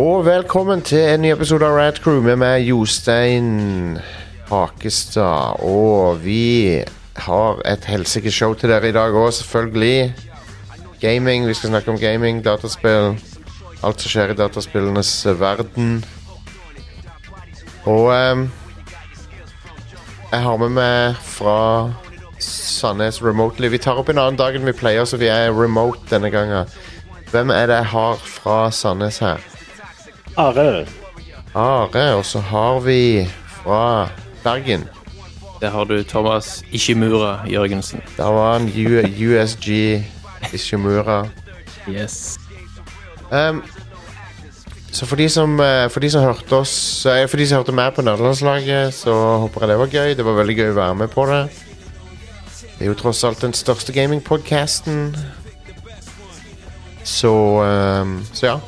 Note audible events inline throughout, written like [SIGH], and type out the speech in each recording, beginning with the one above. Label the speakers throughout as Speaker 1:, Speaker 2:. Speaker 1: velkommen til en ny episode av Rad Crew med meg, Jostein Hakestad. Og vi har et helsikes show til dere i dag òg, selvfølgelig. Gaming, vi skal snakke om gaming, dataspill. Alt som skjer i dataspillenes eh, verden. Og ehm, jeg har med meg fra Sandnes remotely. Vi tar opp en annen dag enn vi pleier, så vi er remote denne gangen. Hvem er det jeg har fra Sandnes her?
Speaker 2: Are.
Speaker 1: Are, og så har vi fra Bergen.
Speaker 3: Der har du Thomas Ishimura Jørgensen.
Speaker 1: Der var han U USG Ishimura.
Speaker 3: Yes.
Speaker 1: Um, så for de, som, eh, for de som hørte oss eh, For de som hørte meg på nederlandslaget, så håper jeg det var gøy. Det var veldig gøy å være med på det. Det er jo tross alt den største gamingpodkasten. Så um, Så ja.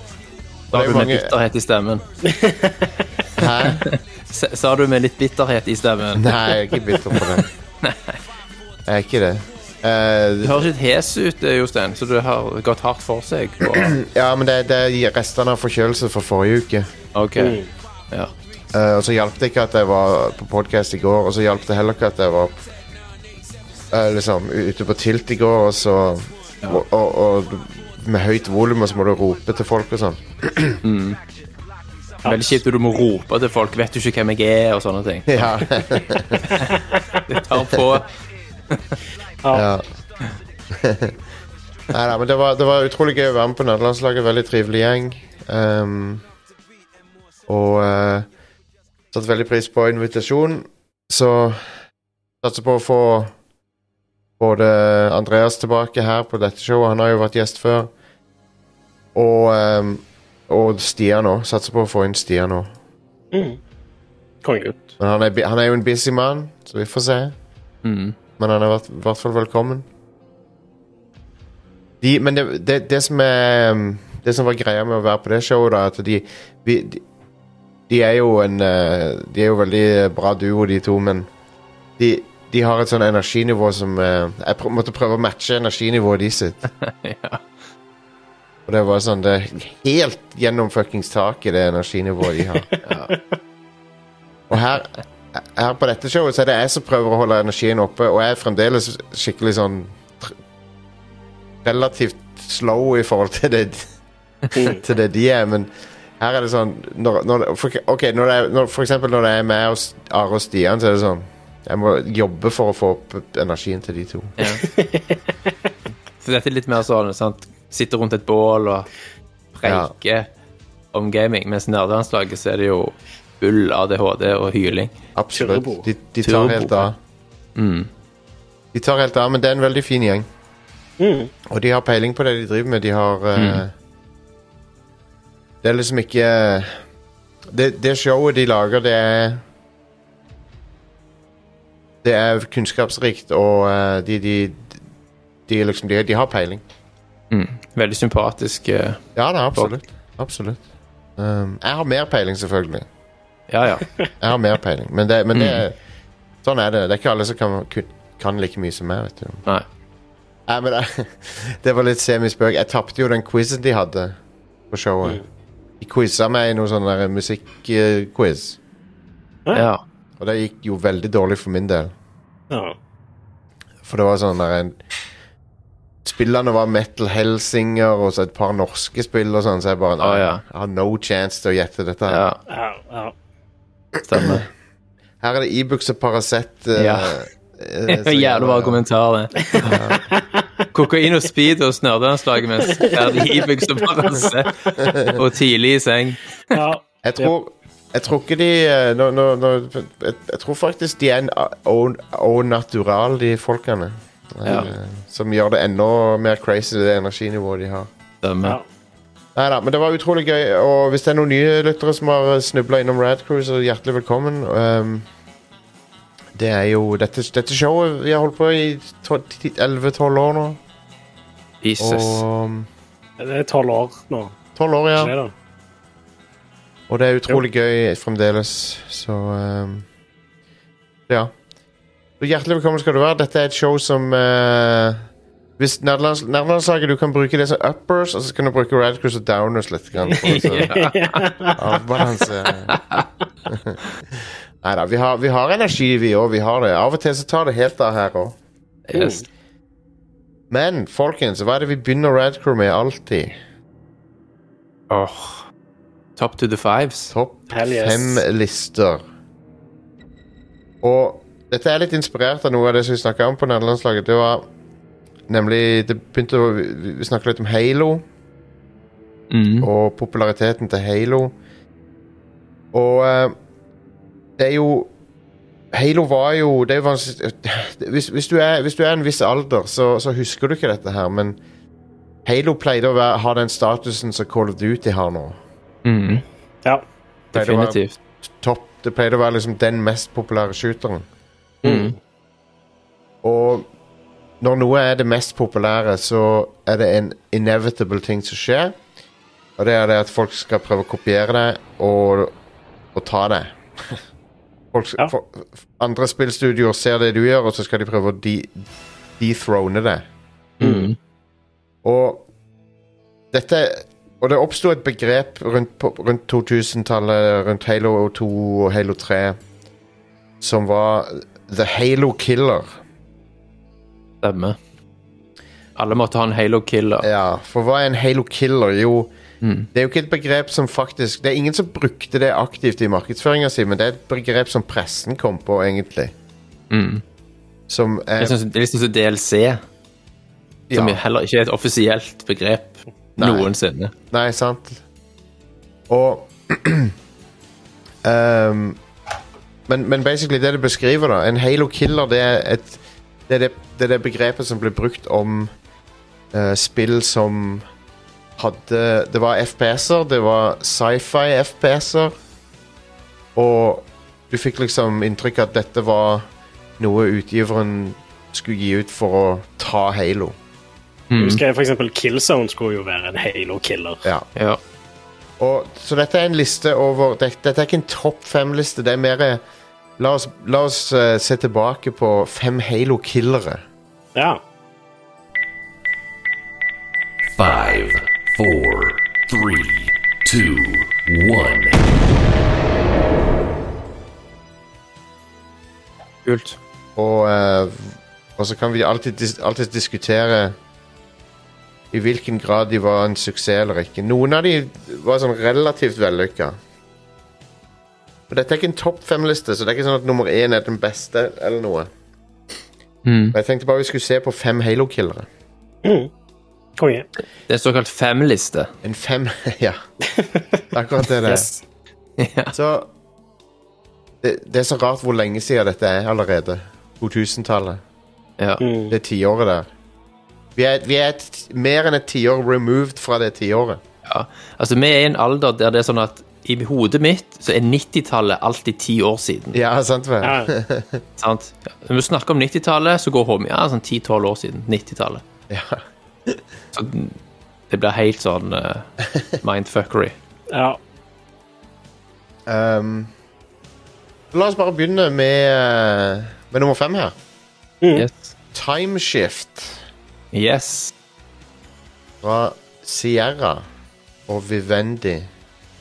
Speaker 3: Sa
Speaker 1: Det er
Speaker 3: du
Speaker 1: mange-
Speaker 3: med bitterhet i stemmen?
Speaker 1: Hæ?
Speaker 3: S- Sa du med litt bitterhet i stemmen?
Speaker 1: Nei, jeg er ikke bitter på det. Jeg er ikke det. Eh,
Speaker 3: Du høres litt hes ut, eh, Jostein, så du har gått hardt for seg. På.
Speaker 1: Ja, men det, det er restene av forkjølelse fra forrige uke.
Speaker 3: OK. Ja.
Speaker 1: Eh, og så hjalp det ikke at jeg var på podkast i går, og så hjalp det heller ikke at jeg var eh, liksom u- ute på tilt i går, og så og, og, og med høyt volum, og så må du rope til folk og sånn. [LAUGHS]
Speaker 3: Veldig kjipt at du må rope til folk 'Vet du ikke hvem jeg er?' og sånne
Speaker 1: [LAUGHS]
Speaker 3: ting.
Speaker 1: Ja.
Speaker 3: Det tar på.
Speaker 1: ja. [LAUGHS] Nei da, men det var, det var utrolig gøy å være med på nederlandslaget. Veldig trivelig gjeng. Ehm, og eh, satte veldig pris på invitasjonen. Så satser på å få både Andreas tilbake her på dette showet. Han har jo vært gjest før. Og, ehm, og Stian òg. Satser på å få inn Stian òg.
Speaker 2: Konge.
Speaker 1: Men han er, bi- han er jo en busy mann, så vi får se.
Speaker 3: Mm.
Speaker 1: Men han er i hvert fall velkommen. De, men det, det, det som er um, Det som var greia med å være på det showet, da, at de vi, de, de er jo en eh, De er jo veldig eh, bra duo, de to, men de, de har et sånn energinivå som eh, Jeg pr måtte prøve å matche energinivået de sitt.
Speaker 3: [LAUGHS] Ja.
Speaker 1: Og det var sånn det er Helt gjennom fuckings taket, det energinivået de
Speaker 3: [LAUGHS]
Speaker 1: har. Og her, her på dette showet så er det jeg som prøver å holde energien oppe, og jeg er fremdeles skikkelig sånn tr- Relativt slow i forhold til det, til det de er, men her er det sånn når, når, det- for, Ok, når det er, når, for eksempel når det er meg og S- Are og Stian, så er det sånn Jeg må jobbe for å få opp energien til de to.
Speaker 3: ja. Så dette er litt mer sånn sant? Sitte rundt et bål og preike om gaming, mens nerdelandslaget så er det jo full ADHD og hyling.
Speaker 1: Absolutt.
Speaker 2: Turbo.
Speaker 1: De, de tar
Speaker 3: Turbo.
Speaker 1: helt av. Mm. De tar helt av, men det er en veldig fin gjeng. Og de har peiling på det de driver med. De har eh, Det er liksom ikke det, det showet de lager, det er Det er kunnskapsrikt, og eh, de, de, de, er liksom, de, de har peiling. Mm.
Speaker 3: Veldig sympatisk. eh,
Speaker 1: Ja da, absolutt. Absolutt. Um, jeg har mer peiling, selvfølgelig.
Speaker 3: Ja, ja.
Speaker 1: Jeg har mer peiling, men, det, men det,
Speaker 3: Mm.
Speaker 1: sånn er det. Det er ikke alle som kan, kun- kan like mye som meg. vet du
Speaker 3: Nei.
Speaker 1: Nei, men det, [LAUGHS] det var litt semispøk. Jeg tapte jo den quizen de hadde på showet. De quiza meg i noe sånn der musikkquiz,
Speaker 3: Ja.
Speaker 1: og det gikk jo veldig dårlig for min del.
Speaker 2: Ja.
Speaker 1: For det var sånn der en Spillerne var Metal Helsinger og så et par norske spill og sånn, så jeg bare
Speaker 3: Å, ja.
Speaker 1: Jeg har no chance til å gjette dette. her
Speaker 3: ja.
Speaker 2: Ja, ja.
Speaker 3: Stemmer.
Speaker 1: Her er det Ibux og Paracet. eh,
Speaker 3: Ja.
Speaker 1: eh,
Speaker 3: [LAUGHS] Det var
Speaker 1: som
Speaker 3: [LAUGHS] jævlig
Speaker 1: gjør
Speaker 3: bra
Speaker 1: det.
Speaker 3: kommentar, det. [LAUGHS] Kokain og speed hos nerdelandslaget mens ferdig ibux og balanse og tidlig i seng.
Speaker 2: ja.
Speaker 1: Jeg tror, jeg tror ikke de eh, nå, nå, nå, jeg, jeg tror faktisk de er en au- au natural, de folkene. Eh,
Speaker 3: Ja.
Speaker 1: Som gjør det enda mer crazy, det energinivået de har.
Speaker 2: ja.
Speaker 3: Stemmer.
Speaker 1: Nei da, men det var utrolig gøy. Og hvis det er noen nye lyttere som har snubla innom Rad Crew, så hjertelig velkommen. Um, det er jo dette, dette showet vi har holdt på i to- ti- 11-12 år nå.
Speaker 3: Jesus.
Speaker 1: Og
Speaker 2: Det er tolv år nå.
Speaker 1: 12 år, ja.
Speaker 2: Ikke det, da?
Speaker 1: Og det er utrolig gøy fremdeles, så ehm, Ja. Så hjertelig velkommen skal du være. Dette er et show som eh, Hvis nerdelands- nerdelandslaget du kan bruke det som uppers, og så kan du bruke radicals og downers litt. Grann, for, å så, [LAUGHS] avbalanse. Nei da, vi, har- vi har energi, vi òg. Vi har det. Av og til så tar det helt av her òg.
Speaker 3: Yes.
Speaker 1: Men folkens, hva er det vi begynner Radcrew med alltid?
Speaker 3: Åh. Top to the fives.
Speaker 1: Topp
Speaker 2: Hell yes.
Speaker 1: fem-lister. Og dette er litt inspirert av noe av det som vi snakka om på nederlandslaget. Det var nemlig det begynte å, Vi vi snakket litt om Halo.
Speaker 3: Mm.
Speaker 1: og populariteten til Halo. Og eh, det er jo Halo var jo det var, hvis, hvis, du er, hvis du er en viss alder, så, så husker du ikke dette her, men Halo pleide å være, ha den statusen som Call of Duty har nå.
Speaker 3: Mm.
Speaker 2: Ja.
Speaker 1: Pleide å være
Speaker 3: Definitivt.
Speaker 1: Topp, det pleide å være liksom den mest populære shooteren.
Speaker 3: Mm.
Speaker 1: Og når noe er det mest populære, så er det en inevitable ting som skjer. Og det er det at folk skal prøve å kopiere det og, og ta det. [LAUGHS] Folk,
Speaker 2: Ja.
Speaker 1: for, andre spillstudioer ser det du gjør, og så skal de prøve å de, dethrone det.
Speaker 3: Mm.
Speaker 1: Og dette Og det oppsto et begrep rundt, på- rundt 2000-tallet, rundt Halo 2 og Halo 3, som var The Halo Killer.
Speaker 3: Stemmer. Alle måtte ha en Halo Killer.
Speaker 1: Ja, for hva er en Halo Killer? Jo,
Speaker 3: Mm.
Speaker 1: det er jo ikke et begrep som faktisk Det er ingen som brukte det aktivt i markedsføringa si, men det er et begrep som pressen kom på, egentlig.
Speaker 3: Mm.
Speaker 1: Som er
Speaker 3: Jeg synes, det er liksom som DLC, som
Speaker 1: ja,
Speaker 3: heller ikke er et offisielt begrep
Speaker 1: Nei.
Speaker 3: noensinne.
Speaker 1: Nei, sant. Og [CLEARS THROAT] ehm, men, men basically, det det beskriver, da En Halo Killer, det er et Det er det, det, er det begrepet som ble brukt om eh, spill som hadde Det var FPS-er, det var sci-fi FPS-er. Og du fikk liksom inntrykk av at dette var noe utgiveren skulle gi ut for å ta Halo.
Speaker 2: Jeg husker jeg for eksempel Killzone skulle jo være en Halo-killer.
Speaker 1: Ja.
Speaker 3: Ja.
Speaker 1: Og, så dette er en liste over det, Dette er ikke en topp fem-liste. Det er mer eh, La oss, la oss eh, se tilbake på fem Halo-killere.
Speaker 2: Ja.
Speaker 4: Five, four, three, two, one.
Speaker 3: Kult.
Speaker 1: Og, eh, og så kan vi alltid, dis alltid diskutere i hvilken grad de var en suksess eller ikke. Noen av de var sånn relativt vellykka. Og dette er ikke en topp fem-liste, så det er ikke sånn at nummer én er den beste. eller noe. Men Jeg tenkte bare vi skulle se på fem Halo-killere.
Speaker 2: Konge.
Speaker 3: Det er en såkalt fem-liste.
Speaker 1: En fem [LAUGHS] Ja. Akkurat det det er.
Speaker 2: Yes.
Speaker 1: Så det, det er så rart hvor lenge siden dette er allerede. 2000-tallet.
Speaker 3: Ja.
Speaker 2: Mm.
Speaker 1: Det tiåret der. Vi er, vi er et, mer enn et tiår removed fra det tiåret.
Speaker 3: ja. Altså, vi er i en alder der det er sånn at i hodet mitt så er 90-tallet alltid ti år siden.
Speaker 1: Ja, sant vel?
Speaker 2: Ja.
Speaker 3: Sant? Ja. Når vi snakker om 90-tallet, så går HMI ja, sånn 10-12 år siden. 90-tallet.
Speaker 1: Ja.
Speaker 3: Så det blir helt sånn eh, [LAUGHS] mindfuckery.
Speaker 2: ja.
Speaker 1: Ehm, la oss bare begynne med, eh, med nummer fem her.
Speaker 3: Yes.
Speaker 1: Timeshift
Speaker 3: yes.
Speaker 1: fra Sierra og Vivendi.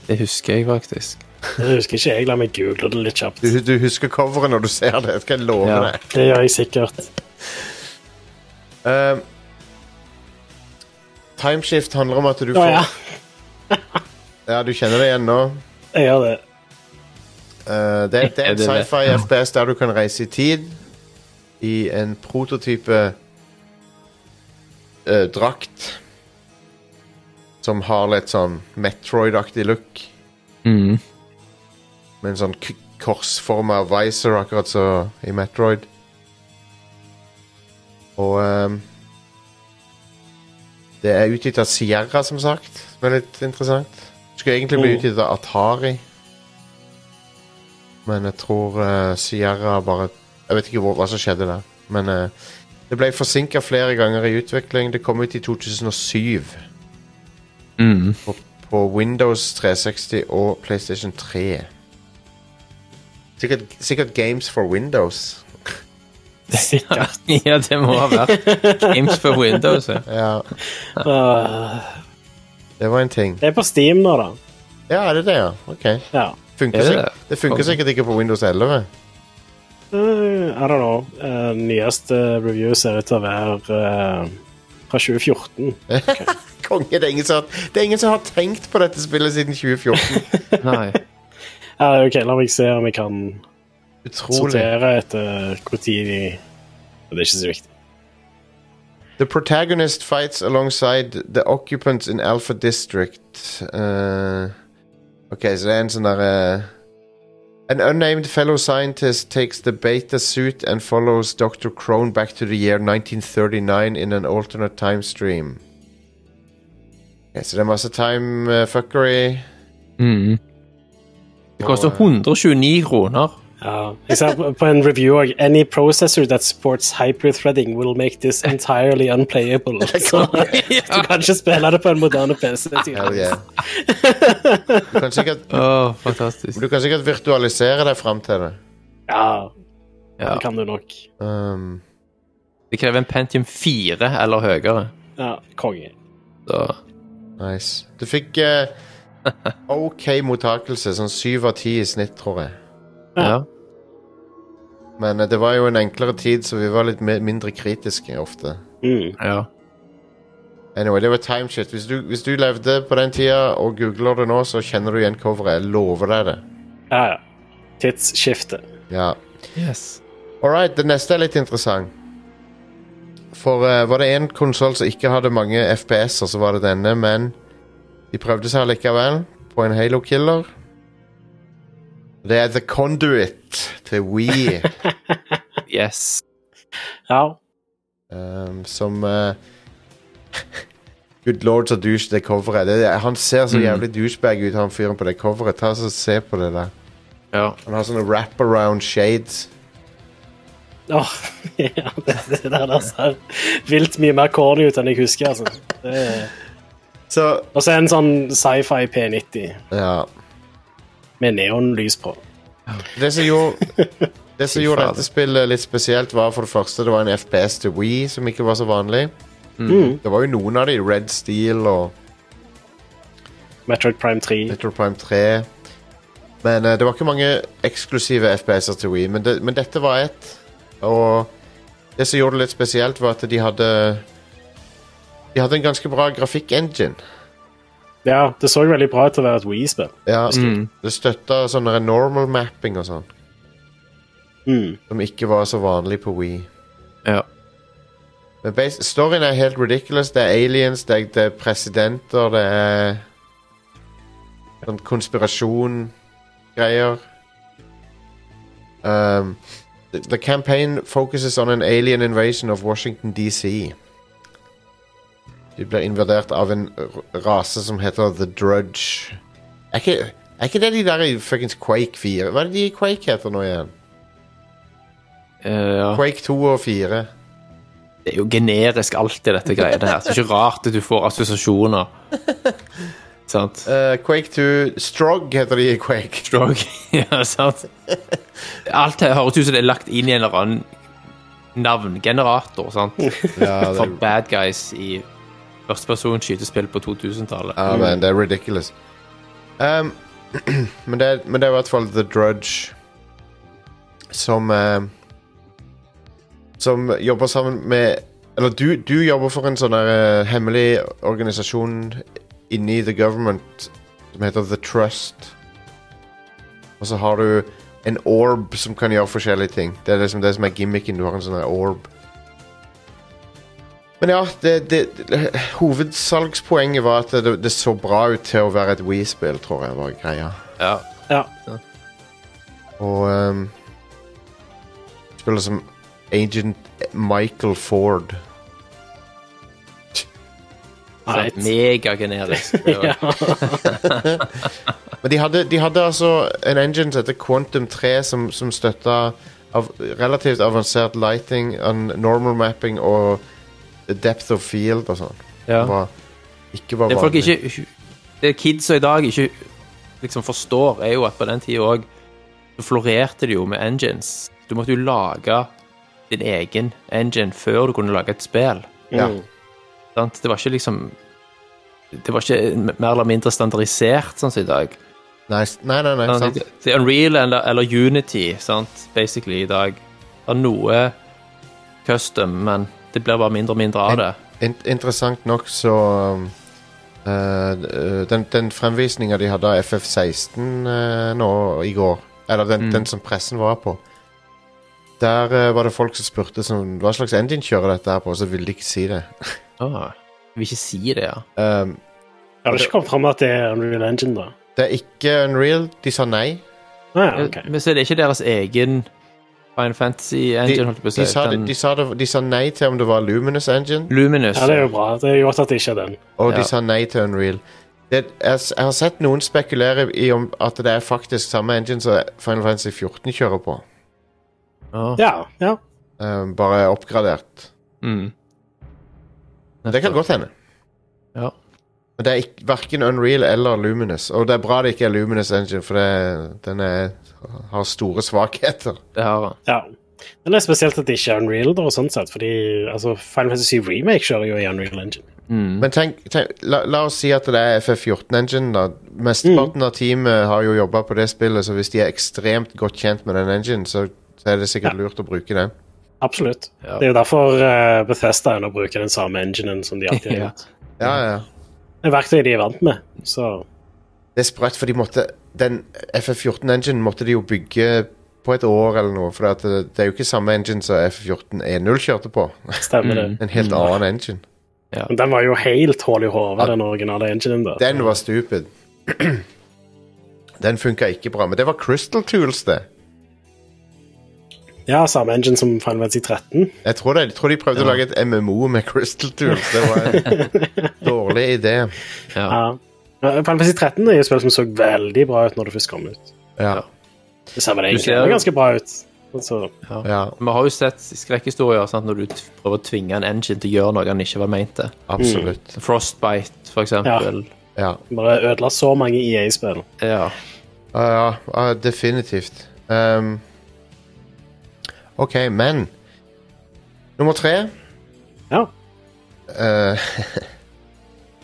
Speaker 3: Det husker jeg faktisk.
Speaker 2: Det husker ikke jeg. La meg google det litt kjapt.
Speaker 1: Du, du husker coveret når du ser det, skal jeg love
Speaker 3: Ja.
Speaker 1: deg.
Speaker 2: Det gjør jeg sikkert.
Speaker 1: Ehm, timeshift handler om at du
Speaker 2: Å
Speaker 1: får
Speaker 2: ja,
Speaker 1: Ja, du kjenner det igjen nå.
Speaker 2: jeg gjør det.
Speaker 1: Eh, det, det er
Speaker 3: Ja,
Speaker 1: en
Speaker 3: det vet
Speaker 1: sci-fi FPS der du kan reise i tid i en prototype eh, drakt som har litt sånn Metroid-aktig look.
Speaker 3: Mm.
Speaker 1: Med en sånn k- korsforma visor, akkurat som i Metroid. Og ehm, Det er utgitt av Sierra, som sagt. Som er litt interessant. Skulle egentlig bli
Speaker 2: Mm.
Speaker 1: utgitt av Atari. Men jeg tror eh, Sierra bare Jeg vet ikke hvor, hva som skjedde der. Men eh, det ble forsinka flere ganger i utvikling. Det kom ut i 2007.
Speaker 3: Mm.
Speaker 1: På, på Windows 360 og PlayStation 3. Sikkert, sikkert Games for Windows.
Speaker 2: Sikkert.
Speaker 3: [LAUGHS] ja, det må ha vært games for Windows. eh. ja. [LAUGHS]
Speaker 1: Ja,
Speaker 2: Åh,
Speaker 1: det var en ting.
Speaker 2: det er på Steam nå, da.
Speaker 1: Ja, er det det, ja? Ok.
Speaker 2: Ja.
Speaker 1: Funker
Speaker 3: Er det
Speaker 1: sikk-
Speaker 3: det?
Speaker 1: det funker sikkert ikke på Windows 11.
Speaker 2: Eh, I don't know. Eh, nyeste review ser ut til å være eh, fra 2014.
Speaker 1: [LAUGHS] Konge, det er, ingen som har, det er ingen som har tenkt på dette spillet siden 2014.
Speaker 3: Nei.
Speaker 2: Ja, ok, La meg se om jeg kan
Speaker 1: Utrolig.
Speaker 2: sortere etter når de Det er ikke så viktig.
Speaker 1: The protagonist fights alongside the occupants in Alpha District. Eh, ok, så det er en sånn der eh, uh, An unnamed fellow scientist takes the beta suit and follows Dr. Crone back to the year 1939 in an alternate time stream. Ok, så det er masse time eh, fuckery.
Speaker 3: Mm. Det koster
Speaker 1: Og, eh,
Speaker 3: 129 [LAUGHS] kroner.
Speaker 2: Ja. Jeg ser på- på en review òg. Any processor that supports hyperthreading will make this entirely unplayable. Så [LAUGHS] du kan ikke spille det på en moderne PC.
Speaker 1: Hell
Speaker 2: tydeligvis.
Speaker 1: yeah. Du kan sikkert,
Speaker 3: Åh, fantastisk.
Speaker 1: du kan sikkert virtualisere deg fram til det.
Speaker 2: Ja,
Speaker 3: Ja.
Speaker 2: det kan du nok.
Speaker 1: Um,
Speaker 3: Det krever en Pentium 4 eller høyere.
Speaker 2: Ja, Konge.
Speaker 3: Så
Speaker 1: Nice. Du fikk eh, OK mottakelse, sånn syv av ti i snitt, tror jeg.
Speaker 3: ja.
Speaker 1: Men eh, det var jo en enklere tid, så vi var litt mi- mindre kritiske ofte.
Speaker 2: Mm.
Speaker 3: ja.
Speaker 1: Anyway, det var timeshit. Hvis, du- hvis du levde på den tida og googler det nå, så kjenner du igjen coveret. Jeg lover deg det.
Speaker 2: Ja, ja. Tidsskifte.
Speaker 1: Ja.
Speaker 3: Yes.
Speaker 1: All right, det neste er litt interessant. For eh, var det én konsoll som ikke hadde mange FPS-er, så var det denne, men de prøvde seg allikevel på en Halo Killer. Det er The Conduit til Wii,
Speaker 3: Yes.
Speaker 2: Ja.
Speaker 1: um, som eh, [LAUGHS] Good lord, så douche det coveret. Det, er- han ser så jævlig douchebag ut, han fyren på det coveret. Ta så Se på det der.
Speaker 3: Ja.
Speaker 1: Han har sånne wraparound shades.
Speaker 2: Åh, [LAUGHS] ja, det, det der der ser vilt mye mer corny ut enn jeg husker. altså. Det er-
Speaker 1: Så
Speaker 2: Og så en sånn sci-fi P90
Speaker 1: Ja.
Speaker 2: med neonlys på.
Speaker 1: Det som gjorde, det som
Speaker 3: Fy
Speaker 1: gjorde
Speaker 3: fader.
Speaker 1: dette spillet litt spesielt, var for det første det var en FPS til Wii som ikke var så vanlig. Det var jo noen av de, Red Steel og
Speaker 2: Metroid Prime 3.
Speaker 1: Metro Prime 3. Men eh, det var ikke mange eksklusive FPS-er til Wii, men, det, men dette var ett. Og det som gjorde det litt spesielt, var at de hadde De hadde en ganske bra grafikk-engine.
Speaker 2: Ja, det så veldig bra ut til å være et Wii-spill.
Speaker 1: Ja, Det støtta sånn der normal mapping og sånn,
Speaker 2: Mm.
Speaker 1: som ikke var så vanlig på Wii.
Speaker 3: Ja.
Speaker 1: Men bas- storyen er helt ridiculous. Det er aliens, det er, det er presidenter, det er sånn konspirasjon-greier. Um, the, the campaign focuses on an alien invasion of Washington DC. De blir invadert av en r- rase som heter The Drudge. Er ikke, er ikke det de der i fuckings Quake 4? Hva er det de i Quake heter nå igjen?
Speaker 3: Eh, ja.
Speaker 1: Quake 2 og 4.
Speaker 3: Det er jo generisk alltid dette greiene her. Så det er ikke rart at du får [LAUGHS] assosiasjoner. sant?
Speaker 1: Eh, Quake 2 Strog heter de i Quake.
Speaker 3: Drog. [LAUGHS] ja, sant? Alt her høres ut som det er lagt inn i en eller annen navngenerator, sant?
Speaker 1: Ja,
Speaker 3: For
Speaker 1: det,
Speaker 3: bad guys i førsteperson skytespill på 2000-tallet.
Speaker 1: ja men det er ridiculous. Um, [CLEARS THROAT] men, det, er- men det er i hvert fall The Drudge som eh, Som jobber sammen med Eller du, du jobber for en sånn der, eh, hemmelig organisasjon inni the government som heter The Trust. Og så har du en orb som kan gjøre forskjellige ting. Det er liksom det som er gimmicken. Du har en sånn der orb. Men ja, det, det, det, hovedsalgspoenget var at det, det så bra ut til å være et Wii-spill, tror jeg var greia.
Speaker 3: Ja.
Speaker 2: Ja.
Speaker 1: Og ehm, Spiller som Agent Michael Ford.
Speaker 2: Right.
Speaker 3: [LAUGHS] Megagenerisk. Ja.
Speaker 1: Men de hadde, de hadde altså en engine som heter Quantum 3, som, som støtta av relativt avansert lighting, an- normal mapping og depth of field og sånn.
Speaker 3: Ja.
Speaker 1: Var- Ikke var
Speaker 3: Det folk
Speaker 1: vanlig.
Speaker 3: ikke Det kidsa i dag ikke liksom forstår, er jo at på den tida òg så florerte det jo med engines. Du måtte jo lage din egen engine før du kunne lage et spill.
Speaker 1: Ja.
Speaker 3: Sant? Det var ikke liksom Det var ikke mer eller mindre standardisert sånn som i dag.
Speaker 1: Nei, s- nei, nei, nei sant.
Speaker 3: Det er Unreal eller, eller Unity, sant, basically, i dag. Har noe custom, men det blir bare mindre og mindre av det.
Speaker 1: In interessant nok så um, eh, d- eh, Den, den fremvisninga de hadde av FF16 eh, nå i går, eller den,
Speaker 3: Mm.
Speaker 1: den som pressen var på Der eh, var det folk som spurte som, hva slags engine kjører dette her på, og så ville de ikke si det.
Speaker 3: Åh, Ah. jeg vil ikke si det, ja.
Speaker 1: Um,
Speaker 2: Jeg har ikke kommet fram at det er Unreal Engine, da.
Speaker 1: det er ikke Unreal. De sa nei.
Speaker 2: Ah, ja, ok.
Speaker 3: Men så er det ikke deres egen Final Fantasy
Speaker 1: De,
Speaker 3: engine, holdt jeg på å si.
Speaker 1: de, sa, det-
Speaker 3: Den
Speaker 1: de, sa, det, de sa nei til om det var Luminous Engine.
Speaker 3: Luminous.
Speaker 2: Ja, det er jo bra. Det er jo godt at det ikke er den.
Speaker 1: Og
Speaker 3: Ja.
Speaker 1: de sa nei til Unreal. Det, jeg, s- jeg har sett noen spekulere i om at det er faktisk samme engine som Final Fantasy 14 kjører på.
Speaker 3: Åh,
Speaker 2: Ja, ja.
Speaker 1: Um, bare oppgradert.
Speaker 3: mm.
Speaker 1: Det kan godt hende.
Speaker 3: Ja.
Speaker 1: Men det er ikk- verken Unreal eller Luminous. Og det er bra det ikke er Luminous Engine, for det, den er, har store svakheter.
Speaker 3: Det har han.
Speaker 2: ja. Men det er spesielt at det ikke er Unreal, da, og sånn sett, fordi altså, Final Fantasy 7 Remake kjører jo i Unreal Engine.
Speaker 3: Mm.
Speaker 1: Men tenk, tenk la, la oss si at det er FF14-engine, da. Mesteparten av teamet har jo jobba på det spillet, så hvis de er ekstremt godt kjent med den engine, så, så er det sikkert lurt å bruke den.
Speaker 2: Absolutt.
Speaker 3: Ja.
Speaker 2: Det er jo derfor eh, Bethesda ennå bruker den samme enginen som de alltid har
Speaker 3: Ja.
Speaker 2: gjort.
Speaker 1: Ja, ja.
Speaker 2: Det er verktøy de er vant med, så
Speaker 1: Det er sprøtt, for de måtte Den FF14-engine måtte de jo bygge på et år eller noe, for at eh, det, det er jo ikke samme engine som FF14E0 kjørte på.
Speaker 2: stemmer det.
Speaker 1: En helt annen engine.
Speaker 2: Men den var jo helt hull i hodet, den originale enginen. da.
Speaker 1: Den var stupid. Den funka ikke bra, men det var Crystal Tools, det.
Speaker 2: Ja, samme engine som Final Fantasy 13.
Speaker 1: Jeg tror, det, jeg tror de prøvde å lage et MMO med Crystal Tools. Det var en [LAUGHS] dårlig idé.
Speaker 3: Ja.
Speaker 2: Ja. Final Fantasy 13 er jo et spill som så veldig bra ut når det først kom ut.
Speaker 1: Ja,
Speaker 2: Det ser vel
Speaker 3: ser
Speaker 2: egentlig
Speaker 3: jo-
Speaker 2: ganske bra ut. Altså,
Speaker 1: ja
Speaker 3: Vi har jo sett skrekkhistorier sant, når du t- prøver å tvinge en engine til å gjøre noe han ikke var meint til.
Speaker 1: absolutt.
Speaker 3: Frostbite, for eksempel.
Speaker 1: Ja,
Speaker 2: bare ødela så mange E EA-spill.
Speaker 3: Ja.
Speaker 1: ja, ja, ja definitivt. Ehm, OK, men Nummer tre
Speaker 2: Ja.
Speaker 1: Eh,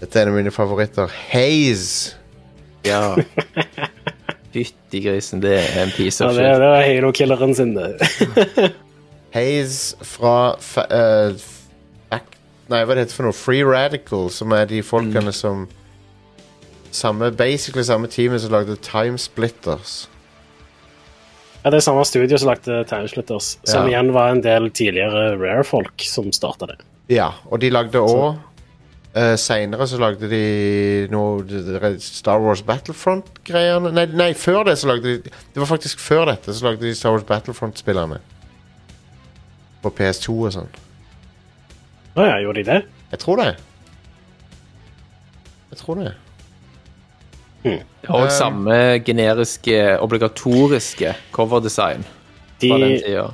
Speaker 1: Dette er en av mine favoritter. Haze.
Speaker 3: ja.
Speaker 2: [LAUGHS]
Speaker 3: Fytti grisen, det er en piece
Speaker 2: ja
Speaker 3: of
Speaker 2: det, er-
Speaker 3: shit.
Speaker 2: det er Halo-killeren sin, det. [LAUGHS]
Speaker 1: Haze fra fa eh, Fac- Nei, hva det heter for noe? Free Radical, som er de folkene som samme, Basically samme teamet som lagde Time Splitters.
Speaker 2: Ja, det er samme studio som lagde Timesplitters, som
Speaker 1: Ja.
Speaker 2: igjen var en del tidligere Rare-folk som starta det.
Speaker 1: Ja, og de lagde òg Uh, Seinere så lagde de noe det- det- Star Wars Battlefront-greiene nei, nei, før det så lagde de Det var faktisk før dette så lagde de Star Wars Battlefront-spillerne. På PS2 og sånn.
Speaker 2: Å ja, gjorde de det?
Speaker 1: Jeg tror det. Jeg tror det.
Speaker 3: Og
Speaker 1: Um.
Speaker 3: samme generiske, obligatoriske coverdesign
Speaker 2: De,
Speaker 3: fra den tida.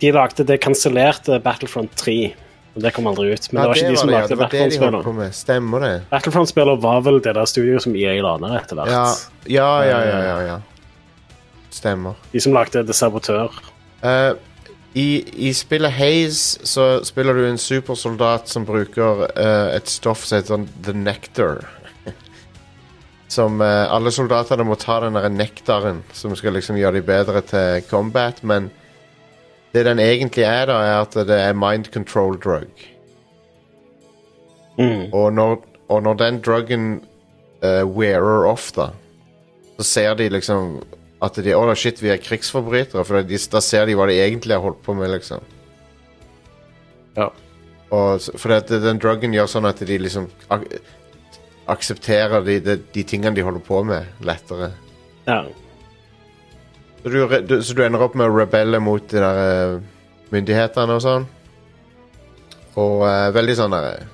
Speaker 2: de lagde det kansellerte Battlefront 3. og Det kom aldri ut. Men det var ikke de som
Speaker 1: ja.
Speaker 2: lagde
Speaker 1: det var det de holdt på
Speaker 2: Battlefront-spillene.
Speaker 1: med. Stemmer det.
Speaker 2: Battlefront-spiller var vel det der studioet som EA la ned etter hvert.
Speaker 1: Ja, ja, ja. ja, ja, ja. Stemmer.
Speaker 2: De som lagde The Sabotør.
Speaker 1: Eh, i, I spillet Haze så spiller du en supersoldat som bruker eh, et stoff som heter The Nectar. [LAUGHS] Som eh, alle soldatene må ta den der nektaren, som skal liksom gjøre de bedre til combat, men det den egentlig er, da, er at det er mind control drug. Og, når, og når den druggen eh, wearer off, da, så ser de liksom at de Å, shit, vi er krigsforbrytere. For de, da ser de hva de egentlig har holdt på med, liksom.
Speaker 3: Ja.
Speaker 1: Og, s- for det, at den druggen gjør sånn at de liksom ak aksepterer de, de, de tingene de holder på med, lettere.
Speaker 2: Ja.
Speaker 1: Så du, re- du, så du ender opp med å rebelle mot de der eh, myndighetene og sånn. Og eh, veldig sånn der eh,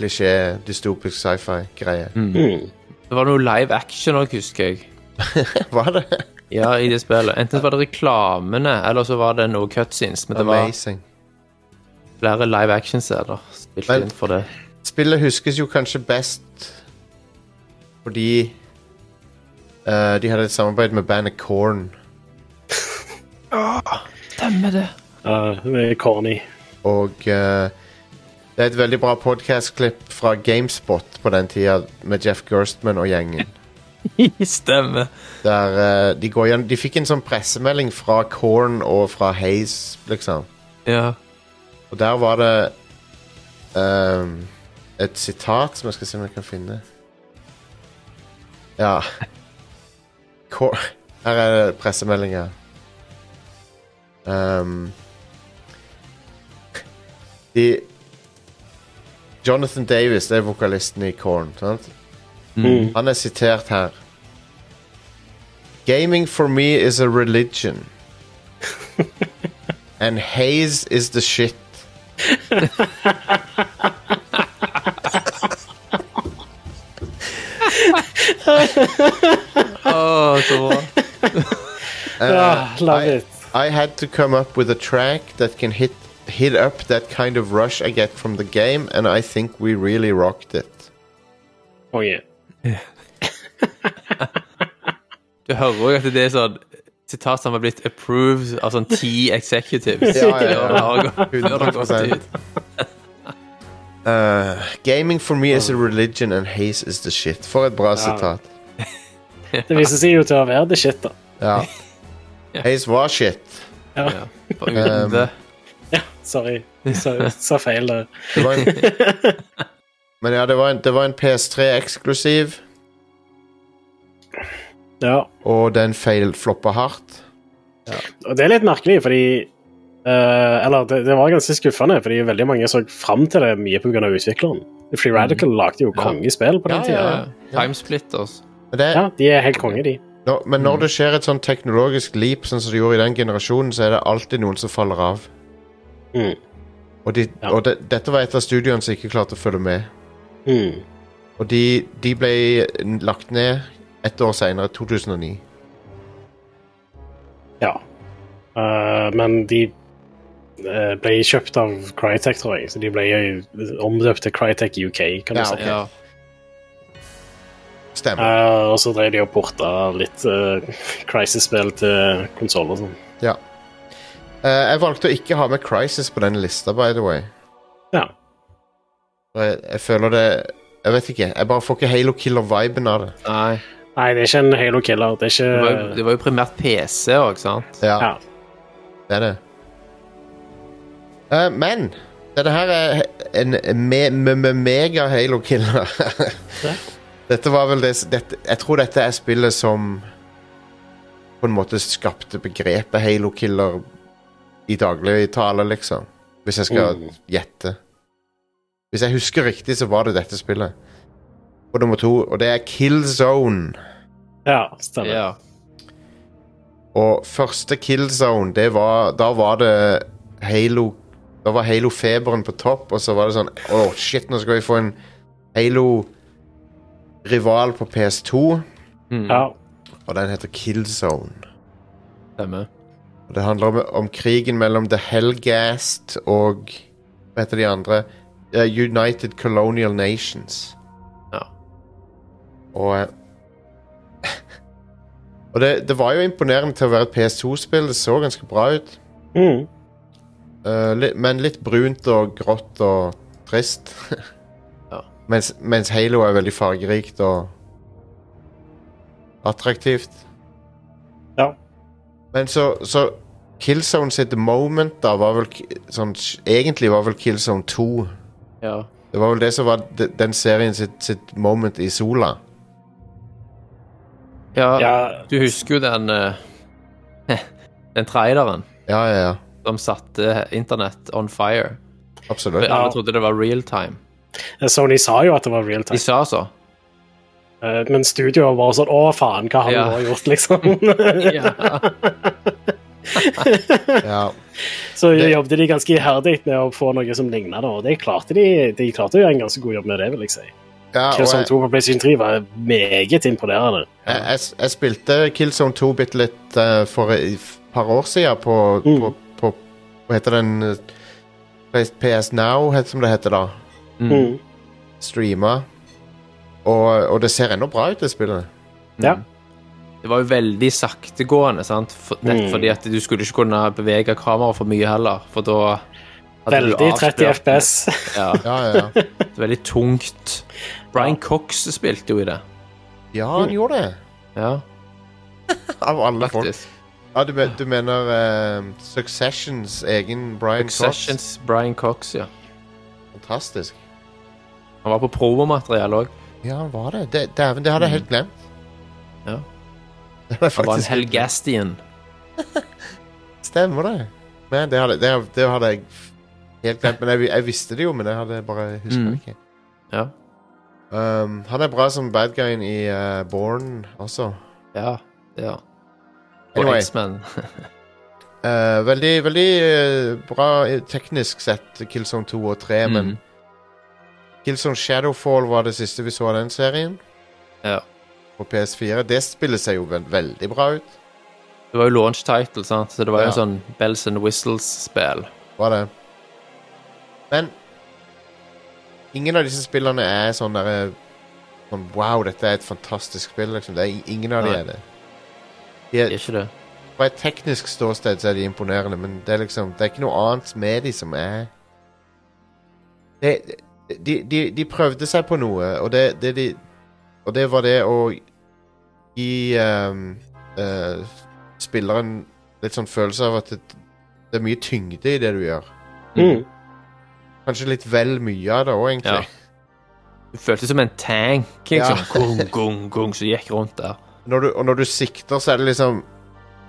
Speaker 1: klisjé, dystopisk sci-fi-greie. [LAUGHS]
Speaker 3: Det var noe live action òg, husker jeg.
Speaker 1: Var det?
Speaker 3: Ja, i det spillet. Enten så var det reklamene, eller så var det noe cutscenes. Men det var
Speaker 1: Amazing.
Speaker 3: flere live action-scener spilt
Speaker 1: Men-
Speaker 3: inn for [LAUGHS] det.
Speaker 1: Spillet huskes jo kanskje best fordi eh, de hadde et samarbeid med bandet Korn.
Speaker 3: Stemmer det.
Speaker 2: Ja, det er corny.
Speaker 1: Og eh, det er et veldig bra podcast-klipp fra Gamespot på den tida med Jeff Gerstmann og gjengen.
Speaker 3: Stemmer.
Speaker 1: Der eh, de går igjen De fikk en sånn pressemelding fra Korn og fra Haze, liksom.
Speaker 3: Ja.
Speaker 1: Og der var det ehm, et sitat som jeg skal se om jeg kan finne. Ja Kor Her er det pressemeldinga. Ehm, de Jonathan Davis det er vokalisten i Korn. Sant? Han er sitert her. Gaming for me is a religion. And haze is the shit.
Speaker 3: Å, så bra.
Speaker 1: Eh,
Speaker 2: Ah, love
Speaker 1: I,
Speaker 2: it.
Speaker 1: I had to come up with a track that can hit hit up that kind of rush I get from the game, and I think we really rocked it.
Speaker 2: Konge.
Speaker 3: Du hører òg at det er sånn sitat som har blitt approved av sånn ti executives.
Speaker 1: Ja, ja, ja.
Speaker 3: Før det har gått- før det har gått [LAUGHS]
Speaker 1: 100%.
Speaker 3: ut.
Speaker 1: Uh, gaming for me is a religion, and haze is the shit. For et bra sitat.
Speaker 2: Det viser seg jo til å være the shit, da.
Speaker 1: Ja. [LAUGHS] Haze var shit.
Speaker 2: Ja,
Speaker 3: For uten
Speaker 1: Um,
Speaker 3: det.
Speaker 2: sorry. Sa, sa feil der.
Speaker 1: Det var en, men Er ja, er det var en, det var en PS3-eksklusiv,
Speaker 2: Ja.
Speaker 1: og den feil floppa hardt.
Speaker 2: Og det er litt merkelig, fordi eh, Eller det, det var ganske skuffende, fordi veldig mange så frem til det mye pga. utvikleren. Free Radical lagde jo kongespill på
Speaker 1: Mm.
Speaker 2: den
Speaker 1: Ja,
Speaker 2: tida.
Speaker 3: Ja, Timesplitters.
Speaker 1: Men det,
Speaker 2: Ja, de er helt konge, de.
Speaker 1: når, men når det skjer et sånn teknologisk leap, sånn som det gjorde i den generasjonen, så er det alltid noen som faller av.
Speaker 2: Mm.
Speaker 1: Og, de,
Speaker 2: Ja.
Speaker 1: og det- dette var et av studioene som ikke klarte å følge med.
Speaker 2: Mm.
Speaker 1: Og de, de ble lagt ned ett år senere, 2009.
Speaker 2: Ja. Eh, men de eh, ble kjøpt av Crytek, tror jeg, så de ble jo omdøpt til Crytek UK, kan du
Speaker 1: Ja,
Speaker 2: si.
Speaker 1: ok.
Speaker 3: Ja.
Speaker 1: Stemmer.
Speaker 2: Eh, og så drev de og porta litt uh, Crisis-spill til konsoll og sånn.
Speaker 1: Ja. Eh, jeg valgte å ikke ha med Crisis på denne lista, by the way.
Speaker 2: Ja.
Speaker 1: For Jeg, jeg føler det Jeg vet ikke. Jeg bare får ikke Halo Killer-viben av det.
Speaker 3: Nei.
Speaker 2: Nei, det er ikke en Halo Killer. Det er ikke
Speaker 3: Det var, jo- det var jo primært PC òg, sant?
Speaker 1: Ja,
Speaker 2: ja.
Speaker 1: det er det. Eh, men denne her er en me, me, me, mega Halo Killer. [LAUGHS] dette var vel det s- dette, Jeg tror dette er spillet som på en måte skapte begrepet Halo Killer i dagligtale, liksom. Hvis jeg skal
Speaker 2: Mm.
Speaker 1: gjette. Hvis jeg husker riktig, så var det dette spillet. Og nummer to, og det er Kill Zone.
Speaker 2: ja, stemmer.
Speaker 3: Ja.
Speaker 1: Og første Kill Zone, det var Da var det Halo Da var Halo-feberen på topp, og så var det sånn Å, shit, nå skal vi få en Halo-rival på PS2,
Speaker 2: Ja.
Speaker 1: og den heter Kill Zone.
Speaker 3: Stemmer.
Speaker 1: Og det handler om, om krigen mellom The Hellgast og Hva heter de andre? Eh, United Colonial Nations.
Speaker 3: Ja.
Speaker 1: Og eh, [LAUGHS] Og det, det var jo imponerende til å være et PS2-spill. Det så ganske bra ut.
Speaker 2: Mm.
Speaker 1: Eh, li, men litt brunt og grått og
Speaker 2: [LAUGHS]
Speaker 1: trist.
Speaker 3: Ja.
Speaker 1: mens, mens Halo er veldig fargerikt og attraktivt.
Speaker 2: Ja.
Speaker 1: Men så, så Killzone sitt moment da var vel ki- sånn, Egentlig var vel Killzone 2.
Speaker 3: Ja.
Speaker 1: Det var vel det som var de- den serien sitt, sitt moment i sola.
Speaker 3: ja.
Speaker 2: ja.
Speaker 3: Du husker jo den eh, [LAUGHS] Den traileren
Speaker 1: Ja, ja, ja.
Speaker 3: som satte internett on fire.
Speaker 1: Absolutt.
Speaker 3: For Alle
Speaker 2: Ja.
Speaker 3: trodde det var real time.
Speaker 2: Eh, Sony sa jo at det var real
Speaker 3: De
Speaker 2: time,
Speaker 3: sa så.
Speaker 2: eh, men studioet var sånn Å, faen, hva har vi
Speaker 3: Ja.
Speaker 2: nå gjort, liksom?
Speaker 3: [LAUGHS] Ja.
Speaker 1: Ja.
Speaker 2: så
Speaker 1: Det-
Speaker 2: jobbet de ganske iherdig med å få noe som ligna, og det klarte de. De klarte å gjøre en ganske god jobb med det, vil jeg si.
Speaker 1: Ja, og
Speaker 2: Killzone
Speaker 1: jeg,
Speaker 2: 2 på PlayStation 3 var meget imponerende.
Speaker 1: jeg, jeg, jeg spilte Killzone 2 bitte litt eh, for et par år siden på,
Speaker 2: Mm.
Speaker 1: på, på Hva heter den eh, PS Now, het- som det heter da.
Speaker 2: Mm.
Speaker 1: Streama. Og, og det ser ennå bra ut, det spillet.
Speaker 2: Ja.
Speaker 3: det var jo veldig saktegående, sant? For, nett
Speaker 2: Mm.
Speaker 3: fordi at du skulle ikke kunne bevege kameraet for mye heller, for da hadde du
Speaker 2: Veldig 30
Speaker 3: avslørt-
Speaker 2: FPS.
Speaker 3: Ja,
Speaker 1: Ja, ja, ja.
Speaker 3: det er veldig tungt. Brian Cox spilte jo i det.
Speaker 1: ja han gjorde det.
Speaker 3: Ja,
Speaker 1: Av alle folk.
Speaker 3: faktisk.
Speaker 1: Ja, du, men- du mener eh, Successions egen Brian Successions.
Speaker 3: Successions Brian Cox, ja.
Speaker 1: Cox. Fantastisk.
Speaker 3: Han var på provomateriell òg.
Speaker 1: Ja, han var det. Det, dæven, det hadde jeg helt glemt.
Speaker 3: Ja.
Speaker 1: Det hadde jeg
Speaker 3: Han var en
Speaker 1: faktisk helt glemt.
Speaker 3: Helgastian.
Speaker 1: Stemmer det. Men det hadde, det, hadde- det hadde jeg helt glemt. Men jeg, jeg visste det jo, men jeg hadde bare huska det
Speaker 3: Mm.
Speaker 1: ikke.
Speaker 3: Ja.
Speaker 1: Um, han er bra som bad guyen i eh, Bourne også.
Speaker 3: ja. det er han. Og
Speaker 1: Anyway.
Speaker 3: X-Men.
Speaker 1: Eh, veldig veldig eh, bra eh, teknisk sett, Killzone 2 og 3, men
Speaker 3: Mm.
Speaker 1: Killzone Shadowfall var det siste vi så av den serien.
Speaker 3: Ja.
Speaker 1: På PS4. Det spiller seg jo ve veldig bra ut.
Speaker 3: Det var jo launch title, sant? så det var jo
Speaker 1: Ja.
Speaker 3: en sånn bells and whistles-spill.
Speaker 1: Var det. Men ingen av disse spillene er sånn derre sånn, Wow, dette er et fantastisk spill, liksom. Det er i- ingen av de
Speaker 3: Nei.
Speaker 1: er det. De
Speaker 3: Er
Speaker 1: er,
Speaker 3: ikke det?
Speaker 1: fra et teknisk ståsted så er de imponerende, men det er liksom Det er ikke noe annet med de som er det, de, de, de prøvde seg på noe, og det, det de Og det var det å gi ehm, eh, spilleren litt sånn følelse av at det, det er mye tyngde i det du gjør.
Speaker 2: Mm.
Speaker 1: Kanskje litt vel mye av det òg, egentlig.
Speaker 3: Ja. Du følte som en tank, liksom.
Speaker 1: Ja.
Speaker 3: Gung, gung, gung, som gikk rundt der.
Speaker 1: Når du, og når du sikter, så er det liksom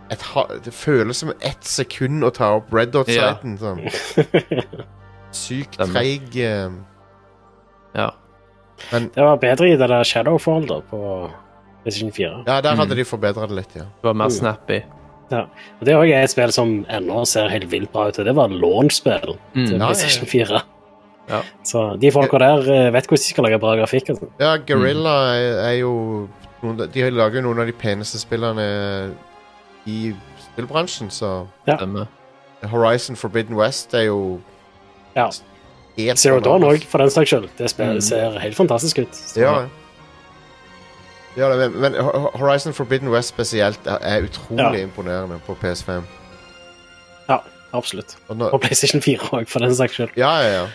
Speaker 1: et, ha- Det føles som ett sekund å ta opp red
Speaker 3: Ja.
Speaker 1: dot-siden. Sånn.
Speaker 3: [LAUGHS]
Speaker 1: Sykt
Speaker 3: Stemmer.
Speaker 1: treig ehm,
Speaker 3: Ja.
Speaker 2: Det var bedre i det der Shadowfall da, på PlayStation 4.
Speaker 1: Ja, der
Speaker 3: Mm.
Speaker 1: hadde de forbedra det litt, ja.
Speaker 3: Det var mer snappy.
Speaker 2: Ja. Og det er også et spill som ennå ser helt vilt bra ut, og det var launch-spill
Speaker 3: Mm,
Speaker 2: til
Speaker 1: Ja, ja, ja.
Speaker 2: PlayStation 4.
Speaker 3: Ja.
Speaker 2: Så de folka der eh, vet hvordan de skal lage bra grafikk. Altså.
Speaker 1: Ja, Guerrilla
Speaker 3: Mm.
Speaker 1: er, er jo noen, De lager jo noen av de peneste spillene i spillbransjen, så
Speaker 3: Stemmer.
Speaker 1: Horizon Forbidden West er jo
Speaker 2: Ja.
Speaker 1: helt
Speaker 2: Zero Dawn
Speaker 1: bananas.
Speaker 2: òg, for den saks skyld. Det spillet
Speaker 3: Mm.
Speaker 2: ser helt fantastisk ut. Så-
Speaker 1: Ja. Ja, det- men, men Ho- Horizon Forbidden West spesielt er, er utrolig
Speaker 2: Ja.
Speaker 1: imponerende på PS5.
Speaker 2: ja, absolutt.
Speaker 1: Og nå,
Speaker 2: Og PlayStation 4 òg, for den saks skyld.
Speaker 1: ja, ja, ja.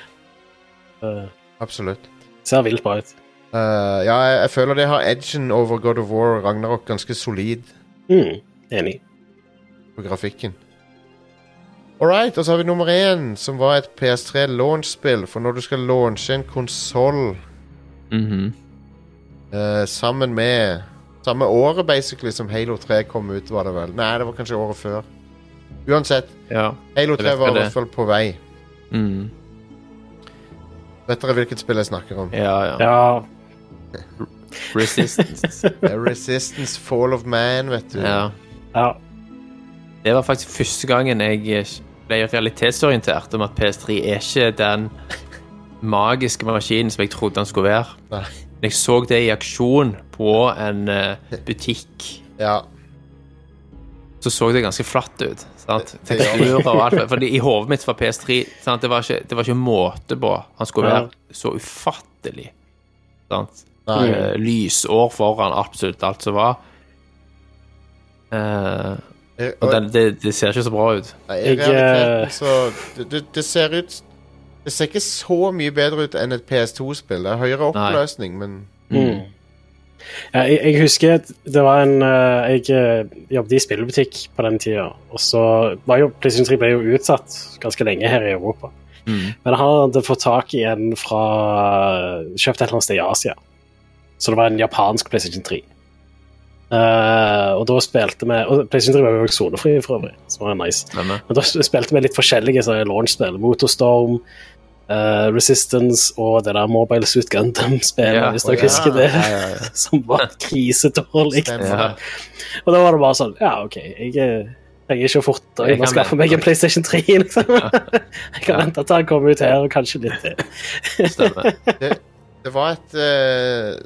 Speaker 2: Eh,
Speaker 1: Absolutt.
Speaker 2: ser vilt bra ut.
Speaker 1: Eh, ja, jeg, jeg føler det har edgen over God of War og Ragnarok ganske solid.
Speaker 2: Mm. Enig.
Speaker 1: på grafikken. Alright, og så har vi nummer én, som var et PS3 launch-spill. For når du skal launche en konsoll
Speaker 3: Mhm.
Speaker 1: eh, sammen med Samme året, basically, som Halo 3 kom ut, var det vel. Nei, det var kanskje året før. Uansett,
Speaker 3: Ja.
Speaker 1: Halo
Speaker 3: Jeg
Speaker 1: 3 var
Speaker 3: vet hva
Speaker 1: i
Speaker 3: det
Speaker 1: hvert fall på vei.
Speaker 3: Mm.
Speaker 1: Vet dere hvilket spill jeg snakker om?
Speaker 3: ja, ja.
Speaker 2: [LAUGHS] Ja,
Speaker 3: Resistance.
Speaker 1: Det er Resistance Fall of Man, vet du.
Speaker 3: ja.
Speaker 2: ja.
Speaker 3: Det var faktisk første gangen jeg eh, ble realitetsorientert om at PS3 er ikke den magiske maskinen som jeg trodde den skulle være.
Speaker 1: Nei.
Speaker 3: Men jeg så det i aksjon på en eh, butikk.
Speaker 1: Ja.
Speaker 3: Så så det ganske flatt ut. sant?
Speaker 1: Det- det gjør det.
Speaker 3: Teksturer og alt. Fordi i hodet mitt var PS3 sant? Det, var ikke, det var ikke måte på. Han skulle
Speaker 2: Ja.
Speaker 3: være så ufattelig. Sant?
Speaker 1: Nei.
Speaker 3: Eh, lysår foran absolutt alt som var. Eh,
Speaker 1: Eh,
Speaker 3: og
Speaker 1: og-
Speaker 3: den, det, det ser ikke så bra ut.
Speaker 1: Nei, I
Speaker 2: Jeg, eh,
Speaker 1: realiteten så det, det, det ser ut Det ser ikke så mye bedre ut enn et PS2-spill. Det er høyere
Speaker 3: Nei.
Speaker 1: oppløsning, men
Speaker 2: Mm. Ja, jeg, jeg husker at det var en eh, Jeg eh, jobbet i spillebutikk på den tida. Og så var jo PlayStation 3 ble jo utsatt ganske lenge her i Europa.
Speaker 3: Mm.
Speaker 2: Men han hadde fått tak i en fra eh, Kjøpt et eller annet sted i Asia. Så det var en japansk PlayStation 3. Eh, og da spilte vi Og PlayStation 3 var jo også sonefri, for øvrig. Som var nice.
Speaker 3: Stemmer.
Speaker 2: Men da spilte vi litt forskjellige sånne launch-spill. Motorstorm, eh, Resistance og det der Mobile Suit Gundam-spillet,
Speaker 3: Ja,
Speaker 2: hvis dere
Speaker 1: ja.
Speaker 2: husker det.
Speaker 3: [LAUGHS] Ja, ja, ja.
Speaker 2: [LAUGHS] Som
Speaker 3: [LAUGHS]
Speaker 2: var krisedårlig.
Speaker 1: stemmer
Speaker 3: Ja.
Speaker 1: det.
Speaker 2: Og da var det bare sånn Ja, OK, jeg eh, trenger ikke å forte
Speaker 3: Jeg
Speaker 2: inn og
Speaker 3: kan
Speaker 2: skaffe
Speaker 3: vente.
Speaker 2: meg en PlayStation 3. [LAUGHS] Liksom. Jeg kan
Speaker 3: Ja.
Speaker 2: vente til han kommer ut her, og kanskje litt til.
Speaker 3: Stemmer.
Speaker 1: [LAUGHS] Det, det var et eh,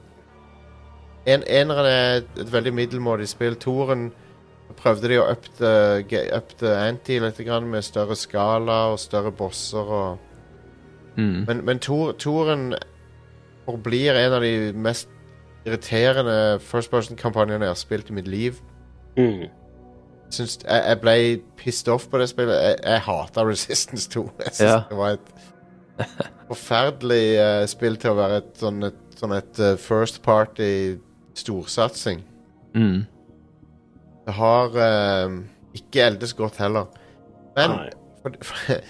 Speaker 1: en, Eneren er et, et veldig middelmådig spill. Toren prøvde de å up the, ge- up the ante litt grann med større skala og større bosser. Og,
Speaker 3: Mm.
Speaker 1: men men Tor, Toren forblir en av de mest irriterende first person-kampanjene jeg har spilt i mitt liv.
Speaker 2: Mm.
Speaker 1: Syns, jeg, jeg ble pissed off på det spillet. Jeg, jeg hata Resistance 2. Jeg syns
Speaker 3: Ja.
Speaker 1: det var et forferdelig eh, spill til å være et sånn et, sånn et eh, first party storsatsing.
Speaker 3: Mm.
Speaker 1: Det har eh, ikke eldes godt heller. Men
Speaker 2: Nei.
Speaker 1: for, for,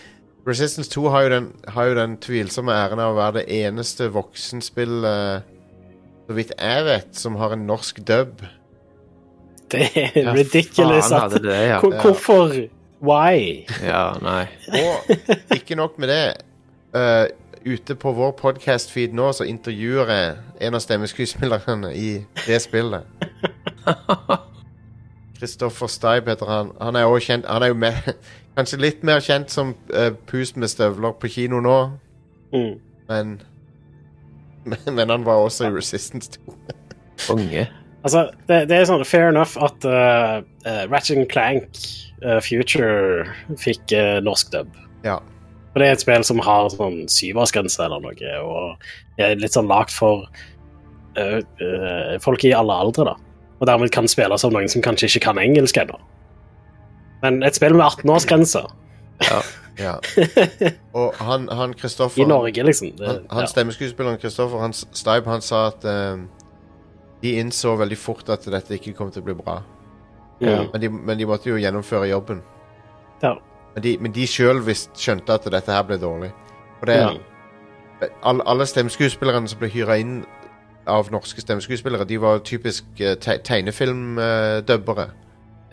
Speaker 1: Resistance 2 har jo, den, har jo den tvilsomme æren av å være det eneste voksenspillet, så vidt jeg vet, som har en norsk dub.
Speaker 2: Det er
Speaker 3: Ja,
Speaker 2: ridiculous
Speaker 3: faen
Speaker 2: at
Speaker 3: hadde det, ja.
Speaker 2: Hvor- Hvorfor? Why?
Speaker 3: ja, nei.
Speaker 1: Og ikke nok med det. eh, ute på vår podcast-feed nå så intervjuer jeg en av stemmeskuespillerne i det spillet. Kristoffer Steib heter han. Han er, også kjent, han er jo me- kanskje litt mer kjent som eh, Pust med støvler på kino nå,
Speaker 2: Mm.
Speaker 1: men men, men han var også i Resistance 2.
Speaker 3: Konge.
Speaker 2: Altså, det, det er sånn fair enough at uh, uh, Ratchet Clank eh, Future fikk eh, norsk dub.
Speaker 1: Ja.
Speaker 2: For det er et spill som har sånn syvårsgrense eller noe, og er litt sånn lagt for eh, eh, folk i alle aldre, da. Og dermed kan spilles av noen som kanskje ikke kan engelsk ennå. Men et spill med 18-årsgrense
Speaker 1: ja. Og han, han Kristoffer
Speaker 2: i Norge, liksom det,
Speaker 1: Han, han stemmeskuespilleren Kristoffer han, s- Stipe, han sa at eh, de innså veldig fort at dette ikke kom til å bli bra.
Speaker 2: ja.
Speaker 1: Men de, men de måtte jo gjennomføre jobben.
Speaker 2: Ja.
Speaker 1: Men de, men de sjøl visst skjønte at dette her ble dårlig. Og det
Speaker 2: Ja.
Speaker 1: er, alle, alle stemmeskuespillerne som ble hyra inn av norske stemmeskuespillere, de var typisk uh, tegnefilmdubbere.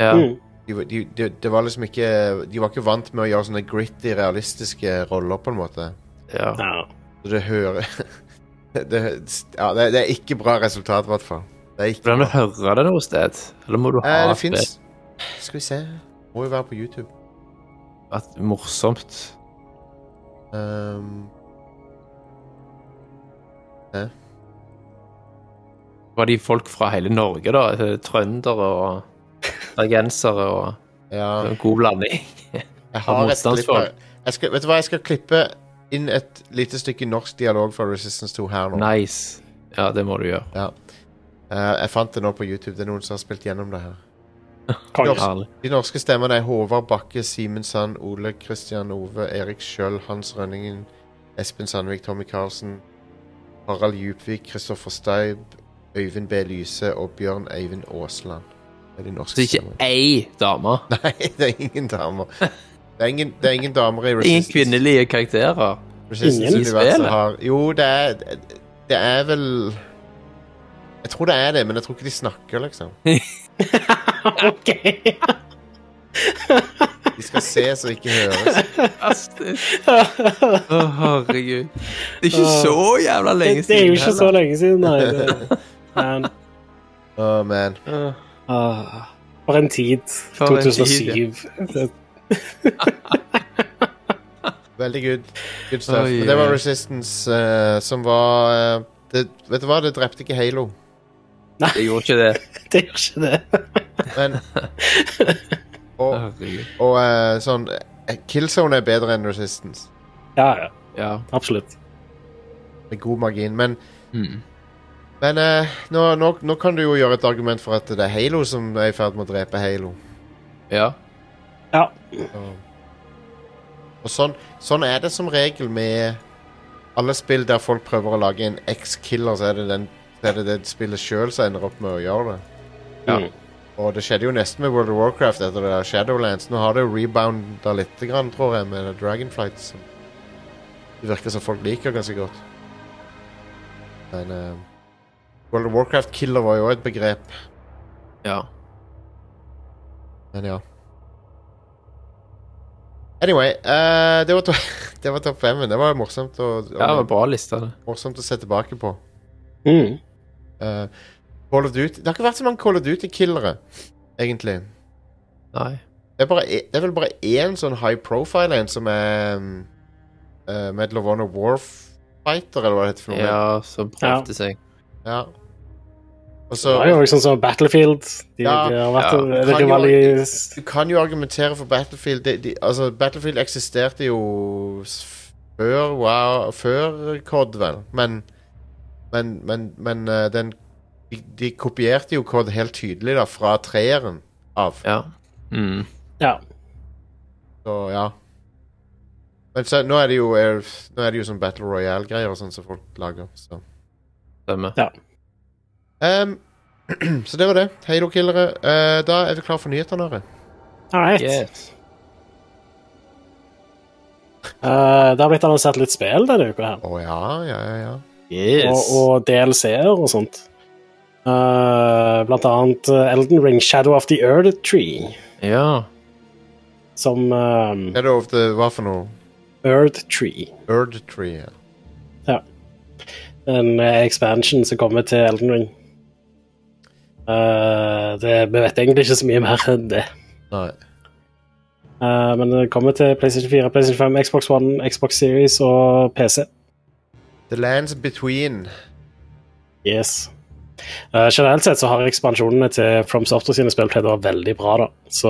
Speaker 3: Ja.
Speaker 2: Mm.
Speaker 1: de, var- de, de, det var liksom ikke De var ikke vant med å gjøre sånne gritty, realistiske roller, på en måte.
Speaker 3: ja.
Speaker 2: ja.
Speaker 1: Så det hører [LAUGHS] det, ja, det, det er ikke bra resultat, i hvert fall. Det er ikke
Speaker 3: Hvordan du hører det noe sted? Eller må du ha
Speaker 1: eh, Det
Speaker 3: et
Speaker 1: fins Skal vi se. Må jo være på YouTube.
Speaker 3: at, morsomt?
Speaker 1: Um,
Speaker 3: Var de folk fra hele Norge, da? Eh, Trøndere og bergensere og
Speaker 1: ja.
Speaker 3: det var en god blanding?
Speaker 1: Jeg har et klipp her.
Speaker 3: motstandsfolk.
Speaker 1: Jeg skal, vet du hva, jeg skal klippe inn et lite stykke norsk dialog fra Resistance 2 her nå.
Speaker 3: Nice. Ja, det må du gjøre.
Speaker 1: Ja. Eh, jeg fant det nå på YouTube. Det er noen som har spilt gjennom det her.
Speaker 2: Konge.
Speaker 1: Ja.
Speaker 3: Herlig.
Speaker 1: De norske stemmene er Håvard Bakke, Simen Sand, Ole Kristian Ove, Erik Skjøll, Hans Rønningen, Espen Sandvik, Tommy Karlsen, Harald Djupvik, Kristoffer Steib, Øyvind B. Lyse og Bjørn Eivind Aasland. Det er de
Speaker 3: Så
Speaker 1: norske
Speaker 3: ikke
Speaker 1: stemmene.
Speaker 3: ei dame.
Speaker 1: [LAUGHS] Nei, det er ingen damer. Det er ingen, det er ingen damer i
Speaker 3: Ingen
Speaker 1: Resistance.
Speaker 3: kvinnelige karakterer.
Speaker 1: Resistance
Speaker 2: Ingen
Speaker 1: universet
Speaker 3: spiller.
Speaker 1: har Jo, det er Det er vel Jeg tror det er det, men jeg tror ikke de snakker, liksom.
Speaker 2: [LAUGHS] OK.
Speaker 1: De skal ses og ikke høres.
Speaker 3: [LAUGHS] Fantastisk. Å, herregud. Det er ikke så jævla
Speaker 2: Det,
Speaker 3: lenge
Speaker 2: Ah. det er jo
Speaker 3: siden
Speaker 2: ikke så lenge siden,
Speaker 3: [LAUGHS]
Speaker 2: nei. Det, men
Speaker 1: Å, man.
Speaker 3: heller.
Speaker 2: Ah, for en tid.
Speaker 3: For en
Speaker 2: 2007. Det-
Speaker 1: Veldig good. good stuff.
Speaker 3: Oi,
Speaker 1: men det var
Speaker 3: oi.
Speaker 1: Resistance eh, som var eh, det, Vet du hva, det drepte ikke Halo.
Speaker 3: Det gjorde ikke det.
Speaker 2: Det gjør ikke det.
Speaker 3: [LAUGHS]
Speaker 1: Men Og,
Speaker 3: Herregud.
Speaker 1: og eh, sånn eh, Killzone er bedre enn Resistance.
Speaker 2: Ja, ja.
Speaker 3: Ja.
Speaker 2: Absolutt.
Speaker 1: Med god margin. Men,
Speaker 3: Mm.
Speaker 1: men eh, nå, nå, nå kan du jo gjøre et argument for at det er Halo som er i ferd med å drepe Halo.
Speaker 3: Ja.
Speaker 2: Ja.
Speaker 1: Og sånn, sånn er det som regel med alle spill der folk prøver å lage en X-killer, så er det den, så er det, det spillet sjøl som ender opp med å gjøre det.
Speaker 3: Ja.
Speaker 2: Mm.
Speaker 1: Og det skjedde jo nesten med World of Warcraft etter det der Shadowlands. Nå har det jo rebounda litt, grann, tror jeg, med Dragonflight. Som det virker som folk liker ganske godt. Men eh, World of Warcraft-killer var jo et begrep.
Speaker 3: ja.
Speaker 1: Men ja. Anyway, eh, det var, to [LAUGHS] det var topp fem. Det var morsomt å,
Speaker 3: Ja, Det var bra lista, det.
Speaker 1: morsomt å se tilbake på.
Speaker 2: Mm.
Speaker 1: Eh, Call of Duty Det har ikke vært så mange Call of Duty-killere, egentlig.
Speaker 3: Nei.
Speaker 1: Det er, bare, det er vel bare én sånn high profile en som er um, uh, Medal of Honor Warfighter, eller hva det heter for noe.
Speaker 3: Ja, som prøvde seg.
Speaker 1: Ja. Og
Speaker 2: Det
Speaker 1: så
Speaker 2: var jo liksom sånn Battlefield. De,
Speaker 1: Ja,
Speaker 2: de har vært
Speaker 3: ja.
Speaker 1: Kan
Speaker 2: ja.
Speaker 1: jo-
Speaker 2: rivalis...
Speaker 1: Du kan jo argumentere for Battlefield de, de, Altså, Battlefield eksisterte jo s- før, wow, før COD, vel. Men, men, men, men eh, den De, de kopierte jo Cod helt tydelig da, fra treeren av.
Speaker 3: Ja. Mm.
Speaker 2: Ja.
Speaker 1: Så ja. Men så, nå er det jo, eh, nå er det jo sånn Battle Royale-greier og sånn som folk lager. Så.
Speaker 3: Stemmer.
Speaker 2: ja.
Speaker 1: Ehm, [CLEARS THROAT] så det var det. Hei da, killere. Eh, da er vi klar for nyhetene. Are.
Speaker 2: All right.
Speaker 3: Yes.
Speaker 2: Eh, det har blitt annonsert litt spill denne uka her.
Speaker 1: Å ja, ja, ja. ja.
Speaker 3: Yes.
Speaker 2: Og, og DLC-er og sånt. Eh, blant annet eh, Elden Ring Shadow of the Earth Tree,
Speaker 3: Ja.
Speaker 2: som eh,
Speaker 1: Shadow of the Hva for noe?
Speaker 2: Earth Tree.
Speaker 1: Bird Tree. Ja.
Speaker 2: en eh, expansion som kommer til Elden Ring. Eh, det, vi vet egentlig ikke så mye mer enn det.
Speaker 1: Nei.
Speaker 2: Eh, men det kommer til PlayStation 4, PlayStation 5, Xbox One, Xbox Series og PC.
Speaker 1: The Lands Between. [CLEARS THROAT]
Speaker 2: Yes. Eh, generelt sett så har ekspansjonene til From Software sine spill pleid å være veldig bra, da. Så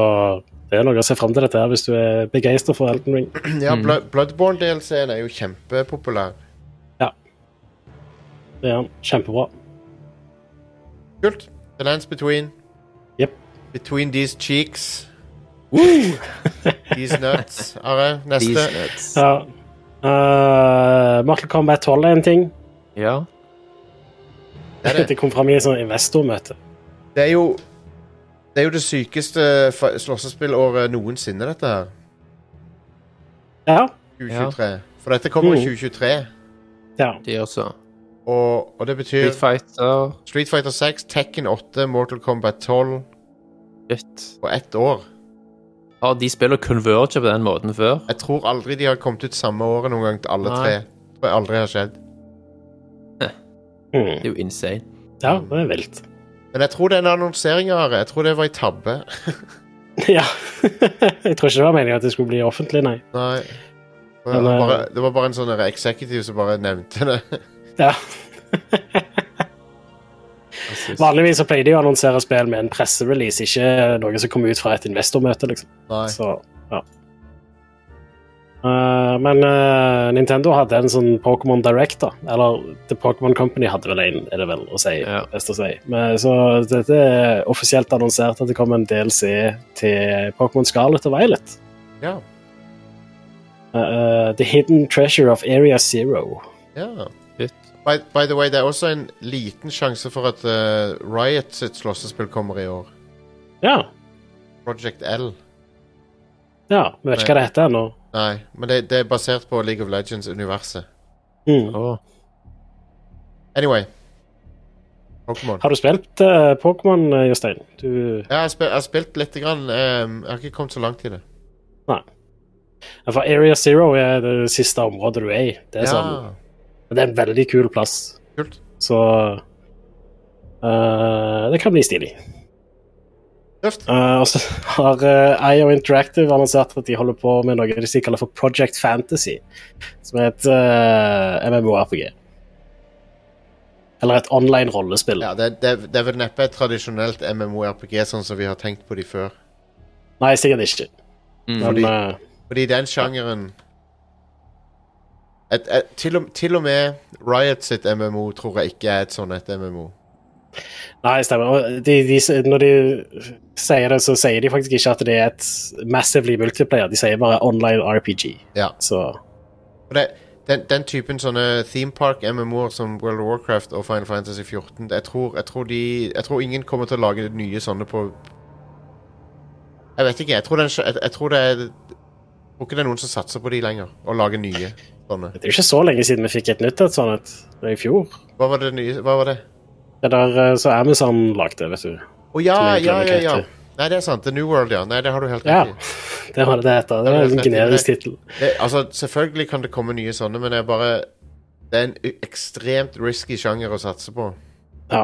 Speaker 2: det er noe å se fram til dette her hvis du er begeistra for Elden Ring.
Speaker 1: Ja, Blo Bloodborne-DLC-en er jo kjempepopulær.
Speaker 2: Det er kjempebra.
Speaker 1: Kult. The Lands Between.
Speaker 2: Jep.
Speaker 1: Between These Cheeks. These Nuts. Are, neste.
Speaker 3: These nuts.
Speaker 2: Ja. Eh, Mortal Kombat 12 er en ting.
Speaker 3: Ja.
Speaker 1: Er det?
Speaker 2: Det kom fram i et sånt investormøte.
Speaker 1: Det er jo Det er jo det sykeste fa- slåssespillåret noensinne, dette her.
Speaker 2: Ja.
Speaker 1: 2023. For dette kommer i
Speaker 2: Mm.
Speaker 1: 2023.
Speaker 2: ja.
Speaker 3: De også.
Speaker 1: Og, og det betyr
Speaker 3: Street Fighter.
Speaker 1: Street Fighter 6, Tekken 8, Mortal Kombat 12
Speaker 3: Shit.
Speaker 1: og ett år.
Speaker 3: Har de spiller Converge på den måten før?
Speaker 1: Jeg tror aldri de har kommet ut samme året noen gang til alle
Speaker 3: Nei.
Speaker 1: tre. Tror jeg aldri har skjedd.
Speaker 2: Mm.
Speaker 1: Hmm.
Speaker 3: Det er jo insane.
Speaker 2: Ja, det er vilt. [LAUGHS]
Speaker 1: Men jeg tror den annonseringa, Are, jeg tror det var i tabbe. [LAUGHS]
Speaker 2: Ja. jeg tror ikke det var meningen at det skulle bli offentlig, nei.
Speaker 1: Nei. Det var,
Speaker 2: Men, eh,
Speaker 1: bare, det var bare en sånn der executive som bare nevnte det. [LAUGHS]
Speaker 2: Ja.
Speaker 3: Altså,
Speaker 2: Vanligvis så pleier de å annonsere spill med en presserelease, ikke noe som kommer ut fra et investormøte, liksom.
Speaker 1: Nei.
Speaker 2: Så, ja. Eh, men eh, Nintendo hadde en sånn Pokémon Direct, da. Eller The Pokémon Company hadde vel en, er det vel å si.
Speaker 3: Ja.
Speaker 2: best å si. Men, så dette er offisielt annonsert at det kommer en DLC til Pokémon Scarlet og Violet.
Speaker 1: Ja.
Speaker 2: Eh, eh, The Hidden Treasure of Area Zero.
Speaker 1: ja.
Speaker 3: shit.
Speaker 1: By, by the way, det er også en liten sjanse for at eh, Riot sitt slåssespill kommer i år.
Speaker 2: Ja.
Speaker 1: Project L.
Speaker 2: Ja, vi vet ikke hva det heter ennå.
Speaker 1: Nei, men det, det er basert på League of Legends-universet.
Speaker 2: Mm.
Speaker 3: Åh.
Speaker 1: Anyway. Pokémon.
Speaker 2: Har du spilt eh, Pokémon, eh, Jostein? Du
Speaker 1: Ja, jeg, har spil, jeg har spilt lite grann. ehm, jeg har ikke kommet så langt i det.
Speaker 2: Nei. Ja, For Area Zero er det siste området du er i. Det er, sånn, det er en veldig kul plass,
Speaker 1: Kult.
Speaker 2: så eh, Det kan bli stilig.
Speaker 1: Tøft.
Speaker 2: Eh, og så har eh, IO Interactive annonsert at de holder på med noe de kaller for Project Fantasy, som er et eh, MMORPG. Eller et online rollespill.
Speaker 1: Ja, det, det, det er vel neppe et tradisjonelt MMORPG sånn som vi har tenkt på de før.
Speaker 2: Nei, sikkert ikke.
Speaker 3: Mm.
Speaker 2: Men eh,
Speaker 1: Fordi den sjangeren et, et, til, og, til og med Riot sitt MMO tror jeg ikke er et sånn et MMO.
Speaker 2: Nei, stemmer. Og de, de, når de sier det, så sier de faktisk ikke at det er et massively multiplayer. De sier bare online RPG.
Speaker 1: Ja.
Speaker 2: Så
Speaker 1: Og det, den, den typen sånne theme park MMO-er som World of Warcraft og Final Fantasy 14 jeg tror, jeg, tror de, jeg tror ingen kommer til å lage nye sånne på Jeg vet ikke. Jeg tror, den, sj- jeg, jeg tror det er jeg tror ikke det er noen som satser på de lenger, og lager nye sånne.
Speaker 2: det er jo ikke så lenge siden vi fikk et nytt et sånt et, det er i fjor.
Speaker 1: Hva var det nye? Hva var det?
Speaker 2: Det der eh, så Amazon lagde, vet du.
Speaker 1: Å ja,
Speaker 2: Som jeg
Speaker 1: ja,
Speaker 2: glemmer
Speaker 1: ja,
Speaker 2: hva
Speaker 1: ja.
Speaker 2: heter.
Speaker 1: Nei, det er sant. The New World, ja. Nei, det har du helt
Speaker 2: Ja,
Speaker 1: rett i.
Speaker 2: det var det det heter. Det var en generisk tittel.
Speaker 1: Det, altså, selvfølgelig kan det komme nye sånne, men det er bare Det er en u- ekstremt risky sjanger å satse på.
Speaker 2: Ja.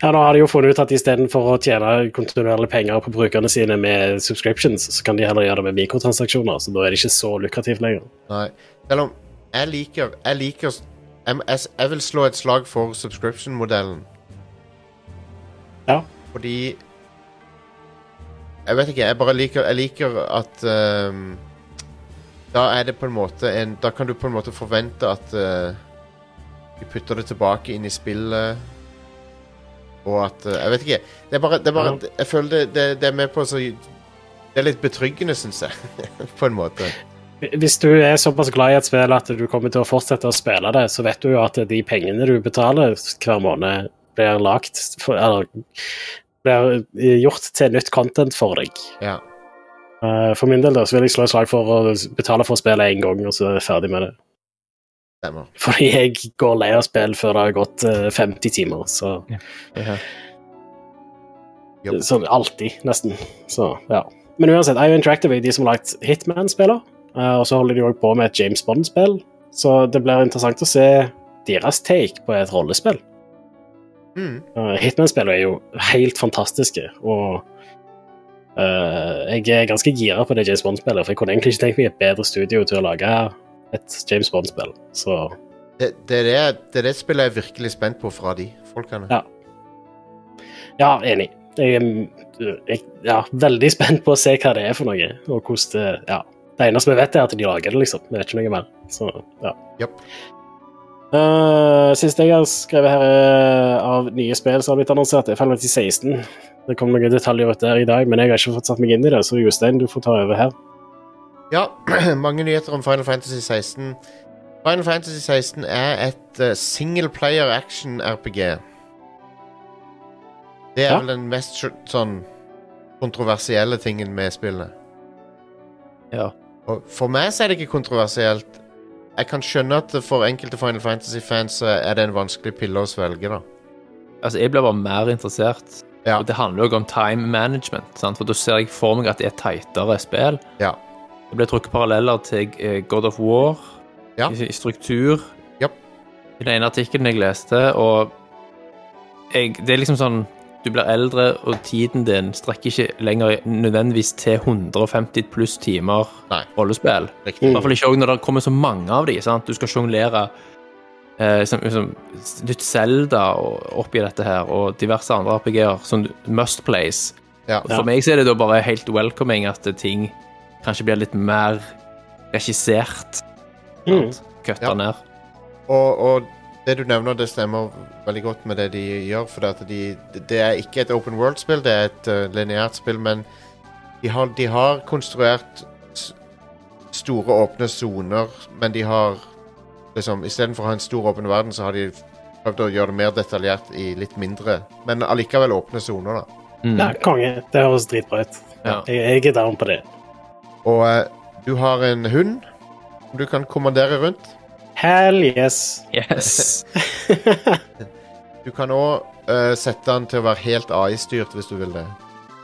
Speaker 2: Ja, Nå har de jo funnet ut at istedenfor å tjene kontinuerlige penger på brukerne sine med subscriptions, så kan de heller gjøre det med mikrotransaksjoner, så da er det ikke så lukrativt lenger.
Speaker 1: Nei. Selv om jeg liker Jeg liker s- jeg, jeg, s- jeg vil slå et slag for subscription-modellen,
Speaker 2: Ja.
Speaker 1: fordi Jeg vet ikke, jeg bare liker Jeg liker at ehm, Da er det på en måte en Da kan du på en måte forvente at eh, de putter det tilbake inn i spillet. Og at eh, Jeg vet ikke. Det er bare, det er bare Jeg føler det, det, det er med på så Det er litt betryggende, syns jeg. [LAUGHS] på en måte.
Speaker 2: Hvis du er såpass glad i et spill at du kommer til å fortsette å spille det, så vet du jo at de pengene du betaler hver måned, blir lagt for, Eller blir gjort til nytt content for deg.
Speaker 1: Ja.
Speaker 2: Eh, For min del da, så vil jeg slå et slag for å betale for spillet én gang, og så er jeg ferdig med det.
Speaker 1: Stemmer.
Speaker 2: Fordi jeg går lei av spill før det har gått eh, 50 timer. Så
Speaker 3: Ja.
Speaker 1: Jobb.
Speaker 2: Sånn alltid, nesten. Så, ja. Men uansett, IO Interactive er de som har lagt Hitman-spiller, eh, og så holder de også på med et James Bond-spill, så det blir interessant å se deres take på et rollespill.
Speaker 1: Mm.
Speaker 2: Eh, Hitman-spillene er jo helt fantastiske, og eh, jeg er ganske gira på det James Bond-spillet, for jeg kunne egentlig ikke tenkt meg et bedre studio til å lage et James Bond-spill, så
Speaker 1: Det, det, er det, det er det spillet jeg er virkelig spent på fra de folkene.
Speaker 2: Ja. Ja, enig. Jeg er jeg, ja, veldig [LAUGHS] spent på å se hva det er for noe, og hvordan det Ja. Det eneste vi vet, er at de lager det, liksom. Vi vet ikke noe mer. Så, ja.
Speaker 1: Japp.
Speaker 2: Eh, siste jeg har skrevet her eh, av nye spill som har blitt annonsert, er Final Fantasy 16. Det kom noen detaljer ut der i dag, men jeg har ikke fått satt meg inn i det, så Jostein, du får ta over her.
Speaker 1: Ja, [CLEARS THROAT] mange nyheter om Final Fantasy 16. Final Fantasy 16 er et uh, singleplayer action-RPG. Det er
Speaker 2: Ja.
Speaker 1: vel den mest sj- sånn kontroversielle tingen med spillene.
Speaker 3: Ja.
Speaker 1: Og for meg så er det ikke kontroversielt. Jeg kan skjønne at for enkelte Final Fantasy-fans så er det en vanskelig pille å svelge, da.
Speaker 3: Altså, jeg blir bare mer interessert.
Speaker 1: Ja.
Speaker 3: Og det handler jo også om time management, sant? for da ser jeg for meg at det er tightere spill.
Speaker 1: Ja.
Speaker 3: Det ble trukket paralleller til eh, God of War
Speaker 1: Ja.
Speaker 3: i, i struktur.
Speaker 1: Japp.
Speaker 3: I den ene artikkelen jeg leste, og jeg, det er liksom sånn Du blir eldre, og tiden din strekker ikke lenger nødvendigvis til 150 pluss timer
Speaker 1: Nei.
Speaker 3: rollespill. I
Speaker 1: Riktig.
Speaker 3: hvert fall ikke også når det kommer så mange av de, sant? Du skal sjonglere eh, som, som, nytt Zelda og- oppi dette her, og diverse andre RPG-er, sånn must plays.
Speaker 1: Ja.
Speaker 3: Og For meg så er det da bare helt welcoming at ting kanskje blir litt mer regissert,
Speaker 2: Mm.
Speaker 3: kutta
Speaker 1: Ja.
Speaker 3: ned.
Speaker 1: Og, og det du nevner, det stemmer veldig godt med det de gjør. For det, at de, det er ikke et open world-spill, det er et uh, lineært spill, men de har, de har konstruert s- store, åpne soner, men de har liksom Istedenfor å ha en stor, åpen verden, så har de prøvd å gjøre det mer detaljert i litt mindre, men allikevel åpne soner, da.
Speaker 3: Mm.
Speaker 2: Ja, konge. Det høres dritbra ut.
Speaker 3: Ja.
Speaker 2: Jeg, jeg er down på det.
Speaker 1: Og eh, du har en hund som du kan kommandere rundt.
Speaker 2: Hell yes.
Speaker 3: Yes.
Speaker 1: Du kan òg sette den til å være helt AI-styrt, hvis du vil det.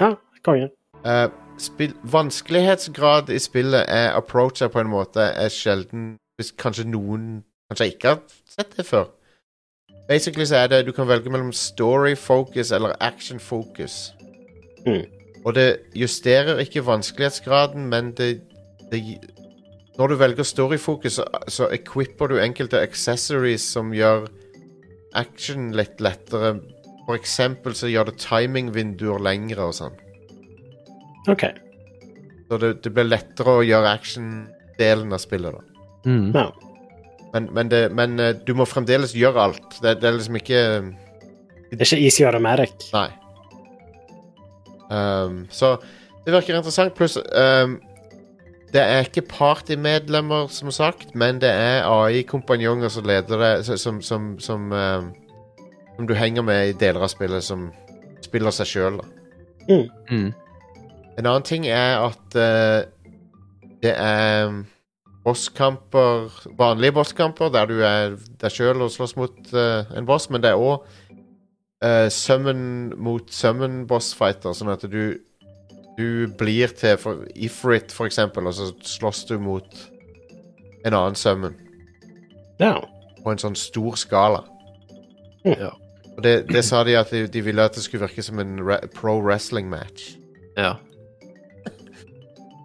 Speaker 2: Ja, konge.
Speaker 1: Eh, spill, vanskelighetsgrad i spillet er approacher på en måte er sjelden Hvis kanskje noen kanskje ikke har sett det før. Basically så er det du kan velge mellom story focus eller action focus.
Speaker 2: Mm.
Speaker 1: Og det justerer ikke vanskelighetsgraden, men det, det gi- Når du velger story focus, så, så equipper du enkelte accessories som gjør action litt lettere. For eksempel så gjør det timingvinduer lengre og sånn.
Speaker 2: OK.
Speaker 1: Så det, det blir lettere å gjøre action-delen av spillet, da.
Speaker 3: [LAUGHS] Mm.
Speaker 2: Ja.
Speaker 1: Men, men, det, men eh, du må fremdeles gjøre alt. Det, det er liksom ikke
Speaker 2: Det er ikke easy automatic.
Speaker 1: Nei. Ehm, så det virker interessant. Pluss ehm, det er ikke partymedlemmer, som sagt, men det er AI-kompanjonger som leder det, så- som som, som, ehm, som du henger med i deler av spillet, som spiller seg sjøl, da.
Speaker 3: Mm.
Speaker 1: En annen ting er at eh, det er mm, bosskamper Vanlige bosskamper der du er deg sjøl og slåss mot eh, en boss, men det er òg summon mot summon-bossfighter, sånn at du du blir til for, Ifrit, for eksempel, og så slåss du mot en annen summon
Speaker 2: Ja.
Speaker 1: på en sånn stor skala. Hm.
Speaker 2: Mm.
Speaker 3: Ja.
Speaker 1: Og det, det sa de at de, de ville at det skulle virke som en re pro wrestling match.
Speaker 3: Ja.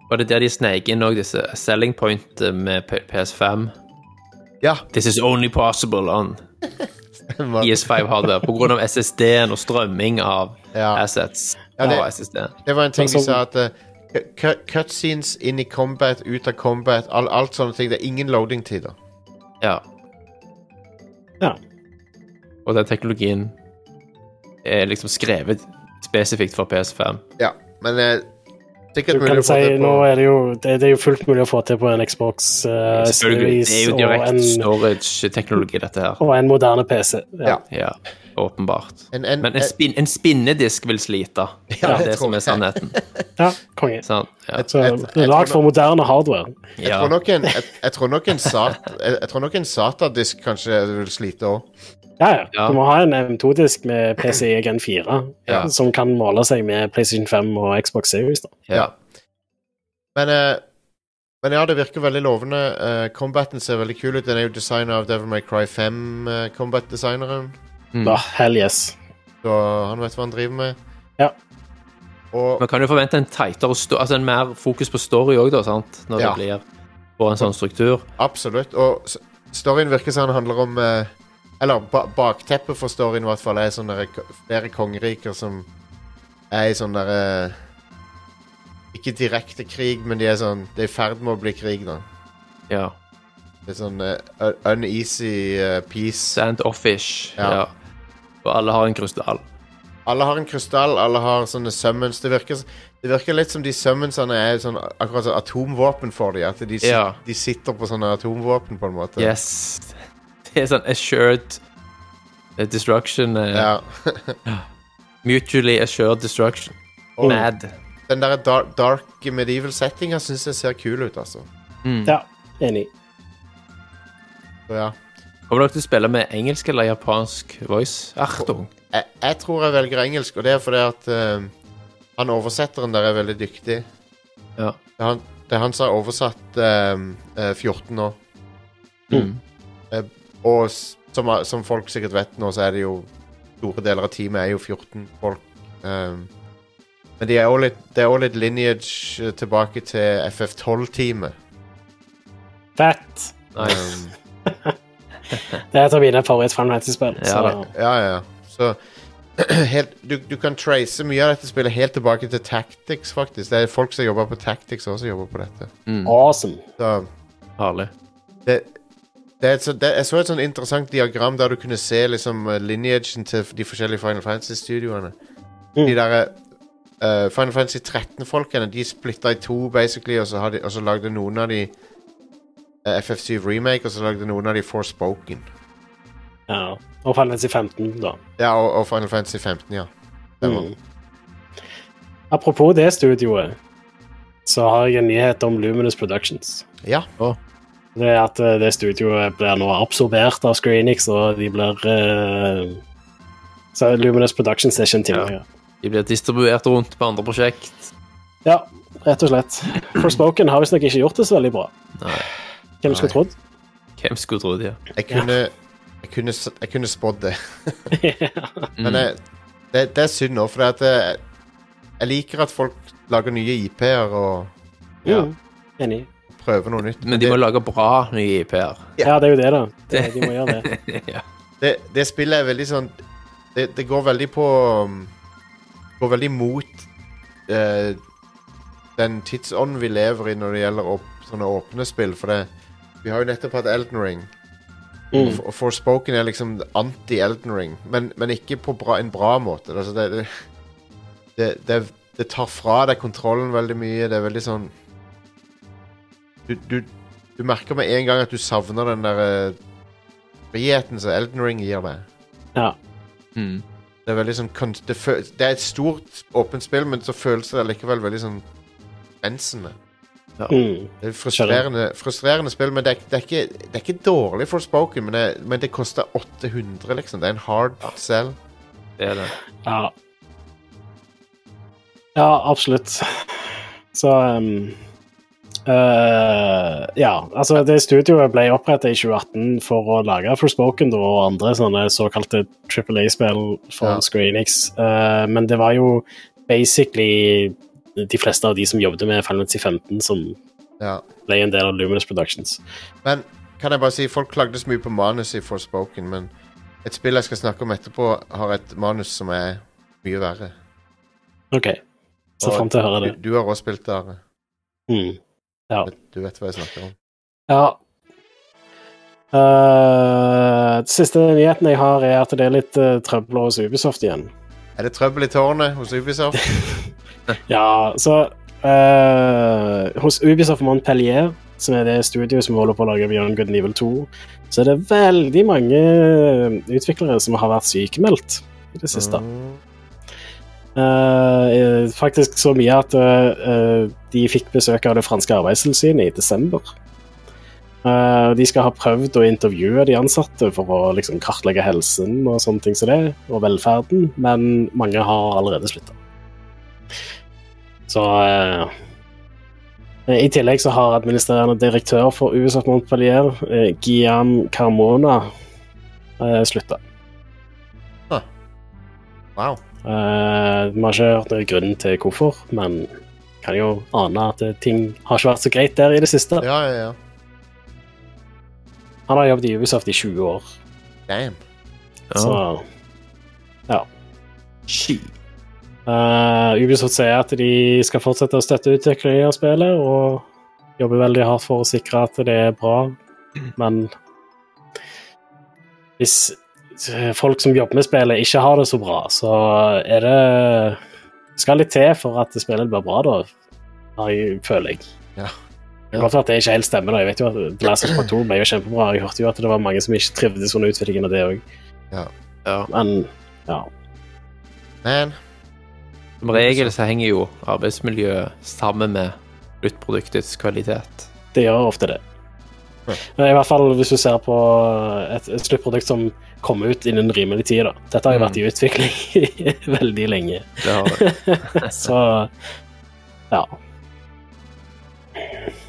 Speaker 3: Og det er der de sneik inn òg disse selling point eh, med P- PS5.
Speaker 1: [LAUGHS] Ja.
Speaker 3: This is only possible on PS5-hardware pga. SSD-en og strømming av
Speaker 1: ja.
Speaker 3: assets.
Speaker 1: Ja, det-
Speaker 3: av SSD-en.
Speaker 1: Det var en ting de
Speaker 2: Altså-
Speaker 1: sa at eh, cu- Cutscenes inn i combat, ut av combat, all, alt sånne ting. Det er ingen loading-tider.
Speaker 3: Ja.
Speaker 2: Ja.
Speaker 3: Og den teknologien er liksom skrevet spesifikt for PS5.
Speaker 1: Ja, men eh, sikkert
Speaker 2: Du
Speaker 1: mulig
Speaker 2: kan
Speaker 1: å få
Speaker 2: si,
Speaker 1: det
Speaker 2: nå
Speaker 1: på
Speaker 2: er det, jo, det, det er jo fullt mulig å få til på en Xbox eh,
Speaker 3: Selvfølgelig.
Speaker 2: Series
Speaker 3: Det er jo
Speaker 2: og
Speaker 3: direkte
Speaker 2: en,
Speaker 3: storage-teknologi, dette her.
Speaker 2: og en moderne PC. Ja.
Speaker 1: Ja.
Speaker 3: Ja, åpenbart.
Speaker 1: En- en-
Speaker 3: Men en, spin, en spinnedisk vil slite. Det
Speaker 1: [LAUGHS] Ja,
Speaker 3: er
Speaker 1: det
Speaker 3: det som
Speaker 1: tror
Speaker 3: er
Speaker 1: jeg.
Speaker 3: sannheten.
Speaker 2: Ja, konge.
Speaker 3: Sant? Ja.
Speaker 2: Så,
Speaker 1: Jeg- jeg- jeg tror
Speaker 2: lag for
Speaker 1: nok-
Speaker 2: moderne hardware.
Speaker 1: Jeg
Speaker 3: Ja.
Speaker 1: tror nok en, jeg, jeg tror nok en, sat, jeg, jeg tror nok en SATA-disk kanskje vil slite òg.
Speaker 2: Ja, ja.
Speaker 3: Ja.
Speaker 2: Du må ha en M2-disk med PCI Gen 4
Speaker 3: Ja.
Speaker 2: som kan måle seg med PlayStation 5 og Xbox Series. Da.
Speaker 3: ja.
Speaker 1: Men, eh, men ja, det virker veldig lovende. Eh, combaten ser veldig kul ut. Den er jo designa av Devil May Cry eh, 5-combat-designeren.
Speaker 3: Mm.
Speaker 2: Ja, hell yes.
Speaker 1: så han vet hva han driver med.
Speaker 2: Ja.
Speaker 1: Og
Speaker 3: Man kan jo forvente en tightere sto- altså en mer fokus på story òg, da, sant? Når
Speaker 1: Ja.
Speaker 3: det blir på en sånn struktur.
Speaker 1: absolutt. Og s- storyen virker som den handler om eh, Eller ba bakteppet for storyen i hvert fall er sånne der ko- flere kongeriker som er i sånn derre Ikke direkte krig, men de er sånn Det er i ferd med å bli krig, da.
Speaker 3: Ja.
Speaker 1: Det er sånn eh, un- uneasy eh, peace.
Speaker 3: Sand-off-ish.
Speaker 1: Ja.
Speaker 3: Ja. Og alle har en krystall.
Speaker 1: Alle har en krystall, alle har sånne summons. Det virker, s- det virker litt som de summonsene er sånn, akkurat som atomvåpen for dem. At de, sit-
Speaker 3: Ja.
Speaker 1: de sitter på sånne atomvåpen, på en måte.
Speaker 3: Yes. [LAUGHS] Det er sånn assured eh, destruction. eh,
Speaker 1: Ja.
Speaker 3: Mutually assured destruction.
Speaker 1: Og
Speaker 3: Mad.
Speaker 1: den der dark, dark medieval settinga syns jeg ser kul ut, altså.
Speaker 3: Mm.
Speaker 2: Ja, enig.
Speaker 1: Så ja.
Speaker 3: Kommer dere til å spille med engelsk eller japansk voice? Achtung.
Speaker 1: Jeg, jeg tror jeg velger engelsk, og det er fordi at eh, han oversetteren der er veldig dyktig.
Speaker 3: Ja.
Speaker 1: Det er han, det er han som har oversatt eh, eh, 14 nå.
Speaker 3: Mm.
Speaker 1: Eh, og s- som, som folk sikkert vet nå, så er det jo Store deler av teamet er jo 14 folk. eh, men de er også litt, det er også litt lineage eh, tilbake til FF12-teamet.
Speaker 2: Fett.
Speaker 3: Nice.
Speaker 1: Um,
Speaker 2: Det er et av mine favoritt-Final Fantasy-spill.
Speaker 3: Ja.
Speaker 2: så-
Speaker 1: Ja, ja, ja. Så [CLEARS THROAT] helt, du, du kan trace mye av dette spillet helt tilbake til Tactics, faktisk. Det er folk som jobber på Tactics også som jobber på dette.
Speaker 3: Mm.
Speaker 2: Awesome.
Speaker 1: Så
Speaker 3: Herlig.
Speaker 1: det, det er et, så, det, jeg så et sånn interessant diagram der du kunne se liksom eh, lineagen til de forskjellige Final Fantasy-studioene. De der eh, Final Fantasy 13-folkene, de splitta i to, basically, og så, har de, og så lagde noen av de eh, FF7 Remake, og så lagde noen av de Forspoken.
Speaker 2: Ja. Og Final Fantasy 15, da.
Speaker 1: Ja, og, og Final Fantasy 15, ja. Det var-
Speaker 2: Mm. Apropos det studioet, så har jeg en nyhet om Luminous Productions.
Speaker 1: Ja.
Speaker 2: Det er at eh, det studioet blir nå absorbert av Screenix, og de blir eh, Så Luminous Productions er ikke en ting
Speaker 3: Ja.
Speaker 2: lenger.
Speaker 3: De blir distribuert rundt på andre prosjekt.
Speaker 2: Ja, rett og slett. Forspoken har visstnok ikke gjort det så veldig bra.
Speaker 3: Nei.
Speaker 2: Hvem skulle trodd?
Speaker 3: Hvem skulle trodd det?
Speaker 1: Jeg kunne, jeg kunne, s- jeg kunne spådd det. Mm.
Speaker 3: Mm.
Speaker 1: Men eh, jeg, det, det er synd nå, for at jeg, jeg liker at folk lager nye IP-er og
Speaker 3: Ja.
Speaker 2: Mm, Enig.
Speaker 1: prøver noe nytt.
Speaker 3: Men de må lage bra
Speaker 1: [LAUGHS]
Speaker 3: nye IP-er.
Speaker 2: Ja, det er jo det, da. Det, de må gjøre det.
Speaker 3: ja.
Speaker 1: det, det spillet er veldig sånn Det, det går veldig på um, Går veldig mot eh, den tidsånden vi lever i når det gjelder åp- sånne åpne spill. For det, vi har jo nettopp hatt Elden Ring. Og,
Speaker 2: Mm.
Speaker 1: og Forspoken er liksom anti-Elden Ring, men, men ikke på bra, en bra måte. Altså det, det, det, det, det tar fra deg kontrollen veldig mye. Det er veldig sånn Du, du, du merker med en gang at du savner den der eh, friheten som Elden Ring gir deg.
Speaker 2: Ja.
Speaker 3: Mm.
Speaker 1: Det er veldig sånn kon- det, fø- det er et stort åpent spill, men så føles det likevel veldig sånn rensende.
Speaker 2: Mm.
Speaker 1: Det er frustrerende, frustrerende spill, men det er, det, er ikke, det er ikke dårlig for spoken, men det, men det koster 800, liksom. Det er en hard sell.
Speaker 3: Det er det.
Speaker 2: ja. Ja, absolutt. Så um, eh, Ja, altså, det studioet ble oppretta i 2018 for å lage Forspoken da, og andre sånne såkalte Triple A-spill for
Speaker 1: Ja.
Speaker 2: Screenix, eh, men det var jo basically de fleste av de som jobbet med Final Fantasy 15, som
Speaker 1: Ja.
Speaker 2: ble en del av Luminous Productions.
Speaker 1: Men kan jeg bare si, folk klagde så mye på manus i Forspoken, men et spill jeg skal snakke om etterpå, har et manus som er mye verre.
Speaker 2: OK. Ser fram til å høre
Speaker 1: Du,
Speaker 2: det.
Speaker 1: du har også spilt det, Are.
Speaker 2: Mm. Ja.
Speaker 1: Du vet hva jeg snakker om.
Speaker 2: Ja. Eh, siste nyheten jeg har, er at det er litt uh, trøbler hos eh, Ubisoft igjen.
Speaker 1: Er det trøbbel i tårnet hos Ubisoft?
Speaker 2: Ja, så eh, Hos Ubisoft Montpellier, som er det studioet som holder på å lage Beyond Good and Evil 2, så er det veldig mange eh, utviklere som har vært sykemeldt i det siste.
Speaker 1: Mm.
Speaker 2: Eh, eh, faktisk så mye at eh, eh, de fikk besøk av det franske arbeidstilsynet i desember. Eh, de skal ha prøvd å intervjue de ansatte for å liksom, kartlegge helsen og sånne ting som det, og velferden, men mange har allerede slutta. Så eh, I tillegg så har administrerende direktør for USA Montpellier, eh, Guillaume Carmona, eh, slutta.
Speaker 1: Wow.
Speaker 2: Eh, Vi har ikke hørt noen grunn til hvorfor, men kan jo ane at eh, ting har ikke vært så greit der i det siste.
Speaker 1: Ja, ja, ja.
Speaker 2: Han har jobbet i Ubisoft i 20 år,
Speaker 1: Damn.
Speaker 2: så
Speaker 3: Ja.
Speaker 2: ja. Eh, Ubisoft sier at de skal fortsette å støtte utviklingen av spillet og jobber veldig hardt for å sikre at det er bra, men hvis folk som jobber med spillet, ikke har det så bra, så er det skal litt til for at spillet blir bra, da, har jeg- føler jeg.
Speaker 1: Ja.
Speaker 2: Det kan godt være at det ikke helt stemmer. da. Jeg vet jo at Blast of 2 ble jo kjempebra. Jeg hørte jo at det var mange som ikke trivdes under utviklingen av det òg.
Speaker 1: Ja.
Speaker 3: Ja.
Speaker 2: Men ja.
Speaker 1: Man.
Speaker 3: Som regel så henger jo arbeidsmiljøet sammen med sluttproduktets kvalitet.
Speaker 2: Det gjør ofte det.
Speaker 1: Ja.
Speaker 2: Men I hvert fall hvis du ser på eh, et, et sluttprodukt som kommer ut innen rimelig tid. da. Dette har jo
Speaker 1: Mm.
Speaker 2: vært i utvikling [LAUGHS] veldig
Speaker 1: [LAUGHS]
Speaker 2: lenge,
Speaker 3: Det har det.
Speaker 2: så ja.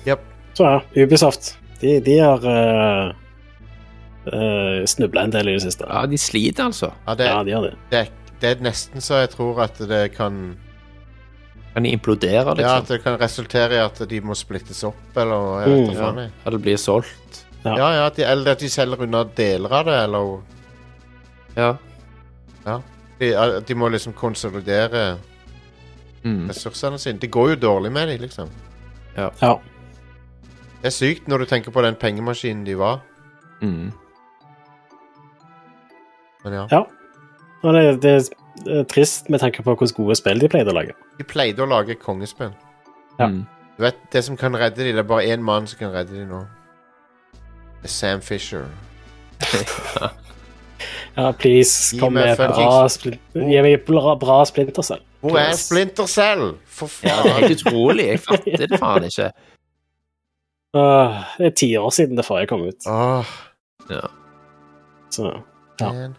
Speaker 1: Japp.
Speaker 2: Så ja, Ubisoft. De, de har uh, snubla en del i det siste.
Speaker 3: Ja, de sliter, altså.
Speaker 1: Ja, det,
Speaker 2: Ja, de gjør det.
Speaker 1: det, det er nesten så jeg tror at det kan
Speaker 3: Kan de implodere,
Speaker 1: Ja, at
Speaker 3: liksom?
Speaker 1: det kan resultere i at de må splittes opp, eller jeg vet
Speaker 2: Mm.
Speaker 1: da faen. jeg.
Speaker 3: At det blir solgt?
Speaker 2: Ja.
Speaker 1: Ja, ja, at de, eller at de selger unna deler av det, eller
Speaker 3: Ja.
Speaker 1: de, at de må liksom konsolidere
Speaker 3: Mm.
Speaker 1: ressursene sine. Det går jo dårlig med de, liksom.
Speaker 2: Ja.
Speaker 1: Det er sykt når du tenker på den pengemaskinen de var.
Speaker 3: Mm.
Speaker 1: Men ja.
Speaker 2: ja. Og det, det er trist med tanke på hvordan gode spill de pleide å lage.
Speaker 1: De pleide å lage kongespill.
Speaker 2: Ja.
Speaker 3: Mm.
Speaker 1: Du vet, det som kan redde de, det er bare én mann som kan redde de nå. Det er Sam Fisher.
Speaker 2: Ja, please,
Speaker 1: Gi
Speaker 2: kom
Speaker 1: meg
Speaker 2: med et bra, splin gi meg et bra, bra splinter selv.
Speaker 1: Hvor er
Speaker 2: Yes.
Speaker 1: Splinter Cell? For
Speaker 3: Ja, det er
Speaker 1: faen.
Speaker 3: helt utrolig. Jeg fatter det faen ikke.
Speaker 2: Åh, Øh, det er ti år siden det forrige kom ut.
Speaker 1: Åh,
Speaker 2: Så. Ja.
Speaker 1: man.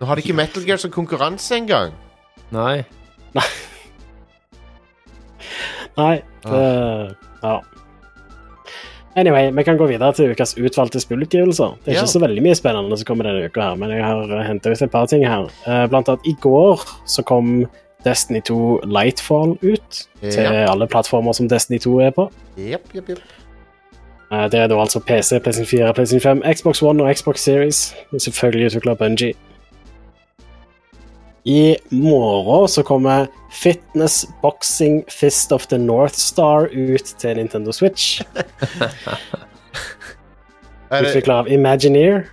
Speaker 1: Nå har de ikke Metal Gear som konkurranse engang.
Speaker 3: Nei.
Speaker 2: Nei, det Ja. Anyway, vi kan gå videre til ukas utvalgte spillutgivelser. Det er
Speaker 1: Ja.
Speaker 2: ikke så veldig mye spennende som kommer denne uka, her, men jeg har henta ut et par ting her. Eh, Blant annet i går så kom Destiny 2 Lightfall ut til
Speaker 1: Ja.
Speaker 2: alle plattformer som Destiny 2 er på.
Speaker 1: Jepp, jepp, jepp.
Speaker 2: Eh, Det er da altså PC, PlayStation 4, PlayStation 5, Xbox One og Xbox Series. Selvfølgelig utvikla Bungie. I morgen så kommer Fitness Boxing Fist of the North Star ut til Nintendo Switch.
Speaker 1: Er det,
Speaker 2: Utvikla av Imagineer.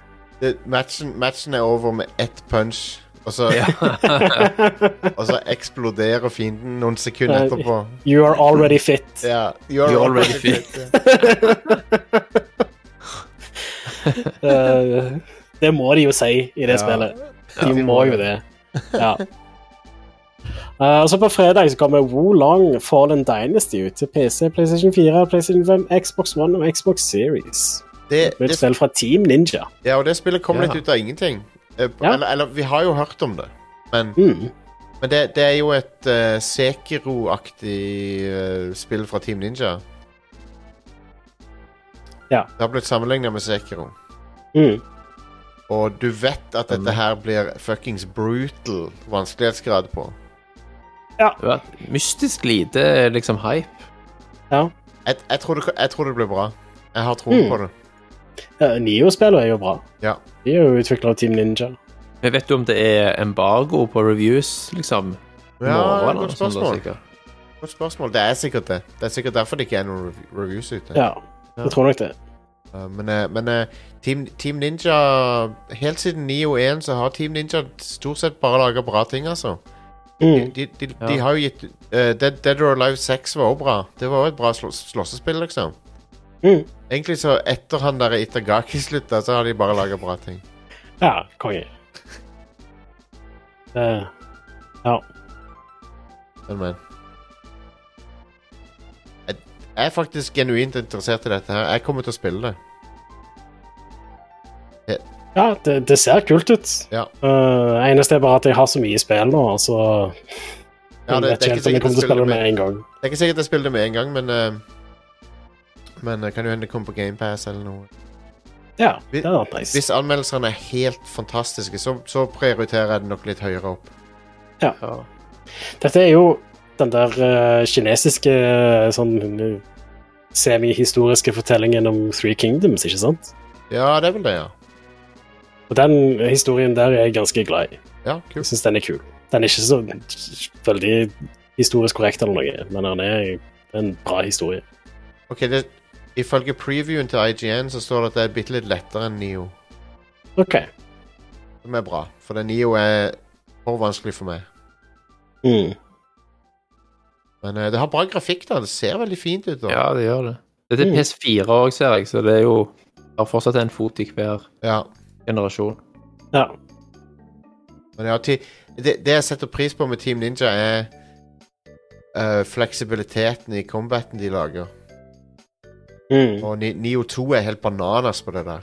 Speaker 1: det, matchen, matchen er over med ett punch, og så, [LAUGHS] og så eksploderer fienden noen sekunder
Speaker 2: Nei.
Speaker 1: etterpå.
Speaker 2: You are already fit.
Speaker 1: Ja, you're,
Speaker 3: You're already
Speaker 2: Eh, det må de jo si i
Speaker 1: Ja.
Speaker 2: det spillet. De må jo det. Ja. [LAUGHS] Eh, og så på fredag så kommer Wolong Fallen Dynasty ut til PC, PlayStation 4, PlayStation 5, Xbox One og Xbox Series.
Speaker 1: Det,
Speaker 2: [LAUGHS] Med et
Speaker 1: det,
Speaker 2: spill fra Team Ninja.
Speaker 1: ja, og det spillet kom
Speaker 3: Ja.
Speaker 1: litt ut av ingenting. Eh, på-
Speaker 2: Ja.
Speaker 1: Eller, eller, vi har jo hørt om det, men
Speaker 2: Mm.
Speaker 1: Men det, det er jo et eh, Sekiro-aktig eh, spill fra Team Ninja.
Speaker 2: Ja.
Speaker 1: Det har blitt sammenligna med Sekiro.
Speaker 2: Mm.
Speaker 1: Og du vet at
Speaker 3: Mm.
Speaker 1: dette her blir fuckings brutal vanskelighetsgrad på.
Speaker 3: Det var et Mystisk lite liksom hype.
Speaker 2: Ja.
Speaker 1: Jeg, jeg, tror det, jeg tror det blir bra. Jeg har tro
Speaker 2: Mm.
Speaker 1: på det.
Speaker 2: Uh, Nio-spillene er jo bra.
Speaker 1: Ja.
Speaker 2: De er jo utvikla av Team Ninja.
Speaker 3: Men vet du om det er embargo på reviews, liksom?
Speaker 1: Ja,
Speaker 3: Morgen, eller
Speaker 1: godt
Speaker 3: noe sånt, da,
Speaker 1: spørsmål.
Speaker 3: sikkert.
Speaker 1: Godt spørsmål. Det er sikkert det. Det er sikkert derfor det ikke er noen rev- reviews ute.
Speaker 2: Ja, jeg tror nok det.
Speaker 1: Uh, men eh, men eh, Team, Team Ninja Helt siden 9 og 1 så har Team Ninja stort sett bare laga bra ting, altså.
Speaker 2: Mm.
Speaker 1: De, de, de, de har jo gitt eh, Dead, Dead or Alive 6 var også bra. Det var jo et bra slås, slåssespill, liksom.
Speaker 2: Mm.
Speaker 1: Egentlig så etter han der Itagaki slutta, så har de bare laga bra ting.
Speaker 2: Ja, [LAUGHS] konge. Eh, ja.
Speaker 1: Men, men. Jeg, jeg er faktisk genuint interessert i dette her. Jeg kommer til å spille det.
Speaker 2: ja det, det ser kult ut.
Speaker 1: Ja.
Speaker 2: Eh, eneste er bare at jeg har så mye spill nå, så
Speaker 1: Ja,
Speaker 2: Mm, jeg
Speaker 1: det,
Speaker 2: vet
Speaker 1: det, er
Speaker 2: ikke helt om jeg
Speaker 1: ikke
Speaker 2: kommer til å
Speaker 1: sikkert jeg
Speaker 2: spille det
Speaker 1: spiller det med, det er ikke sikkert jeg spiller det
Speaker 2: med en gang.
Speaker 1: med en gang, men eh, Men det kan jo hende det kommer på GamePass eller noe.
Speaker 2: Ja,
Speaker 1: Vi-
Speaker 2: det hadde vært nice.
Speaker 1: Hvis anmeldelsene er helt fantastiske, så, så prioriterer jeg det nok litt høyere opp.
Speaker 3: Ja.
Speaker 2: Dette er jo den der eh, kinesiske eh, sånn eh, semi-historiske fortellingen om Three Kingdoms, ikke sant?
Speaker 1: Ja, det er vel det, ja.
Speaker 2: Og den historien der er jeg ganske glad i.
Speaker 1: Ja,
Speaker 2: Jeg
Speaker 1: kult.
Speaker 2: syns den er kul. Den er ikke så veldig historisk korrekt eller noe, men den er en bra historie.
Speaker 1: Ok, det, ifølge previewen til IGN så står det at det er bitte litt lettere enn Nio.
Speaker 2: OK.
Speaker 1: Som er bra, for det Nio er for vanskelig for meg.
Speaker 2: Mm.
Speaker 1: Men eh, det har bra grafikk, da. Det ser veldig fint ut. Da.
Speaker 3: ja, det gjør det. Dette er
Speaker 2: Mm.
Speaker 3: PS4 òg, ser jeg, så det er jo har fortsatt en fot i hver
Speaker 1: Ja.
Speaker 3: generasjon.
Speaker 2: Ja.
Speaker 1: Men ja, ti, det, det jeg setter pris på med Team Ninja, er eh, fleksibiliteten i combaten de lager.
Speaker 2: Mm.
Speaker 1: Og Ni- Nio 2 er helt bananas på det der.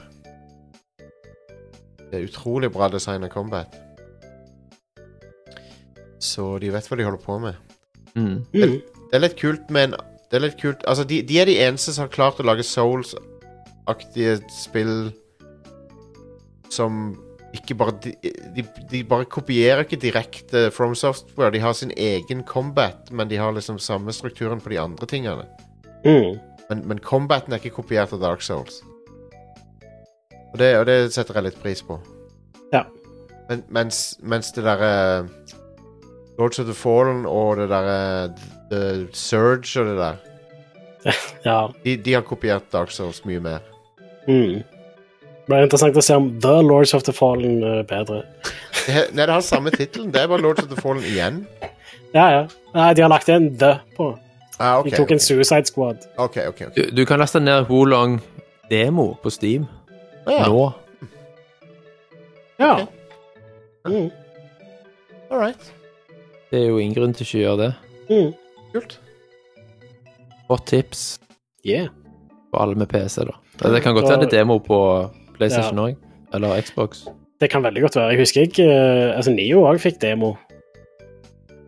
Speaker 1: Det er utrolig bra design av combat. Så de vet hva de holder på med.
Speaker 3: Mm.
Speaker 2: Mm.
Speaker 1: Det er litt kult, men det er litt kult. Altså, de, de er de eneste som har klart å lage Souls-aktige spill som ikke bare de, de, de bare kopierer ikke direkte From Software. De har sin egen combat, men de har liksom samme strukturen på de andre tingene.
Speaker 2: Mm.
Speaker 1: Men, men combaten er ikke kopiert av Dark Souls. Og det, og det setter jeg litt pris på.
Speaker 2: Ja.
Speaker 1: Men, mens, mens det derre Lords of the Fallen og det derre The Surge og det der
Speaker 2: Ja.
Speaker 1: de, de har kopiert Dark Souls mye mer.
Speaker 2: Mm. Det blir interessant å se om The Lords of the Fallen er bedre.
Speaker 1: Det, he- nei, det har samme tittelen. Det er bare Lords of the Fallen igjen.
Speaker 2: Ja, ja. Nei, de har lagt en The på.
Speaker 1: Ah,
Speaker 2: De
Speaker 1: ok,
Speaker 2: tok
Speaker 1: ok,
Speaker 2: en Suicide Squad.
Speaker 1: ok. ok, ok.
Speaker 3: Du, du kan laste ned Wolong demo på Steam
Speaker 1: Å ja.
Speaker 3: nå.
Speaker 2: Ja. Mm.
Speaker 1: All right.
Speaker 3: Det er jo ingen grunn til ikke å gjøre det.
Speaker 2: Mm.
Speaker 1: Kult.
Speaker 3: Godt tips
Speaker 2: Yeah.
Speaker 3: for alle med PC, da. Ja, Det kan godt hende demo på PlayStation òg. Eller Xbox.
Speaker 2: Det kan veldig godt være. Jeg husker ikke eh, Altså, Nio òg fikk demo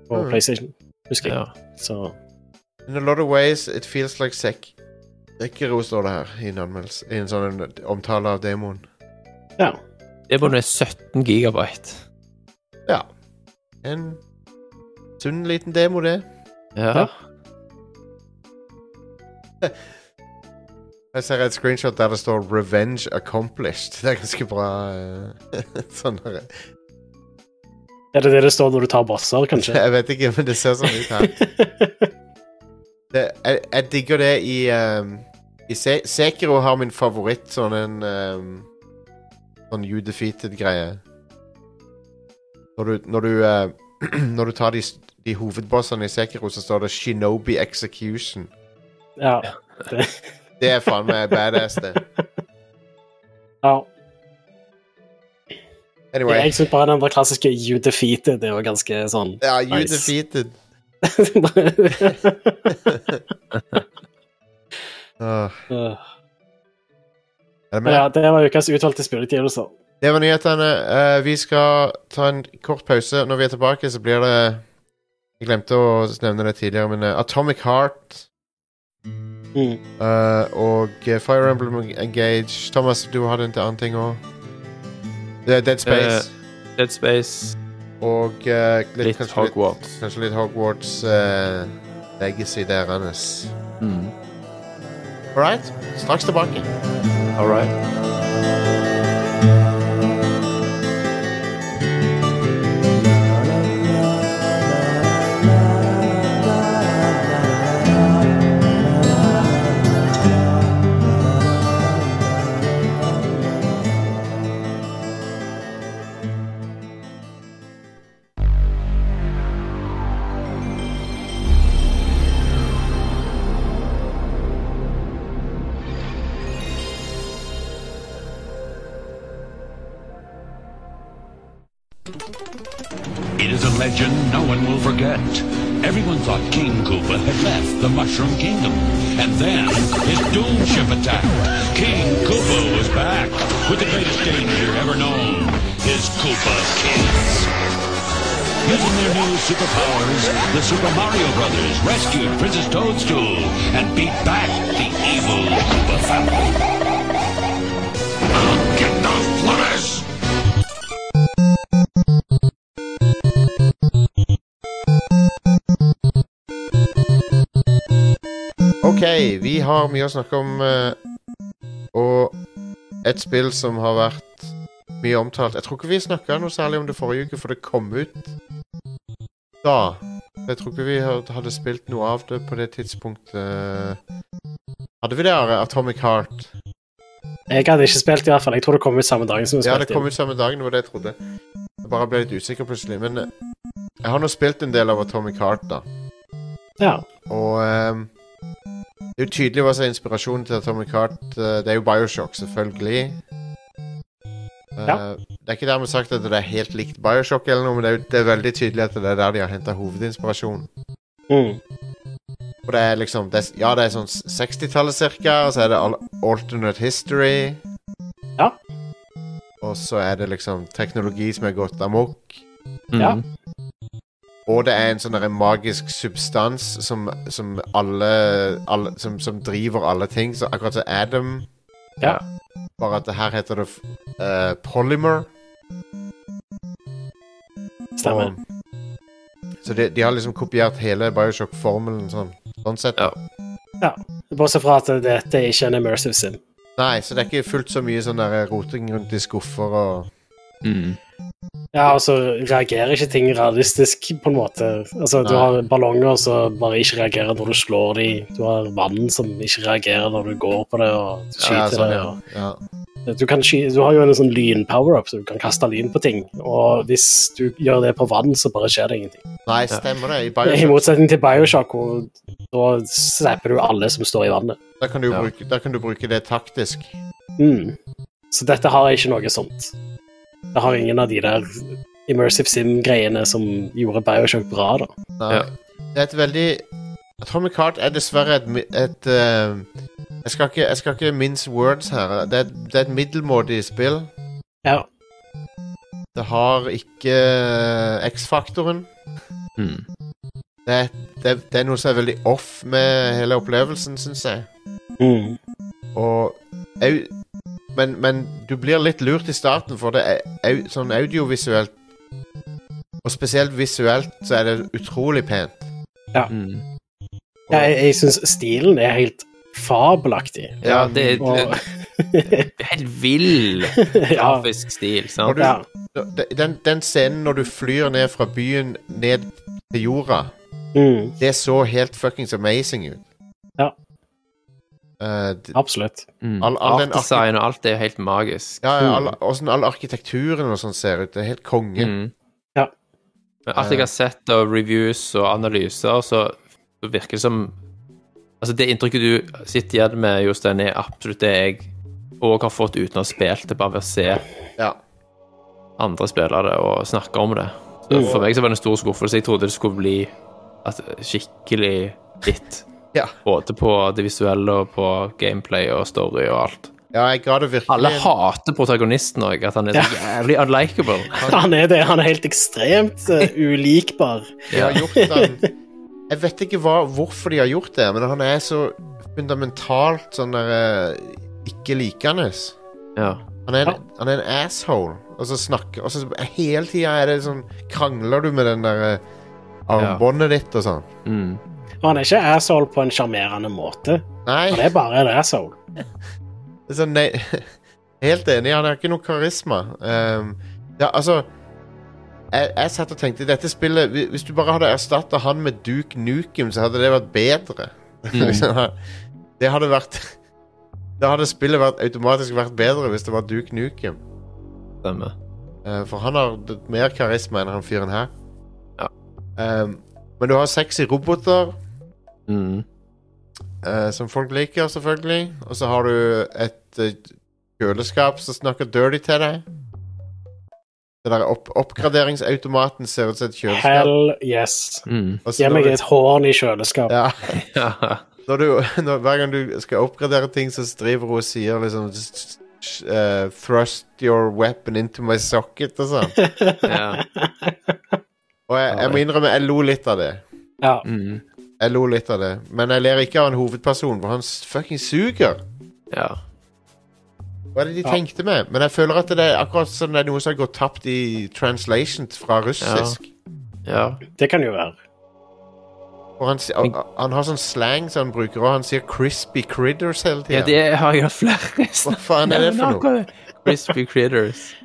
Speaker 2: på
Speaker 1: Mm.
Speaker 2: PlayStation, husker jeg.
Speaker 3: Ja.
Speaker 2: Så
Speaker 1: In a lot of ways it feels like sek... Sekiro står det her i en anmeldelse. I en sånn omtale av demoen.
Speaker 2: ja.
Speaker 3: Demoen er 17 gigabyte.
Speaker 1: Ja. En sunn liten demo, det.
Speaker 3: Ja.
Speaker 1: Jeg ser et screenshot der det står 'Revenge Accomplished'. Det er ganske bra eh, [LAUGHS] sånn her.
Speaker 2: Er det det det står når du tar bosser, kanskje?
Speaker 1: [LAUGHS] Jeg vet ikke, men det ser sånn ut [LAUGHS] her. Det, jeg, jeg digger det i, ehm, i Se Sekiro har min favoritt sånn en ehm, Sånn you defeated-greie. Når du Når du, eh, [CLEARS THROAT] når du tar de, s- de hovedbossene i Sekiro, så står det 'Shinobi Execution'.
Speaker 2: Ja.
Speaker 1: Det er faen meg badass, det.
Speaker 2: ja.
Speaker 1: Anyway.
Speaker 2: Jeg syns bare den der klassiske You defeated det var ganske
Speaker 1: [LAUGHS]
Speaker 2: sånn [LAUGHS]
Speaker 1: Ja, you
Speaker 2: Nice.
Speaker 1: defeated. Åh.
Speaker 2: Eh,
Speaker 1: Er det med?
Speaker 2: Ja, det var ukas utvalgte spillutgivelser.
Speaker 1: Det var nyhetene. Eh, vi skal ta en kort pause. Når vi er tilbake, så blir det Jeg glemte å nevne det tidligere, men eh, Atomic Heart
Speaker 2: Mm.
Speaker 1: eh, og eh, Fire Emblem Engage Thomas, du hadde en til annen ting òg. Dead Space
Speaker 3: Dead Space,
Speaker 1: og eh, litt,
Speaker 3: Eh, litt
Speaker 1: kanskje, litt,
Speaker 3: Hogwarts.
Speaker 1: kanskje litt Hogwarts eh, Legacy der hans.
Speaker 3: Mm.
Speaker 1: All right, straks tilbake.
Speaker 3: All right.
Speaker 5: is a legend no one will forget. Everyone thought King Koopa had left the Mushroom Kingdom. And then his doom ship attacked. King Koopa was back with the greatest danger ever known. His Koopa Kids. Using their new superpowers, the Super Mario Brothers rescued Princess Toadstool and beat back the evil Koopa family. I'll get those flutters!
Speaker 1: OK, vi har mye å snakke om. eh, Og et spill som har vært mye omtalt Jeg tror ikke vi snakka noe særlig om det forrige uke, for det kom ut da. Jeg tror ikke vi had- hadde spilt noe av det på det tidspunktet. Hadde vi det, Are? Atomic Heart?
Speaker 2: Jeg hadde ikke spilt, i hvert fall. Jeg tror det kom ut samme dagen som vi
Speaker 1: Ja,
Speaker 2: spilte.
Speaker 1: det kom ut samme dagen, det var det jeg trodde. Jeg bare ble litt usikker plutselig. Men eh, jeg har nå spilt en del av Atomic Heart, da.
Speaker 2: Ja.
Speaker 1: Og ehm, det er jo tydelig hva som er inspirasjonen til Atomic Heart. Eh, Det er jo Bioshock, selvfølgelig. Eh,
Speaker 2: Ja.
Speaker 1: Det er ikke dermed sagt at det er helt likt Bioshock, eller noe, men det er, jo, det er veldig tydelig at det er der de har henta hovedinspirasjonen.
Speaker 2: Mm.
Speaker 1: Og det er liksom det er, Ja, det er sånn 60-tallet cirka, og så er det al- alternate history.
Speaker 2: Ja.
Speaker 1: Og så er det liksom teknologi som er gått amok.
Speaker 2: Ja.
Speaker 3: Mm.
Speaker 1: Og det er en sånn derre magisk substans som, som alle, alle som, som driver alle ting. Så akkurat som Adam.
Speaker 2: Ja.
Speaker 1: Bare at det her heter det eh, polymer.
Speaker 2: Stemmer.
Speaker 1: så de, de har liksom kopiert hele Bioshock-formelen sånn. Sånn sett.
Speaker 3: Ja.
Speaker 2: Bortsett fra at dette er ikke en immersive sim.
Speaker 1: Nei, så det er ikke fullt så mye sånn der roting rundt i skuffer og
Speaker 3: Mm.
Speaker 2: Ja, og så reagerer ikke ting realistisk, på en måte. Altså, du
Speaker 1: Nei.
Speaker 2: har ballonger som bare ikke reagerer når du slår dem. Du har vann som ikke reagerer når du går på det, og du skyter
Speaker 1: Ja, sånn,
Speaker 2: det.
Speaker 1: ja.
Speaker 2: og...
Speaker 1: Ja.
Speaker 2: Du, kan sky du har jo en sånn lyn-power-up, så du kan kaste lyn på ting. Og hvis du gjør det på vann, så bare skjer det ingenting.
Speaker 1: Nei, stemmer det. I
Speaker 2: I
Speaker 1: Bioshock
Speaker 2: motsetning til Bioshock, hvor da slapper du alle som står i vannet.
Speaker 1: da kan, du
Speaker 3: Ja.
Speaker 1: bruke, da kan du bruke det taktisk.
Speaker 2: Mm. Så dette har ikke noe sånt. Det har ingen av de der immersive sim-greiene som gjorde Bioshock bra, da.
Speaker 1: Nei.
Speaker 3: Ja.
Speaker 1: Det er et veldig Atomic Heart er dessverre et, mi- et eh, jeg, skal ikke, jeg skal ikke mince words her. Det er, det er et middelmådig spill.
Speaker 2: Ja.
Speaker 1: Det har ikke eh, X-faktoren.
Speaker 3: Mm.
Speaker 1: Det, er- det, er- det er noe som er veldig off med hele opplevelsen, syns jeg.
Speaker 2: Mm.
Speaker 1: Og au, men, men du blir litt lurt i starten, for det er au, sånn audiovisuelt Og spesielt visuelt så er det utrolig pent.
Speaker 3: Mm.
Speaker 2: Ja, jeg jeg syns stilen er helt fabelaktig.
Speaker 3: Ja, det er
Speaker 2: Og,
Speaker 3: et helt vill
Speaker 2: [LAUGHS] ja.
Speaker 3: grafisk stil,
Speaker 1: Og
Speaker 3: sant?
Speaker 1: du-
Speaker 2: ja.
Speaker 1: Den, den scenen når du flyr ned fra byen ned til jorda,
Speaker 2: Mm.
Speaker 1: det så helt fuckings amazing ut.
Speaker 2: Ja.
Speaker 1: Eh, d-
Speaker 2: Absolutt.
Speaker 3: Mm.
Speaker 1: All- all den
Speaker 3: Artdesign og alt er jo helt magisk.
Speaker 1: ja, ja, all, åssen all arkitekturen og sånn ser ut. Det er helt konge.
Speaker 3: Mm.
Speaker 2: Ja.
Speaker 3: Men alt jeg har sett av reviews og analyser, så virker det som Altså, det inntrykket du sitter igjen med, Jostein, er absolutt det jeg òg har fått uten å ha spilt det, bare ved å se
Speaker 1: Ja.
Speaker 3: andre spillere og snakke om det. Så
Speaker 1: Mm.
Speaker 3: for meg så var det en stor skuffelse. Jeg trodde det skulle bli at, skikkelig hit.
Speaker 1: [LAUGHS] Ja.
Speaker 3: Både på det visuelle og på gameplay og story og alt.
Speaker 1: ja, jeg ga det virkelig
Speaker 3: Alle
Speaker 1: en-
Speaker 3: hater protagonisten òg, at han er så jævlig
Speaker 1: [LAUGHS]
Speaker 3: unlikable.
Speaker 2: Han er det. Han er helt ekstremt eh, ulikbar.
Speaker 1: De har gjort han Jeg vet ikke hva, hvorfor de har gjort det, men han er så fundamentalt sånn der eh, ikke likende.
Speaker 3: Ja.
Speaker 1: Han, er en- han er en asshole, og så snakker Og så hele tida er det sånn Krangler du med den der eh, armbåndet ditt og sånn?
Speaker 3: Mm.
Speaker 2: Og han er ikke asshole på en sjarmerende måte. Han
Speaker 1: Nei.
Speaker 2: er bare en asshole.
Speaker 1: det er Sånn, nei [LAUGHS] helt enig, han har ikke noe karisma. Ehm, ja, altså jeg, jeg satt og tenkte dette spillet hvi- Hvis du bare hadde erstatta han med Duke Nukem, så hadde det vært bedre. [LAUGHS] Liksom, det hadde vært [LAUGHS] Da hadde spillet vært, automatisk vært bedre hvis det var Duke Nukem.
Speaker 3: Stemmer.
Speaker 1: Eh, for han har d- mer karisma enn han fyren her.
Speaker 3: Ja.
Speaker 1: Ehm, men du har sexy roboter,
Speaker 3: Mm.
Speaker 1: eh, som folk liker, selvfølgelig. Og så har du et eh, kjøleskap som snakker dirty til deg. Det der opp oppgraderingsautomaten ser ut som et kjøleskap.
Speaker 2: Hell yes.
Speaker 3: Mm. [LAUGHS]
Speaker 1: Og så
Speaker 2: Gi
Speaker 1: når
Speaker 2: meg
Speaker 1: du-
Speaker 2: et horn i kjøleskapet.
Speaker 1: Ja. [LAUGHS]
Speaker 3: Ja.
Speaker 1: når du, når, hver gang du skal oppgradere ting, så driver hun og sier liksom s- s- eh, Thrust your weapon into my socket og sånn.
Speaker 3: ja.
Speaker 1: Og jeg, jeg må innrømme, jeg lo litt av det.
Speaker 2: Ja.
Speaker 3: Mm.
Speaker 1: Jeg lo litt av det. Men jeg ler ikke av en hovedperson, for han s- fucking suger.
Speaker 3: ja.
Speaker 1: Hva er det de
Speaker 2: Ja.
Speaker 1: tenkte med? Men jeg føler at det er akkurat som det er noe som har gått tapt i translation fra russisk.
Speaker 3: ja.
Speaker 2: Det kan jo være.
Speaker 1: Og han, s- og, og han har sånn slang som han bruker, og han sier 'crispy critters' hele
Speaker 3: Ja,
Speaker 1: tida.
Speaker 3: det har jeg hørt flere
Speaker 1: Hva faen er det for noe?
Speaker 3: Crispy Critters.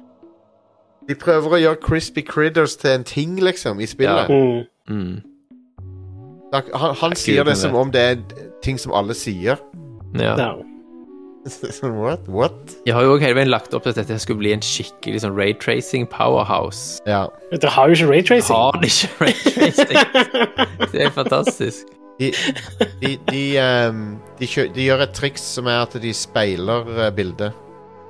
Speaker 1: De prøver å gjøre 'crispy critters' til en ting, liksom, i spillet.
Speaker 2: Mm.
Speaker 3: Mm.
Speaker 1: Da- Han, han sier
Speaker 3: Gud,
Speaker 1: det
Speaker 3: men
Speaker 1: som
Speaker 3: det-
Speaker 1: om det er ting som alle sier. [LAUGHS]
Speaker 3: Ja.
Speaker 2: Ja.
Speaker 1: Sånn, What? What?
Speaker 3: Jeg har jo også hele veien lagt opp til at dette skulle bli en skikkelig sånn raytracing powerhouse.
Speaker 1: Ja.
Speaker 2: Dere har jo ikke raytracing.
Speaker 3: Har det ikke raytracing? Det er fantastisk.
Speaker 1: De, de, de, ehm, de, kjø, de gjør et triks som er at de speiler eh, bildet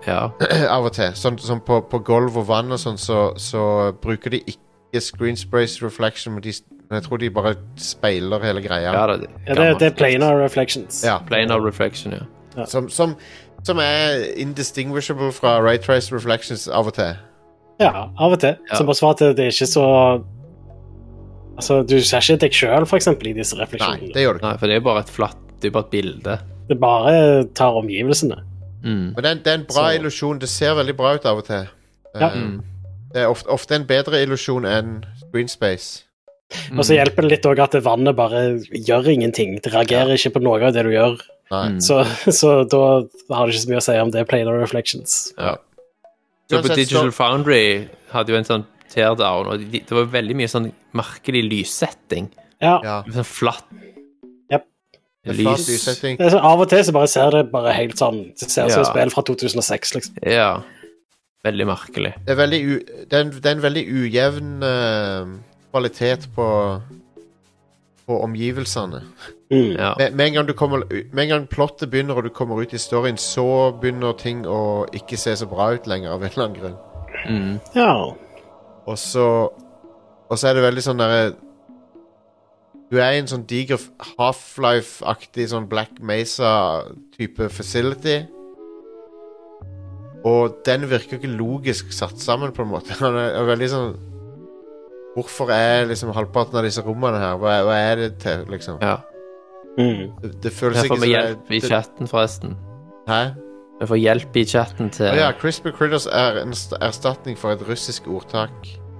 Speaker 3: Ja.
Speaker 1: av og til. Sånn som på, på gulv og vann og sånn, så, så bruker de ikke screen space reflection, men, de, s- men jeg tror de bare speiler hele greia.
Speaker 3: ja da, det,
Speaker 2: Ja, det, det er planar reflections.
Speaker 1: Ja.
Speaker 3: Planar reflection, ja.
Speaker 1: Som, som, som er indistinguishable fra right trace reflections av og til.
Speaker 2: Ja, av og til.
Speaker 3: Ja.
Speaker 2: Som bare svar til at det er ikke så Altså, Du ser ikke deg sjøl, for eksempel, i disse
Speaker 1: Nei,
Speaker 2: refleksjonene.
Speaker 1: det gjør du ikke.
Speaker 3: Nei, for det er jo bare et flatt Det er bare et bilde.
Speaker 2: det bare tar omgivelsene.
Speaker 3: Mm.
Speaker 1: Men det er, en- det er en bra
Speaker 2: Så-
Speaker 1: illusjon. Det ser veldig bra ut av og til.
Speaker 2: Ja.
Speaker 1: Ehm, Det er ofte, ofte en bedre illusjon enn screen space.
Speaker 2: Og så hjelper det litt òg at vannet bare gjør ingenting. Det reagerer ikke på noe av det du gjør.
Speaker 1: Nei.
Speaker 3: Mm.
Speaker 2: Så, så da har det ikke så mye å si om det er planar reflections.
Speaker 3: Ja. Så på
Speaker 1: Uansett,
Speaker 3: Digital
Speaker 1: så-
Speaker 3: Foundry hadde jo en sånn teardown, og de, det var veldig mye sånn merkelig lyssetting.
Speaker 2: Ja,
Speaker 1: Ja.
Speaker 3: Sånn flatt
Speaker 2: Jep.
Speaker 1: Det er flat
Speaker 3: lys.
Speaker 1: lyssetting.
Speaker 2: det er så, Av og til så bare ser det bare helt sånn Det ser ut som et
Speaker 3: Ja.
Speaker 2: spill fra 2006, liksom.
Speaker 3: Ja. Veldig merkelig.
Speaker 1: Det er, veldig u, det, er en, det er en veldig ujevn eh, kvalitet på på omgivelsene.
Speaker 2: Mm.
Speaker 3: Ja.
Speaker 1: Med, med, en gang du kommer, med en gang plottet begynner og du kommer ut i storyen, så begynner ting å ikke se så bra ut lenger av en eller annen grunn.
Speaker 3: Mm.
Speaker 2: ja.
Speaker 1: Og så Og så er det veldig sånn derre Du er i en sånn diger Half-Life-aktig sånn Black Mesa-type facility. Og den virker ikke logisk satt sammen, på en måte. [LAUGHS] Den er er veldig sånn Hvorfor er liksom halvparten av disse rommene her? Hva, hva er det til, liksom?
Speaker 3: ja.
Speaker 2: Mm.
Speaker 1: Det, det føles
Speaker 3: Jeg
Speaker 1: ikke
Speaker 3: får
Speaker 1: som
Speaker 3: vi
Speaker 1: det er-
Speaker 3: hjelp i
Speaker 1: det-
Speaker 3: chatten, forresten.
Speaker 1: Hæ?
Speaker 3: Vi får hjelp i chatten til
Speaker 1: Å ja, Crispy Critters er en st- erstatning for et russisk ordtak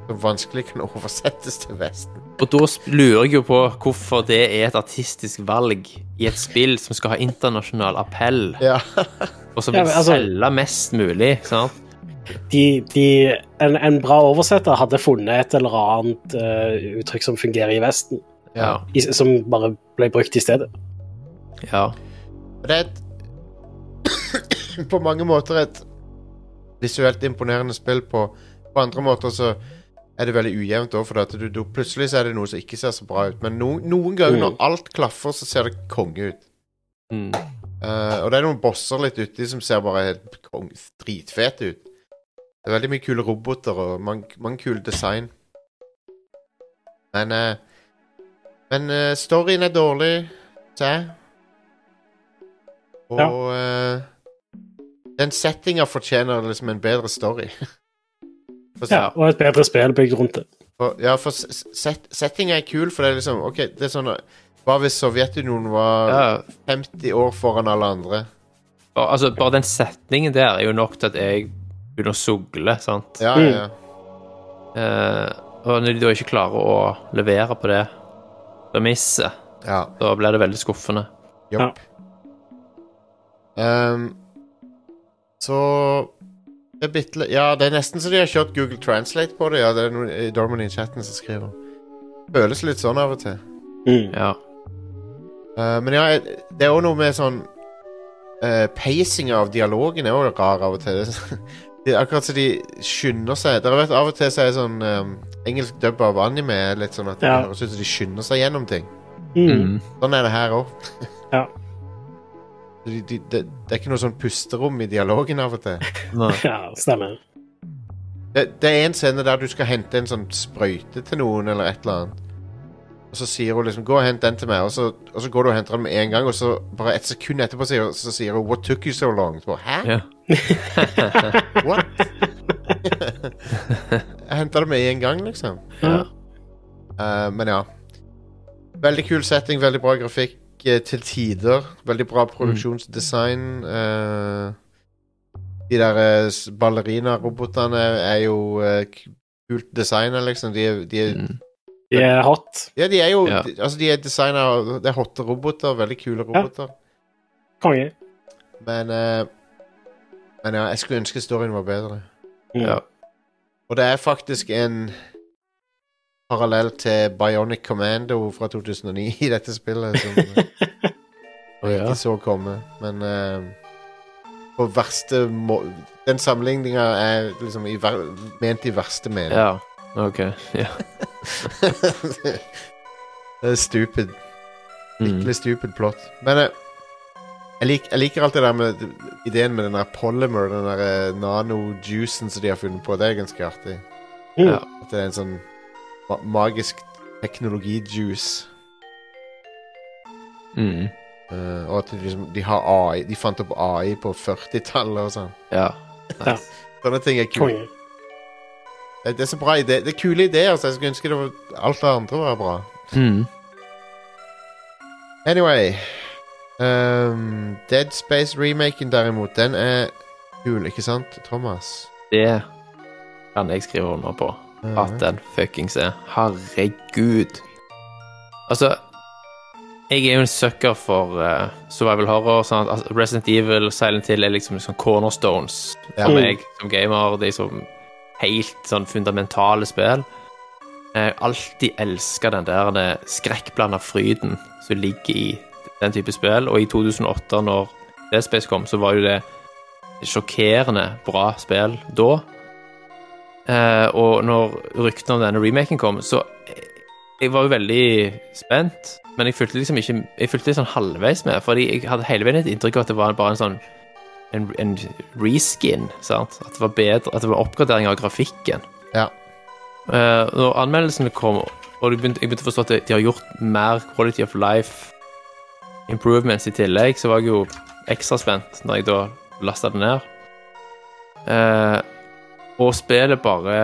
Speaker 1: som vanskelig kan [LAUGHS] oversettes til Vesten.
Speaker 3: Og da sp- lurer jeg jo på hvorfor det er et artistisk valg i et spill som skal ha internasjonal appell,
Speaker 1: Ja.
Speaker 3: og som vil
Speaker 2: Ja, men altså-
Speaker 3: selge mest mulig. sant?
Speaker 2: de, de, en, en bra oversetter hadde funnet et eller annet eh, uttrykk som fungerer i Vesten,
Speaker 3: Ja.
Speaker 2: i, som bare ble brukt i stedet.
Speaker 3: ja.
Speaker 1: Og Det er et [COUGHS] På mange måter et visuelt imponerende spill. På, på andre måter så er det veldig ujevnt òg, for at du, du, plutselig så er det noe som ikke ser så bra ut. Men no, noen ganger
Speaker 2: Mm.
Speaker 1: når alt klaffer, så ser det konge ut.
Speaker 3: Mm.
Speaker 1: Eh, og det er noen bosser litt uti som ser bare helt kong, dritfete ut. Det er veldig mye kule roboter og mange, mange kule design. Men eh, Men eh, storyen er dårlig, ser jeg. Og eh, den settinga fortjener liksom en bedre story. [LAUGHS] For,
Speaker 2: Ja, og et bedre spill bygd rundt det.
Speaker 1: for, ja, for s- s- set, settinga er kul, for det er liksom OK, det er sånn eh, Hva hvis Sovjetunionen var
Speaker 3: ja.
Speaker 1: 50 år foran alle andre?
Speaker 3: Og, altså, bare den setningen der er jo nok til at jeg begynner å sugle, sant.
Speaker 1: Ja,
Speaker 2: Mm.
Speaker 1: ja, ja.
Speaker 3: Eh, og når de da ikke klarer å levere på det premisset,
Speaker 1: ja.
Speaker 3: da blir det veldig skuffende.
Speaker 1: Jopp. Ehm, så det er bitte li- Ja, det er nesten så de har kjørt Google Translate på det. Ja, det er noen i Dorman i chatten som skriver. Føles litt sånn av og til.
Speaker 2: Mm.
Speaker 3: Ja.
Speaker 1: Eh, men ja, jeg- det er òg noe med sånn uh, Pacing av dialogen er òg rar av og til. [LAUGHS] Det er sånn- det er akkurat som de skynder seg. Dere vet, Av og til så er sånn ehm, engelsk dub av anime er litt sånn at
Speaker 2: Ja.
Speaker 1: det høres ut som de skynder seg gjennom ting.
Speaker 2: Mm.
Speaker 3: Mm.
Speaker 1: Sånn er det her òg.
Speaker 2: Ja.
Speaker 1: De, de, det- det er ikke noe sånn pusterom i dialogen av og til.
Speaker 3: Nei.
Speaker 2: ja, stemmer.
Speaker 1: Det, det er en scene der du skal hente en sånn sprøyte til noen, eller et eller annet. Og så sier hun liksom 'gå og hent den til meg', og så, og så går du og henter den med en gang, og så bare et sekund etterpå sier, så sier hun 'what took you so long'? Så bare, Hæ?
Speaker 3: Ja.
Speaker 1: [LAUGHS] What? [LAUGHS] Jeg henta det med en gang, liksom.
Speaker 2: Ja.
Speaker 1: Eh, men ja. Veldig kul setting, veldig bra grafikk eh, til tider. Veldig bra produksjonsdesign. eh, de der eh, s- ballerina-robotene er jo eh, k- kult designa, liksom. De, er- de, er-
Speaker 3: Mm.
Speaker 2: De er hot.
Speaker 1: ja, de er jo
Speaker 3: Ja.
Speaker 1: de- Altså, de er designa Det er hotte roboter, veldig kule roboter.
Speaker 2: Konge.
Speaker 1: Men eh, Men ja, jeg skulle ønske storyen var bedre.
Speaker 2: Mm.
Speaker 3: Ja.
Speaker 1: Og det er faktisk en parallell til Bionic Commando fra 2009 i dette spillet, som
Speaker 3: [LAUGHS]
Speaker 1: jeg
Speaker 3: Å, ja.
Speaker 1: ikke så komme. Men eh, på verste må Den sammenligninga er liksom i ver ment i verste mening.
Speaker 3: ja. OK. Ja.
Speaker 1: [LAUGHS] det er stupid.
Speaker 3: Mm.
Speaker 1: Skikkelig stupid plot. Men eh, jeg, lik, jeg liker alt det der med ideen med den der polymer, den der eh, nano-juicen som de har funnet på. Det er ganske artig.
Speaker 2: Mm.
Speaker 3: Ja.
Speaker 1: At det er en sånn ma magisk teknologi-juice.
Speaker 3: Mm.
Speaker 1: Eh, og at de, liksom, de har AI De fant opp AI på 40-tallet og sånn.
Speaker 3: Ja.
Speaker 1: Sånne ting er kult.
Speaker 2: Konge.
Speaker 1: Det, det er så bra ide Det er kule ideer, så jeg skulle ønske det var, alt det andre var bra.
Speaker 3: Mm.
Speaker 1: Anyway ehm, Dead Space-remaken, derimot, den er kul, ikke sant, Thomas?
Speaker 3: Det kan jeg skrive under på. At den fuckings er. Herregud. Altså Jeg er jo en sucker for eh, survival horror. Sånn at altså, Resident Evil, Silent Hill er liksom, liksom cornerstones
Speaker 1: Ja.
Speaker 3: for meg som gamer. De er som helt sånn fundamentale spill. Jeg har alltid elska den der det skrekkblanda fryden som ligger i den type spill. Og i 2008, når Dead Space kom, så var jo det sjokkerende bra spill da. Eh, og når ryktene om denne remaken kom, så jeg, jeg var jo veldig spent, men jeg fulgte liksom ikke Jeg fulgte sånn halvveis med, fordi jeg hadde hele veien et inntrykk av at det var bare en sånn en, en reskin, sant? At det var bedre, at det var oppgradering av grafikken.
Speaker 1: Ja.
Speaker 3: Eh, når anmeldelsene kom, og det begynte, jeg begynte å forstå at de har gjort mer quality of life improvements i tillegg, så var jeg jo ekstra spent når jeg da lasta det ned. Eh, og spillet bare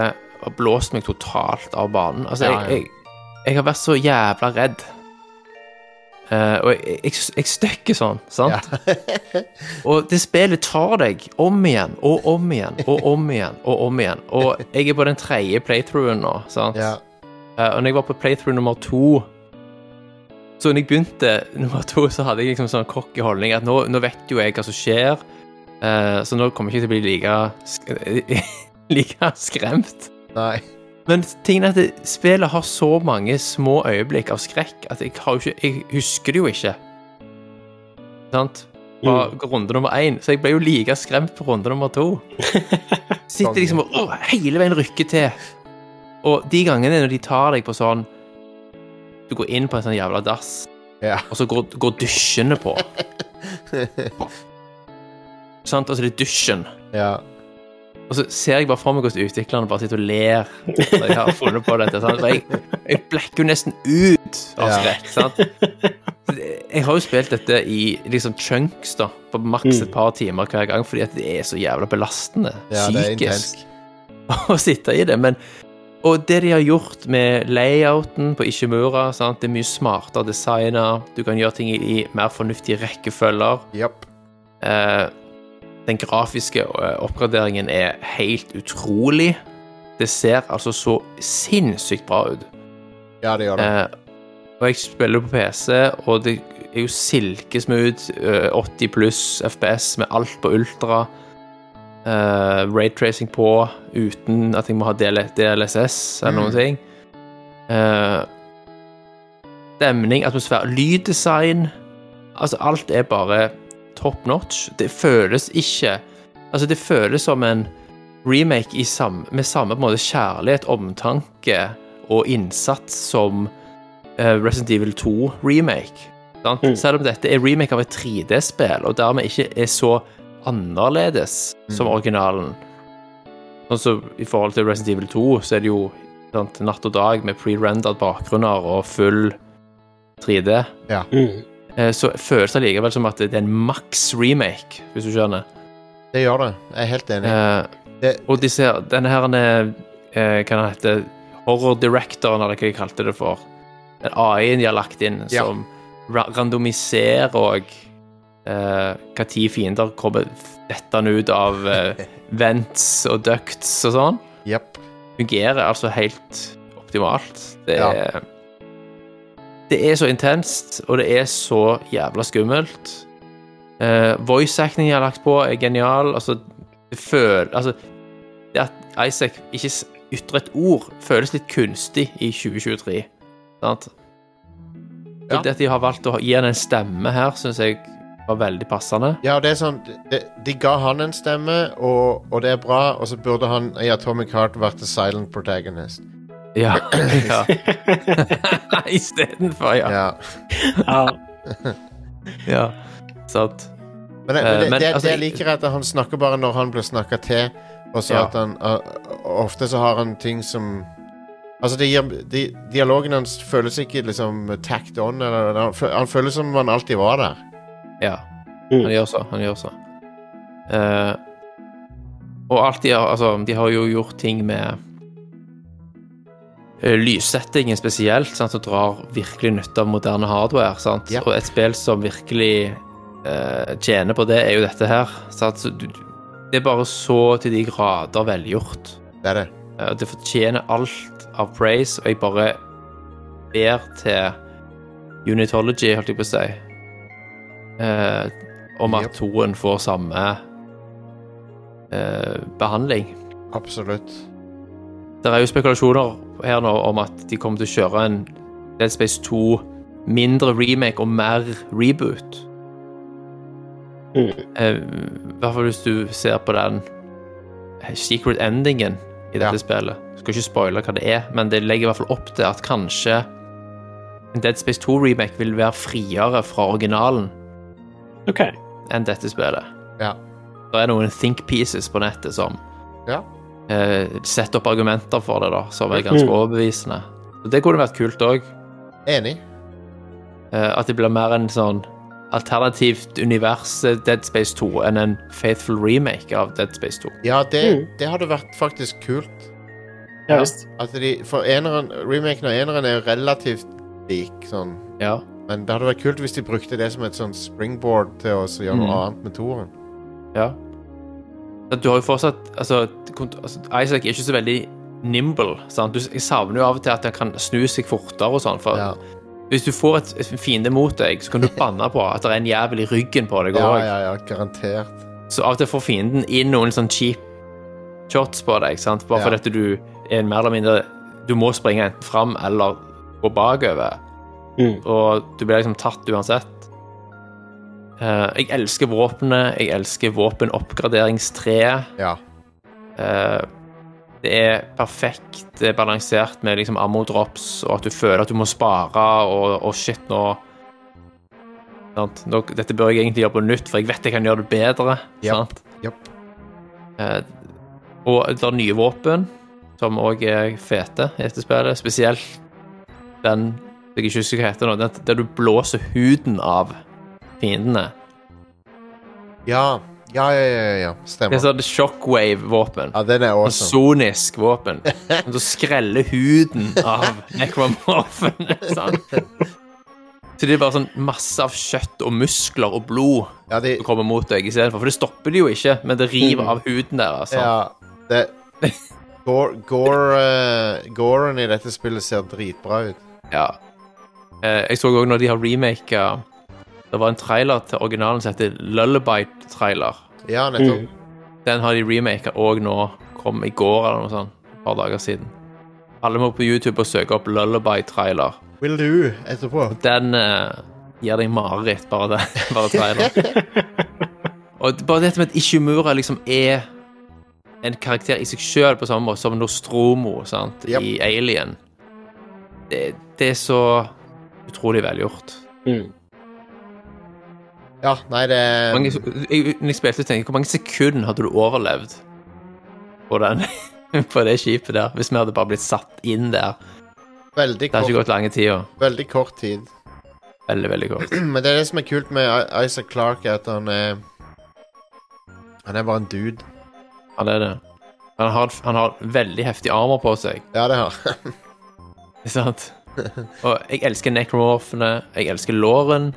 Speaker 3: har blåst meg totalt av banen. Altså,
Speaker 1: Ja, ja.
Speaker 3: jeg, jeg, jeg har vært så jævla redd. Eh, og jeg, jeg, jeg støkker sånn, sant? Og det spillet tar deg om igjen og om igjen og om igjen og om igjen. Og jeg er på den tredje playthroughen nå, sant?
Speaker 1: ja.
Speaker 3: Eh, og når jeg var på playthrough nummer to Så når jeg begynte nummer to, så hadde jeg liksom sånn cocky holdning at nå, nå vet jo jeg hva som skjer, eh, så nå kommer jeg ikke til å bli like, sk [LAUGHS] like skremt.
Speaker 1: Nei.
Speaker 3: Men tingen er at det, spillet har så mange små øyeblikk av skrekk at jeg, har jo ikke, jeg husker det jo ikke. Sant? Fra runde nummer én. Så jeg ble jo like skremt på runde nummer to. Sitter liksom og åh, hele veien rykker til. Og de gangene når de tar deg på sånn Du går inn på en sånn jævla dass,
Speaker 1: Ja. [LAUGHS]
Speaker 3: og så går, går dusjene på. Sant? Altså, det er dusjen.
Speaker 1: ja.
Speaker 3: Og så ser jeg bare for meg hvordan utviklerne bare sitter og ler når jeg har funnet på dette. Sant? For jeg, jeg blekker jo nesten ut av
Speaker 1: Ja.
Speaker 3: skrekk. Sant? Så det- Jeg har jo spilt dette i liksom chunks da, på
Speaker 1: Mm.
Speaker 3: maks et par timer hver gang, fordi at det er så jævla belastende
Speaker 1: ja det er
Speaker 3: psykisk
Speaker 1: intenst.
Speaker 3: [LAUGHS] å sitte i det. Men, og det de har gjort med layouten på Ishimura, sant? det er mye smartere designer, du kan gjøre ting i, i mer fornuftige rekkefølger.
Speaker 1: Japp.
Speaker 3: Eh, den grafiske eh, oppgraderingen er helt utrolig. Det ser altså så sinnssykt bra ut.
Speaker 1: Ja, det gjør det.
Speaker 3: Eh, og jeg spiller på PC, og det er jo silkesmooth, eh, 80 pluss FPS med alt på ultra. Uh, Raytracing på uten at jeg må ha DL DLSS eller noen
Speaker 1: Mm.
Speaker 3: ting. Eh, stemning, atmosfære, lyddesign Altså, alt er bare top notch. Det føles ikke Altså, det føles som en remake i sam, med samme på en måte kjærlighet, omtanke og innsats som eh, Resident Evil 2 remake. Sant?
Speaker 2: Mm.
Speaker 3: Selv om dette er remake av et 3D-spill, og dermed ikke er så annerledes som originalen, Sånn som I forhold til Resident Evil 2 så er det jo sant, natt og dag med pre-rendered bakgrunner og full 3D.
Speaker 2: Mm.
Speaker 3: Eh, Så føles det likevel som at det er en maks remake, hvis du skjønner.
Speaker 1: Det gjør det. Jeg er helt enig.
Speaker 3: Eh,
Speaker 1: Det-
Speaker 3: og disse, her- denne her eh, eh, Hva den heter Horror-directoren, eller hva de kalte det for. Den AI-en de har lagt inn,
Speaker 1: Ja.
Speaker 3: som ra randomiserer og eh, hva ti fiender kommer dettende ut av eh,
Speaker 1: [LAUGHS]
Speaker 3: vents og ducts og sånn.
Speaker 1: Jepp.
Speaker 3: Fungerer altså helt optimalt. Det er Det er så intenst, og det er så jævla skummelt. Uh, Voice-acting jeg har lagt på, er genial. Altså, det føl... Altså, det at Isaac ikke s- ytrer et ord, føles litt kunstig i 2023. Sant?
Speaker 1: Ja.
Speaker 3: Så Det at de har valgt å ha- gi han en stemme her, syns jeg var veldig passende.
Speaker 1: Ja, det er sånn De, de ga han en stemme, og, og det er bra, og så burde han i Atomic Heart vært the silent protagonist.
Speaker 3: Ja. [CLEARS THROAT] ja. [LAUGHS] Istedenfor, ja. ja.
Speaker 1: Ja.
Speaker 2: Ja,
Speaker 3: ja. Sant.
Speaker 1: Men, det, men, det,
Speaker 3: Eh, men,
Speaker 1: det,
Speaker 3: altså,
Speaker 1: det jeg liker, er at han snakker bare når han blir snakka til, og så
Speaker 3: Ja.
Speaker 1: at han og- og Ofte så har han ting som Altså, det gir, di, dialogen hans føles ikke liksom tacked on, eller han, fø- han føles som om han alltid var der.
Speaker 3: Ja,
Speaker 2: Mm.
Speaker 3: han gjør så. Han gjør så. Eh, og alt de har Altså, de har jo gjort ting med eh, Lyssettingen spesielt, sant, som drar virkelig nytte av moderne hardware. Sant?
Speaker 1: Ja.
Speaker 3: Og et spill som virkelig eh, tjener på det, er jo dette her. Sant? Så du, det er bare så til de grader velgjort.
Speaker 1: Det er det.
Speaker 3: Eh, Det fortjener alt av praise, og jeg bare ber til Unitology, holdt jeg på å si, eh, om at
Speaker 1: Yep.
Speaker 3: toen får samme eh, behandling.
Speaker 1: Absolutt.
Speaker 3: Det er jo spekulasjoner her nå om at de kommer til å kjøre en Dead Space 2 mindre remake og mer reboot.
Speaker 2: Mm.
Speaker 3: Eh, I hvert fall hvis du ser på den secret endingen i dette
Speaker 1: Ja.
Speaker 3: spillet. Skal ikke spoile hva det er, men det legger i hvert fall opp til at kanskje en Dead Space 2-remake vil være friere fra originalen
Speaker 2: OK.
Speaker 3: enn dette spillet.
Speaker 1: Ja.
Speaker 3: Det er noen think pieces på nettet som
Speaker 1: Ja.
Speaker 3: eh, setter opp argumenter for det, da, som er ganske
Speaker 2: Mm.
Speaker 3: overbevisende. Så det kunne vært kult òg.
Speaker 1: Enig.
Speaker 3: Eh, at det blir mer en sånn alternativt univers eh, Dead Space 2 enn en faithful remake av Dead Space 2.
Speaker 1: Ja, det,
Speaker 2: Mm.
Speaker 1: det hadde vært faktisk kult.
Speaker 2: Ja visst.
Speaker 1: At Altså, de, for eneren, remaken av eneren er relativt lik, sånn.
Speaker 3: Ja.
Speaker 1: Men det hadde vært kult hvis de brukte det som et sånn springboard til å så gjøre noe
Speaker 3: Mm.
Speaker 1: annet med toeren.
Speaker 3: ja. Men Du har jo fortsatt altså, kont- altså, Isaac er ikke så veldig nimble. Sant? Du jeg savner jo av og til at han kan snu seg fortere og sånn. For
Speaker 1: Ja.
Speaker 3: hvis du får et, et fiende mot deg, så
Speaker 1: [LAUGHS]
Speaker 3: kan du banne på at det er en jævel i ryggen på deg.
Speaker 1: Ja,
Speaker 3: også.
Speaker 1: ja, ja, garantert.
Speaker 3: Så av og til får fienden inn noen sånn cheap shots på deg, sant? bare
Speaker 1: Ja.
Speaker 3: fordi at du er en mer eller mindre Du må springe enten fram eller gå bakover,
Speaker 2: Mm.
Speaker 3: og du blir liksom tatt uansett. Eh, jeg elsker våpenet. Jeg elsker våpenoppgraderingstreet.
Speaker 1: Ja.
Speaker 3: Eh, det er perfekt eh, balansert med liksom ammo drops, og at du føler at du må spare, og, og shit, nå, sant? nå Dette bør jeg egentlig gjøre på nytt, for jeg vet jeg kan gjøre det bedre.
Speaker 1: Japp,
Speaker 3: sant?
Speaker 1: japp.
Speaker 3: Eh, og det er nye våpen, som òg er fete i dette spillet. Spesielt den jeg ikke husker hva heter nå, den der du blåser huden av fiendene.
Speaker 1: Ja, ja, ja, ja, ja.
Speaker 3: Det
Speaker 1: stemmer.
Speaker 3: er sånn shockwave-våpen.
Speaker 1: Ja, den er
Speaker 3: Sånn
Speaker 1: awesome.
Speaker 3: sonisk våpen. Som så skreller huden av [LAUGHS] nekromorfen. sant? Så det er bare sånn masse av kjøtt og muskler og blod
Speaker 1: Ja, de,
Speaker 3: som kommer mot deg istedenfor. For det stopper de jo ikke, men det river av huden altså. deres. sant?
Speaker 1: ja,
Speaker 3: sånn.
Speaker 1: det Gore, gore, eh, Goren i dette spillet ser dritbra ut.
Speaker 3: Ja. Eh, jeg så òg når de har remaka Det var en trailer til originalen som heter Lullaby-trailer.
Speaker 1: Ja, nettopp.
Speaker 3: Mm. Den har de remaka òg nå. Kom i går eller noe sånt. Et par dager siden. Alle må på YouTube og søke opp Lullaby-trailer.
Speaker 1: Will do etterpå.
Speaker 3: Den eh, gir deg mareritt, bare det. [LAUGHS] Bare traileren. og bare dette med at Ishimura liksom er en karakter i seg sjøl, på samme måte som Nostromo sant?
Speaker 1: Yep.
Speaker 3: i Alien. Det, det er så utrolig velgjort.
Speaker 2: Mm.
Speaker 1: Ja, nei, det
Speaker 3: Mange, jeg, når jeg spilte, tenkte jeg, hvor mange sekunder hadde du overlevd på, den, [LAUGHS] på det skipet der. Hvis vi hadde bare blitt satt inn der.
Speaker 1: Veldig
Speaker 3: Det har ikke
Speaker 1: kort,
Speaker 3: gått lange tida.
Speaker 1: veldig kort tid.
Speaker 3: Veldig, veldig kort.
Speaker 1: [CLEARS THROAT] Men det er det som er kult med I- Isaac Clarke, at han er Han er bare en dude.
Speaker 3: Han er det. Han har, han har veldig heftig armer på seg,
Speaker 1: Ja, det har han. [LAUGHS]
Speaker 3: ikke sant? Og jeg elsker necromorphene. Jeg elsker låren.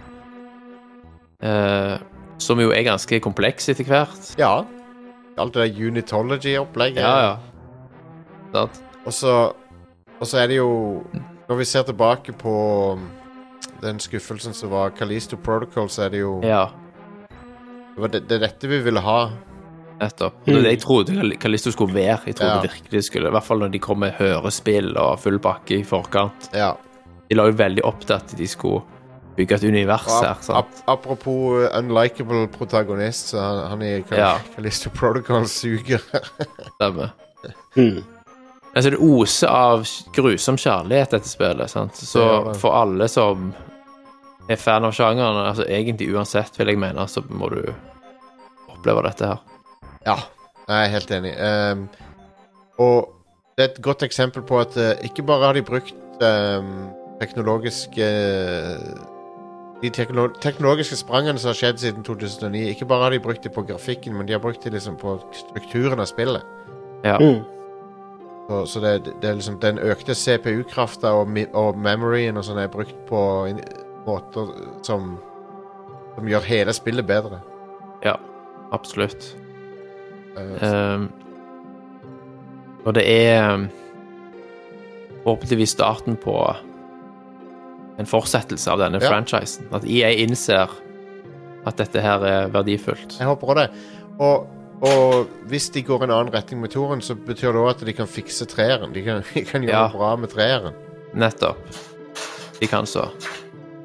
Speaker 3: Eh, som jo er ganske kompleks etter hvert.
Speaker 1: Ja. Alt det der unitology-opplegget.
Speaker 3: Ja, ja. Sant?
Speaker 1: Og så Og så er det jo Når vi ser tilbake på um, den skuffelsen som var Kalisto Protocol, så er det jo
Speaker 3: Ja,
Speaker 1: det, var det, det er dette vi ville ha.
Speaker 3: nettopp. Og Det var det jeg trodde Kalisto skulle være. Jeg trodde
Speaker 1: Ja.
Speaker 3: virkelig det skulle, I hvert fall når de kom med hørespill og full bakke i forkant.
Speaker 1: Ja.
Speaker 3: De la jo veldig opp til at de skulle bygge et univers
Speaker 1: Og
Speaker 3: her.
Speaker 1: ap
Speaker 3: Sant?
Speaker 1: ap apropos uh, unlikable protagonist, så han, han i Kal
Speaker 3: Ja.
Speaker 1: Kalisto Protocol suger.
Speaker 3: Stemmer.
Speaker 2: Mm.
Speaker 3: Altså, det oser av grusom kjærlighet, dette spillet. Sant? Så
Speaker 1: Det gjør det.
Speaker 3: for alle som er fan av sjangeren, altså egentlig uansett, vil jeg mene, så må du oppleve dette her.
Speaker 1: ja. Jeg er helt enig. Um, og det er et godt eksempel på at uh, ikke bare har de brukt um, teknologiske eh, de teknolo teknologiske sprangene som har skjedd siden 2009, ikke bare har de brukt det på grafikken, men de har brukt det liksom på strukturen av spillet.
Speaker 3: Ja.
Speaker 2: Mm.
Speaker 1: Så, så det, det er liksom den økte CPU-krafta og, mi- og memoryen og sånn er brukt på en, måter som Som gjør hele spillet bedre.
Speaker 3: ja absolutt.
Speaker 1: Eh,
Speaker 3: Ehm, og det er ehm, forhåpentligvis starten på en fortsettelse av denne
Speaker 1: Ja.
Speaker 3: franchisen. At EA innser at dette her er verdifullt.
Speaker 1: jeg håper også det. Og, og hvis de går en annen retning med toren, så betyr det òg at de kan fikse treeren. De kan, [LAUGHS] de kan gjøre
Speaker 3: Ja.
Speaker 1: det bra med treeren.
Speaker 3: Nettopp. De kan så.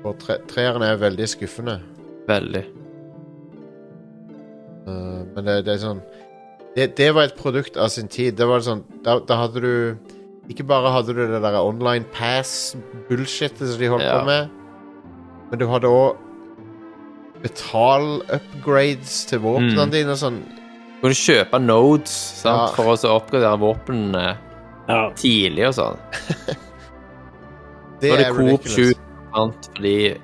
Speaker 1: For tre, treeren er veldig skuffende.
Speaker 3: Veldig.
Speaker 1: Eh, men det, det er sånn det, det var et produkt av sin tid. Det var sånn, da, da hadde du Ikke bare hadde du det der online pass-bullshitet som de holdt
Speaker 3: Ja.
Speaker 1: på med, men du hadde òg betal-upgrades til våpnene
Speaker 3: Mm.
Speaker 1: dine og sånn.
Speaker 3: Kan du kjøpe nodes sant,
Speaker 1: Ja.
Speaker 3: for å så oppgradere våpnene
Speaker 2: Ja.
Speaker 3: tidlig og sånn?
Speaker 1: Det
Speaker 3: Når det
Speaker 1: er
Speaker 3: Coop
Speaker 1: ridiculous.
Speaker 3: 7, sant, fordi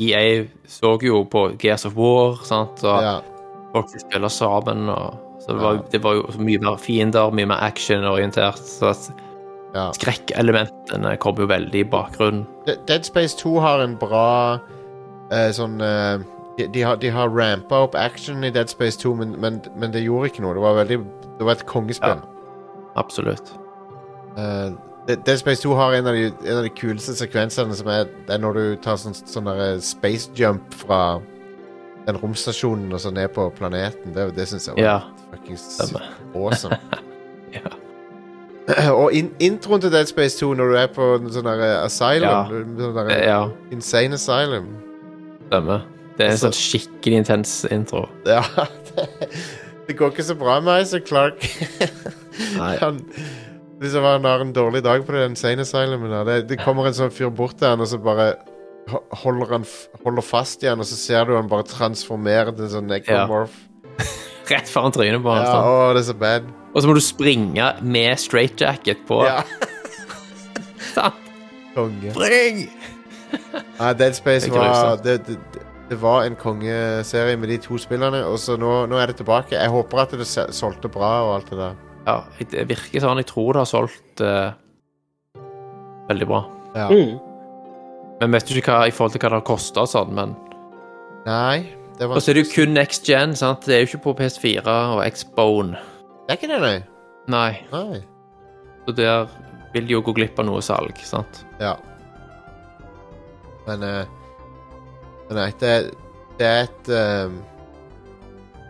Speaker 3: EA så jo på Gears of War, sant, og
Speaker 1: Ja,
Speaker 3: folk som spiller sammen, og så det var,
Speaker 1: Ja.
Speaker 3: det var jo så mye mer fiender, mye mer actionorientert, så at
Speaker 1: ja.
Speaker 3: skrekkelementene kom jo veldig i bakgrunnen.
Speaker 1: De- Dead Space 2 har en bra eh, sånn eh, de, de har, de har rampa opp action i Dead Space 2, men, men, men det gjorde ikke noe. Det var, veldig, det var et kongespill.
Speaker 3: Ja. Absolutt.
Speaker 1: Eh, De- Dead Space 2 har en av de, en av de kuleste sekvensene som er, det er når du tar sånn, sånn der space jump fra den romstasjonen og så ned på planeten. Det, det syns jeg var
Speaker 3: Ja,
Speaker 1: fucking
Speaker 3: stemmer. [LAUGHS]
Speaker 1: awesome.
Speaker 3: Ja.
Speaker 1: [CLEARS THROAT] og in, introen til Dead Space 2 når du er på en sånn der eh,
Speaker 3: Ja.
Speaker 1: asylum sånn der,
Speaker 3: Ja,
Speaker 1: Insane asylum.
Speaker 3: stemmer. Det er en
Speaker 1: Altså-
Speaker 3: sånn skikkelig intens intro.
Speaker 1: Ja, [LAUGHS] det, det går ikke så bra med Isaac Clark.
Speaker 3: Nei.
Speaker 1: [LAUGHS] han, liksom han har en dårlig dag på det insane asylumet. der. Det, det kommer en sånn fyr bort til han, og så bare ho- holder han f- holder fast i han, og så ser du han bare transformere til en sånn necromorph.
Speaker 3: [LAUGHS] Rett foran trynet på
Speaker 1: Ja,
Speaker 3: han. sant?
Speaker 1: å, det er så bad.
Speaker 3: Og så må du springe med straightjacket på. [LAUGHS]
Speaker 1: Ja,
Speaker 3: Sant?
Speaker 1: konge.
Speaker 3: Spring!
Speaker 1: Nei, Dead Space
Speaker 3: Det er
Speaker 1: var
Speaker 3: grusomt.
Speaker 1: det, det, det- det var en kongeserie med de to spillerne, og så nå, nå er det tilbake. Jeg håper at det se- solgte bra og alt det der.
Speaker 3: Ja, det virker sånn. Jeg tror det har solgt eh, veldig bra.
Speaker 1: Ja.
Speaker 2: Mm.
Speaker 3: Men vet jo ikke hva i forhold til hva det har kosta og sånn, men
Speaker 1: Nei, det var
Speaker 3: Og så er det jo kun next gen, sant? Det er jo ikke på PS4 og Xbone.
Speaker 1: Det er ikke det, nei.
Speaker 3: Nei.
Speaker 1: nei.
Speaker 3: Så der vil de jo gå glipp av noe salg, sant?
Speaker 1: Ja. Men eh, Men nei, det, det er et eh,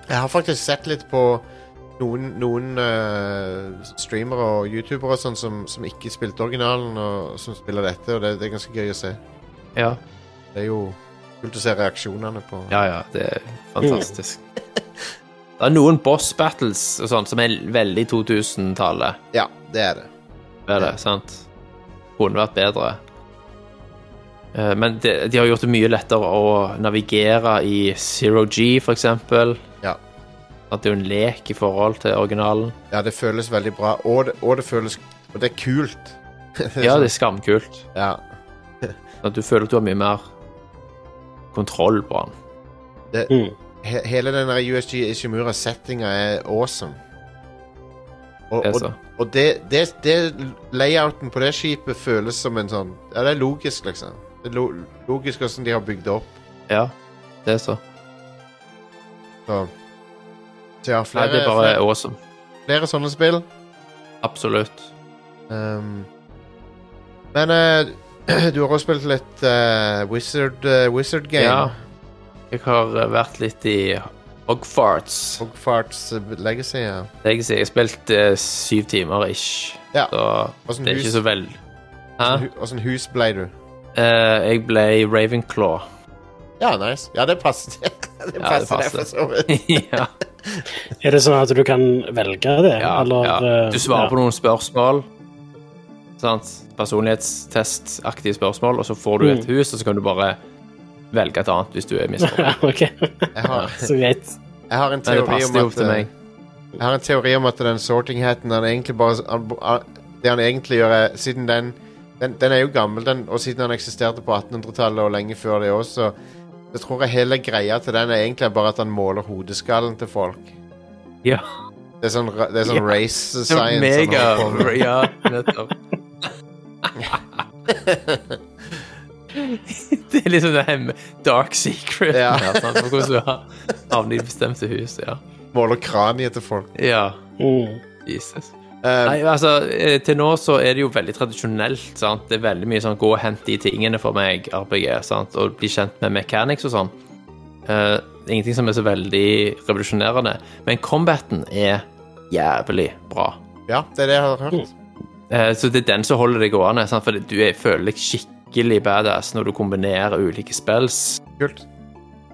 Speaker 1: Jeg har faktisk sett litt på noen, noen eh, streamere og youtubere og sånn som, som ikke spilte originalen, og som spiller dette, og det, det er ganske gøy å se.
Speaker 3: Ja.
Speaker 1: Det er jo kult å se reaksjonene på
Speaker 3: Ja, ja. Det er fantastisk. Det er noen boss battles og sånn som er veldig 2000-tallet.
Speaker 1: Ja, det er det.
Speaker 3: er det, sant? Kunne vært bedre. Eh, Men de, de har gjort det mye lettere å navigere i Zero G, for eksempel.
Speaker 1: Ja.
Speaker 3: At det er jo en lek i forhold til originalen.
Speaker 1: Ja, det føles veldig bra, og det, og det føles Og det er kult.
Speaker 3: Ja, det er skamkult.
Speaker 1: ja.
Speaker 3: At du føler at du har mye mer kontroll på den.
Speaker 1: Det,
Speaker 2: Mm.
Speaker 1: he, hele den der USG Ishimura-settinga er awesome. Og,
Speaker 3: Det er
Speaker 1: og,
Speaker 3: så.
Speaker 1: og det, det, det Layouten på det skipet føles som en sånn Ja, det er logisk, liksom. Det er lo, logisk hvordan de har bygd det opp.
Speaker 3: Ja, det er så.
Speaker 1: Så, så ja,
Speaker 3: Nei,
Speaker 1: flere,
Speaker 3: det er bare
Speaker 1: flere,
Speaker 3: awesome.
Speaker 1: flere sånne spill.
Speaker 3: Absolutt.
Speaker 1: Um, men eh, [CLEARS THROAT] du har også spilt litt eh, Wizard, eh, Wizard Game.
Speaker 3: Ja. Jeg har eh, vært litt i Hogfarts.
Speaker 1: Hogfarts eh, Legacy. Ja.
Speaker 3: Jeg sier jeg har spilt eh, syv timer ish.
Speaker 1: Ja.
Speaker 3: Så
Speaker 1: Hvordan
Speaker 3: det er
Speaker 1: hus-
Speaker 3: ikke så vel.
Speaker 1: Åssen
Speaker 3: Hæ?
Speaker 1: hu- sånn åssen hus ble du?
Speaker 3: Eh, jeg ble
Speaker 1: [LAUGHS]
Speaker 3: Ravenclaw.
Speaker 1: Ja, nice. Ja, det passer. [LAUGHS] det passer,
Speaker 3: Ja, det
Speaker 1: det
Speaker 3: passer.
Speaker 1: for så vidt.
Speaker 3: ja.
Speaker 2: Er det sånn at du kan velge det?
Speaker 3: Ja,
Speaker 2: eller, eh,
Speaker 3: ja. Du svarer
Speaker 2: ja. [LAUGHS]
Speaker 3: på noen spørsmål. Sant? Personlighetstestaktige spørsmål, og så får du et
Speaker 2: Mm.
Speaker 3: hus, og så kan du bare velge et annet hvis du er
Speaker 1: [LAUGHS]
Speaker 3: misfornøyd.
Speaker 2: ok, [LAUGHS]
Speaker 1: Jeg har,
Speaker 2: så greit.
Speaker 1: jeg har en
Speaker 3: Men det
Speaker 1: teori om
Speaker 3: passer jo
Speaker 1: at
Speaker 3: til
Speaker 1: eh,
Speaker 3: meg.
Speaker 1: Jeg har en teori om at den sorting hatten han egentlig bare han, han- Det han egentlig gjør, er Siden den Den, den er jo gammel, den, og siden han eksisterte på 1800-tallet og lenge før det også, så tror jeg hele greia til den er egentlig bare at han måler hodeskallen til folk.
Speaker 3: Ja.
Speaker 1: Det er sånn, ra- det er sånn
Speaker 3: Ja.
Speaker 1: race
Speaker 3: Det var
Speaker 1: [LAUGHS] science. han
Speaker 3: Mega.
Speaker 1: holder på med.
Speaker 3: [LAUGHS] Ja,
Speaker 1: [LAUGHS]
Speaker 3: nettopp. det er liksom det hem dark
Speaker 1: Ja.
Speaker 3: secret. [LAUGHS] Ja. sant, for hvordan du har havnet i bestemte hus. Ja.
Speaker 1: Måler kraniet til folk.
Speaker 3: ja.
Speaker 2: Mm.
Speaker 3: Jesus.
Speaker 1: Eh,
Speaker 3: Nei, altså, eh, til nå så er det jo veldig tradisjonelt, sant. Det er veldig mye sånn gå og hent de tingene for meg, RPG, sant, og bli kjent med mechanics og sånn. Eh, det er ingenting som er så veldig revolusjonerende. Men combaten er jævlig bra.
Speaker 1: ja, det er det jeg har hørt.
Speaker 3: Eh, Så det er den som holder det gående, sant? for du er, føler deg skikkelig badass når du kombinerer ulike spills.
Speaker 1: Kult.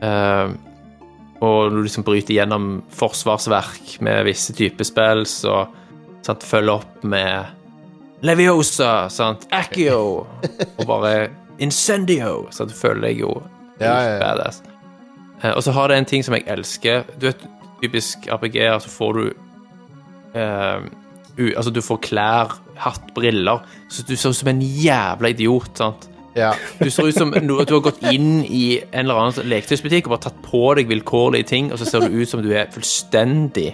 Speaker 3: eh, og du liksom bryter gjennom forsvarsverk med visse typer spills, og sant, følger opp med Leviosa, sant?
Speaker 1: [LAUGHS]
Speaker 3: Accio, og bare Incendio, så du føler deg jo
Speaker 1: Ja, ja, ja.
Speaker 3: badass. Eh, og så har det en ting som jeg elsker. Du vet, typisk RPG-er, så altså får du eh, u, Altså, du får klær, hatt, briller, så du ser ut som en jævla idiot, sant?
Speaker 1: Ja.
Speaker 3: Du ser ut som no- at du har gått inn i en eller annen sånn leketøysbutikk og bare tatt på deg vilkårlige ting, og så ser du ut som du er fullstendig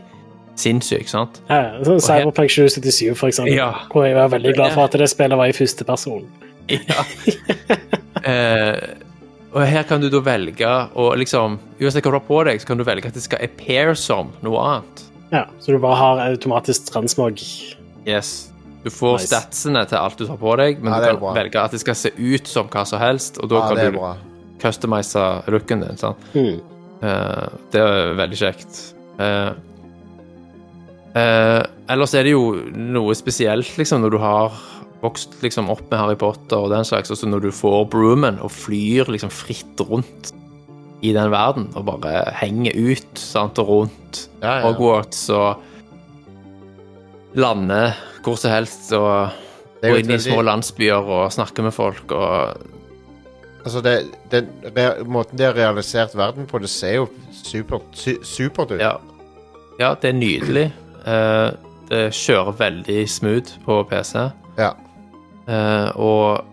Speaker 3: sinnssyk, sant?
Speaker 2: Ja, ja, sånn Cyberpunk 2077, for eksempel,
Speaker 3: Ja.
Speaker 2: hvor jeg var veldig glad for at det spillet var i første person.
Speaker 3: Ja. [LAUGHS] Eh, og her kan du da velge å liksom Uansett hva du har på deg, så kan du velge at det skal appear som noe annet.
Speaker 2: Ja, så du bare har automatisk transmog.
Speaker 3: Yes. Du får
Speaker 2: Nice.
Speaker 3: statsene til alt du tar på deg, men
Speaker 1: Ja, det er
Speaker 3: du kan
Speaker 1: bra.
Speaker 3: velge at det skal se ut som hva som helst, og da
Speaker 1: ja, det
Speaker 3: kan
Speaker 1: er
Speaker 3: du
Speaker 1: bra.
Speaker 3: customize looken din. Sant?
Speaker 1: Hmm.
Speaker 2: Mm.
Speaker 3: Eh, det er veldig kjekt. Eh, eh, ellers er det jo noe spesielt, liksom, når du har vokst liksom, opp med Harry Potter og den slags, også når du får Broomen og flyr liksom fritt rundt i den verden og bare henger ut sant, og rundt
Speaker 1: Ja, ja.
Speaker 3: Hogwarts og lander hvor som helst og
Speaker 1: Det er jo
Speaker 3: går inn i
Speaker 1: et
Speaker 3: små
Speaker 1: veldig-
Speaker 3: landsbyer og snakker med folk og
Speaker 1: Altså, det, det, re, måten de har realisert verden på, det ser jo supert su, supert ut.
Speaker 3: Ja. ja, det er nydelig. Eh, det kjører veldig smooth på PC,
Speaker 1: Ja.
Speaker 3: eh, og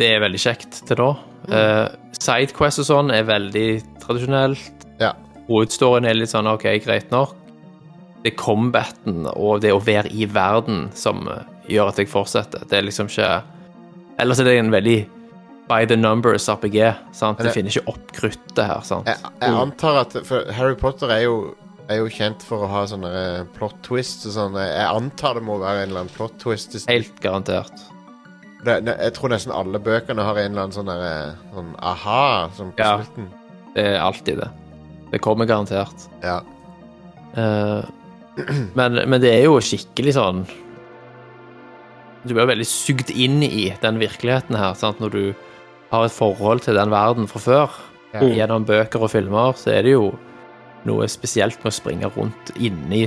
Speaker 3: det er veldig kjekt til da. Eh, Sidequest og sånn er veldig tradisjonelt.
Speaker 1: Ja.
Speaker 3: Hovedstoryen er litt sånn OK, greit nok. Det er combaten og det å være i verden som eh, gjør at jeg fortsetter. Det er liksom ikke Ellers er det en veldig by the numbers RPG. sant? Det
Speaker 1: Det-
Speaker 3: finner ikke opp kruttet her, sant?
Speaker 1: Jeg, jeg antar at For Harry Potter er jo, er jo kjent for å ha sånne eh, plot twists og sånn. Jeg antar det må være en eller annen plot twist. i-
Speaker 3: Helt garantert.
Speaker 1: Det, ne, jeg tror nesten alle bøkene har en eller annen sånn derre sånn aha sånn på
Speaker 3: Ja.
Speaker 1: slutten.
Speaker 3: Det er Eh, alltid det. Det kommer garantert.
Speaker 1: Ja.
Speaker 3: Eh, men, men det er jo skikkelig sånn Du blir jo veldig sugd inn i den virkeligheten her sant? når du har et forhold til den verden fra før.
Speaker 1: Ja.
Speaker 3: Gjennom bøker og filmer så er det jo noe spesielt med å springe rundt inne i,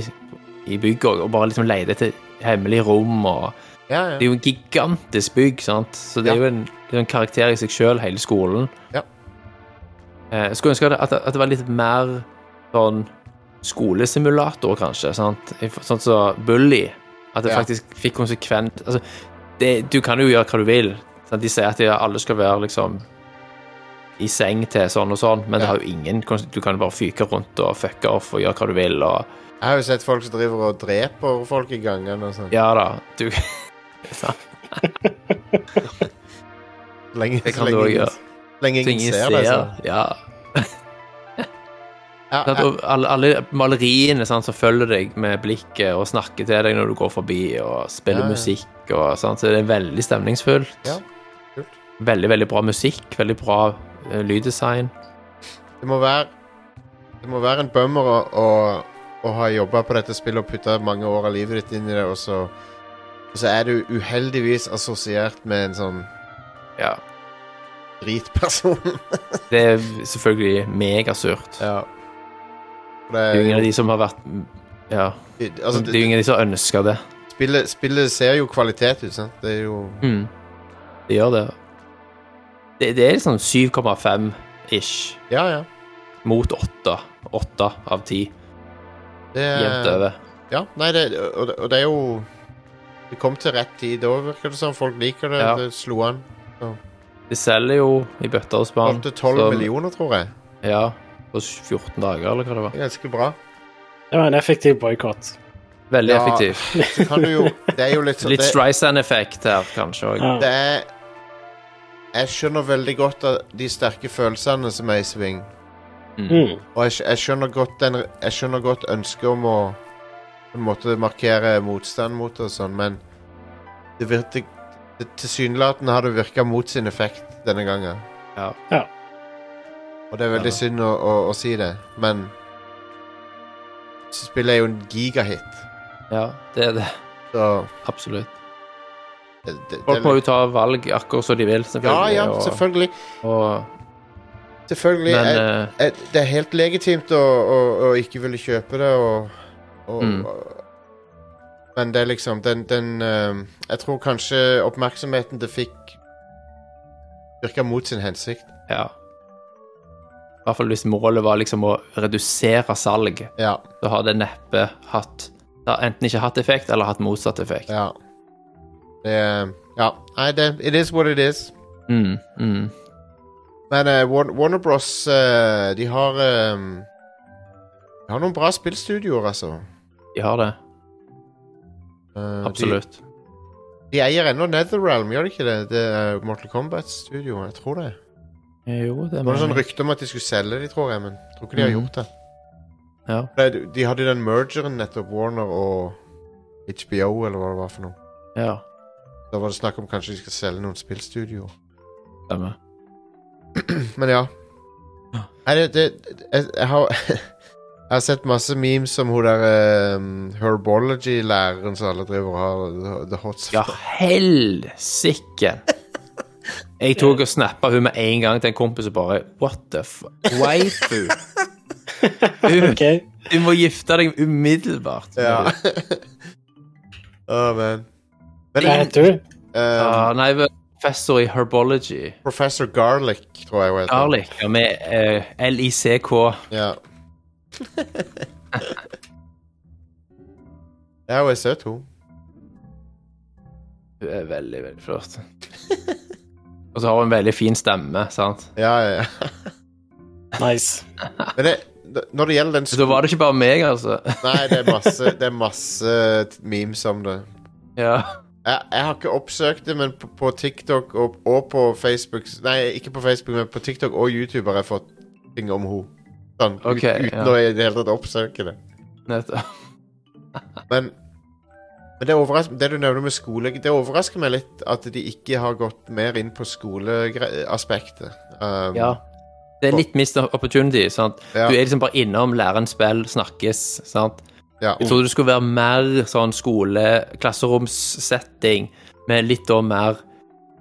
Speaker 3: i bygget og, og bare liksom lete etter hemmelige rom og
Speaker 1: Ja, ja.
Speaker 3: Det er jo en gigantisk bygg, sant? så det
Speaker 1: Ja.
Speaker 3: er jo en, det er en karakter i seg sjøl, hele skolen.
Speaker 1: Ja.
Speaker 3: Eh, jeg skulle ønske at, at det var litt mer sånn skolesimulator, kanskje. Sant? I f- Sånn som Bully. At det
Speaker 1: Ja.
Speaker 3: faktisk fikk konsekvent altså, det, Du kan jo gjøre hva du vil. Sant? De sier at ja, alle skal være liksom i seng til sånn og sånn, men det
Speaker 1: Ja.
Speaker 3: har jo ingen kons- Du kan jo bare fyke rundt og fucke off og gjøre hva du vil. og
Speaker 1: Jeg har jo sett folk som driver og dreper folk i gangene og sånn.
Speaker 3: Ja da, du
Speaker 1: Lenge,
Speaker 3: Det kan
Speaker 1: lenge,
Speaker 3: du også
Speaker 1: ingen-
Speaker 3: gjøre.
Speaker 1: lenge ingen
Speaker 3: Ingen
Speaker 1: ser det. sånn.
Speaker 3: ser. Ja.
Speaker 1: Ja,
Speaker 3: Sant,
Speaker 1: ja,
Speaker 3: og alle, alle maleriene sant, som følger deg med blikket og snakker til deg når du går forbi og spiller
Speaker 1: Ja, ja.
Speaker 3: musikk og sånn, så det er veldig stemningsfullt.
Speaker 1: Ja, kult.
Speaker 3: Veldig, veldig bra musikk, veldig bra eh, lyddesign.
Speaker 1: det må være Det må være en bummer å, å, å ha jobba på dette spillet og putta mange år av livet ditt inn i det, og så, og så er du uheldigvis assosiert med en sånn
Speaker 3: Ja.
Speaker 1: dritperson. [LAUGHS]
Speaker 3: Det er selvfølgelig megasurt.
Speaker 1: ja.
Speaker 3: Det er jo
Speaker 1: Det,
Speaker 3: ingen av de som har vært Ja.
Speaker 1: er-
Speaker 3: Det
Speaker 1: altså,
Speaker 3: er jo ingen av de som ønsker det.
Speaker 1: spillet, spillet ser jo kvalitet ut, sant? Det er jo
Speaker 3: Mm. Det gjør det. Det, det er liksom 7,5-ish
Speaker 1: Ja, ja.
Speaker 3: mot 8. 8 av 10
Speaker 1: Det er,
Speaker 3: jevnt over.
Speaker 1: Ja, nei, det, og, og det er jo Det kom til rett tid òg, virker det som. Folk liker det.
Speaker 3: Ja.
Speaker 1: Det slo an.
Speaker 3: De selger jo i bøtter og spann.
Speaker 1: Holdt til 12
Speaker 3: så-
Speaker 1: millioner, tror jeg.
Speaker 3: Ja, på 14 dager, eller hva det var.
Speaker 1: Det er ganske
Speaker 3: [LAUGHS]
Speaker 1: bra.
Speaker 2: Det var en effektiv boikott.
Speaker 3: Veldig
Speaker 1: Ja.
Speaker 3: effektivt.
Speaker 1: Så kan du jo Det er jo litt sånn
Speaker 3: Litt
Speaker 1: det,
Speaker 3: Streisand-effekt her, kanskje òg.
Speaker 2: Ja.
Speaker 1: det er Jeg skjønner veldig godt at de sterke følelsene som er i sving.
Speaker 2: Mm.
Speaker 1: Og jeg, skj- jeg skjønner godt den Jeg skjønner godt ønsket om å på en måte markere motstand mot det og sånn, men det virker Tilsynelatende har det virka mot sin effekt denne gangen.
Speaker 3: Ja.
Speaker 2: Ja.
Speaker 1: Og det er veldig
Speaker 3: Ja.
Speaker 1: synd å, å, å si det, men Spillet er jo en gigahit,
Speaker 3: ja, det er det.
Speaker 1: så
Speaker 3: Absolutt.
Speaker 1: det, det, det,
Speaker 3: Folk må jo ta valg akkurat som de vil, selvfølgelig.
Speaker 1: Ja, ja,
Speaker 3: og-
Speaker 1: selvfølgelig.
Speaker 3: Og,
Speaker 1: Selvfølgelig.
Speaker 3: men
Speaker 1: jeg,
Speaker 3: eh,
Speaker 1: jeg, det er helt legitimt å, å, å ikke ville kjøpe det, og, og,
Speaker 3: Mm.
Speaker 1: og Men det er liksom den, den ehm, Jeg tror kanskje oppmerksomheten det fikk, virka mot sin hensikt.
Speaker 3: ja. I hvert fall hvis målet var liksom å redusere salg,
Speaker 1: Ja.
Speaker 3: så har det neppe hatt det har enten ikke hatt effekt, eller hatt motsatt effekt.
Speaker 1: Ja. Det ehm, Ja. Nei, det It is what it is.
Speaker 3: Mm, mm.
Speaker 1: Men eh, Warner, Warner Bros, eh, de har ehm, De har noen bra spillstudioer, altså.
Speaker 3: De har det.
Speaker 1: Eh,
Speaker 3: Absolutt.
Speaker 1: De, de eier ennå Netherrealm, gjør de ikke det? Det er Mortal Kombat-studio, jeg tror det.
Speaker 3: Jo, det
Speaker 1: Det var noen sånn
Speaker 3: mener jeg.
Speaker 1: rykte om at de skulle selge de, tror jeg, men jeg tror ikke de har
Speaker 3: Mhm.
Speaker 1: gjort det.
Speaker 3: Ja.
Speaker 1: Nei, de- De hadde jo den mergeren nettopp, Warner og HBO, eller hva det var for noe.
Speaker 3: ja.
Speaker 1: Da var det snakk om kanskje de skal selge noen spillstudioer. [LAUGHS]
Speaker 3: Stemmer.
Speaker 1: Men ja.
Speaker 3: Ja.
Speaker 1: Nei, det, det jeg, jeg har [LAUGHS] Jeg har sett masse memes om hun der ehm, herbology-læreren som alle driver og har the- the hot
Speaker 3: Ja, helsike! Jeg tok og snappa hun med en gang til en kompis og bare What the f... Waifu!
Speaker 1: Hmm.
Speaker 3: Hun,
Speaker 2: OK.
Speaker 3: du må gifte deg umiddelbart.
Speaker 1: [LAUGHS] Ja. [LAUGHS] Å, men Men
Speaker 2: Hva heter du?
Speaker 1: ehm,
Speaker 3: Eh, Ja, nei, vel, professor i herbology.
Speaker 1: Professor Garlic, tror jeg hun heter.
Speaker 3: Garlic, ja, med eh, L-I-C-K. [LAUGHS]
Speaker 1: Ja. ja, hun er søt, hun.
Speaker 3: Hun er veldig, veldig flott. Og så har hun en veldig fin stemme, sant.
Speaker 1: Ja, ja, ja. [LAUGHS]
Speaker 2: Nice.
Speaker 1: Men det, når det gjelder den
Speaker 3: Så da var det ikke bare meg, altså.
Speaker 1: [LAUGHS] Nei, det er masse, det er masse eh, memes om det.
Speaker 3: Ja.
Speaker 1: Jeg, jeg har ikke oppsøkt det, men på, på TikTok og, og på Facebook Nei, ikke på Facebook, men på TikTok og YouTube har jeg fått ting om henne. Sånn, ut-
Speaker 3: Ok,
Speaker 1: uten
Speaker 3: ja.
Speaker 1: å i det hele tatt oppsøke det.
Speaker 3: Nettopp.
Speaker 1: Men, men det, overrasker, det du nevner med skole Det overrasker meg litt at de ikke har gått mer inn på skoleaspektet. Um,
Speaker 3: Ja. Det er litt missed opportunity. sant?
Speaker 1: Ja.
Speaker 3: Du er liksom bare innom, lærer en spill, snakkes. sant?
Speaker 1: ja.
Speaker 3: Jeg trodde det skulle være mer sånn skole, klasseromssetting, med litt da mer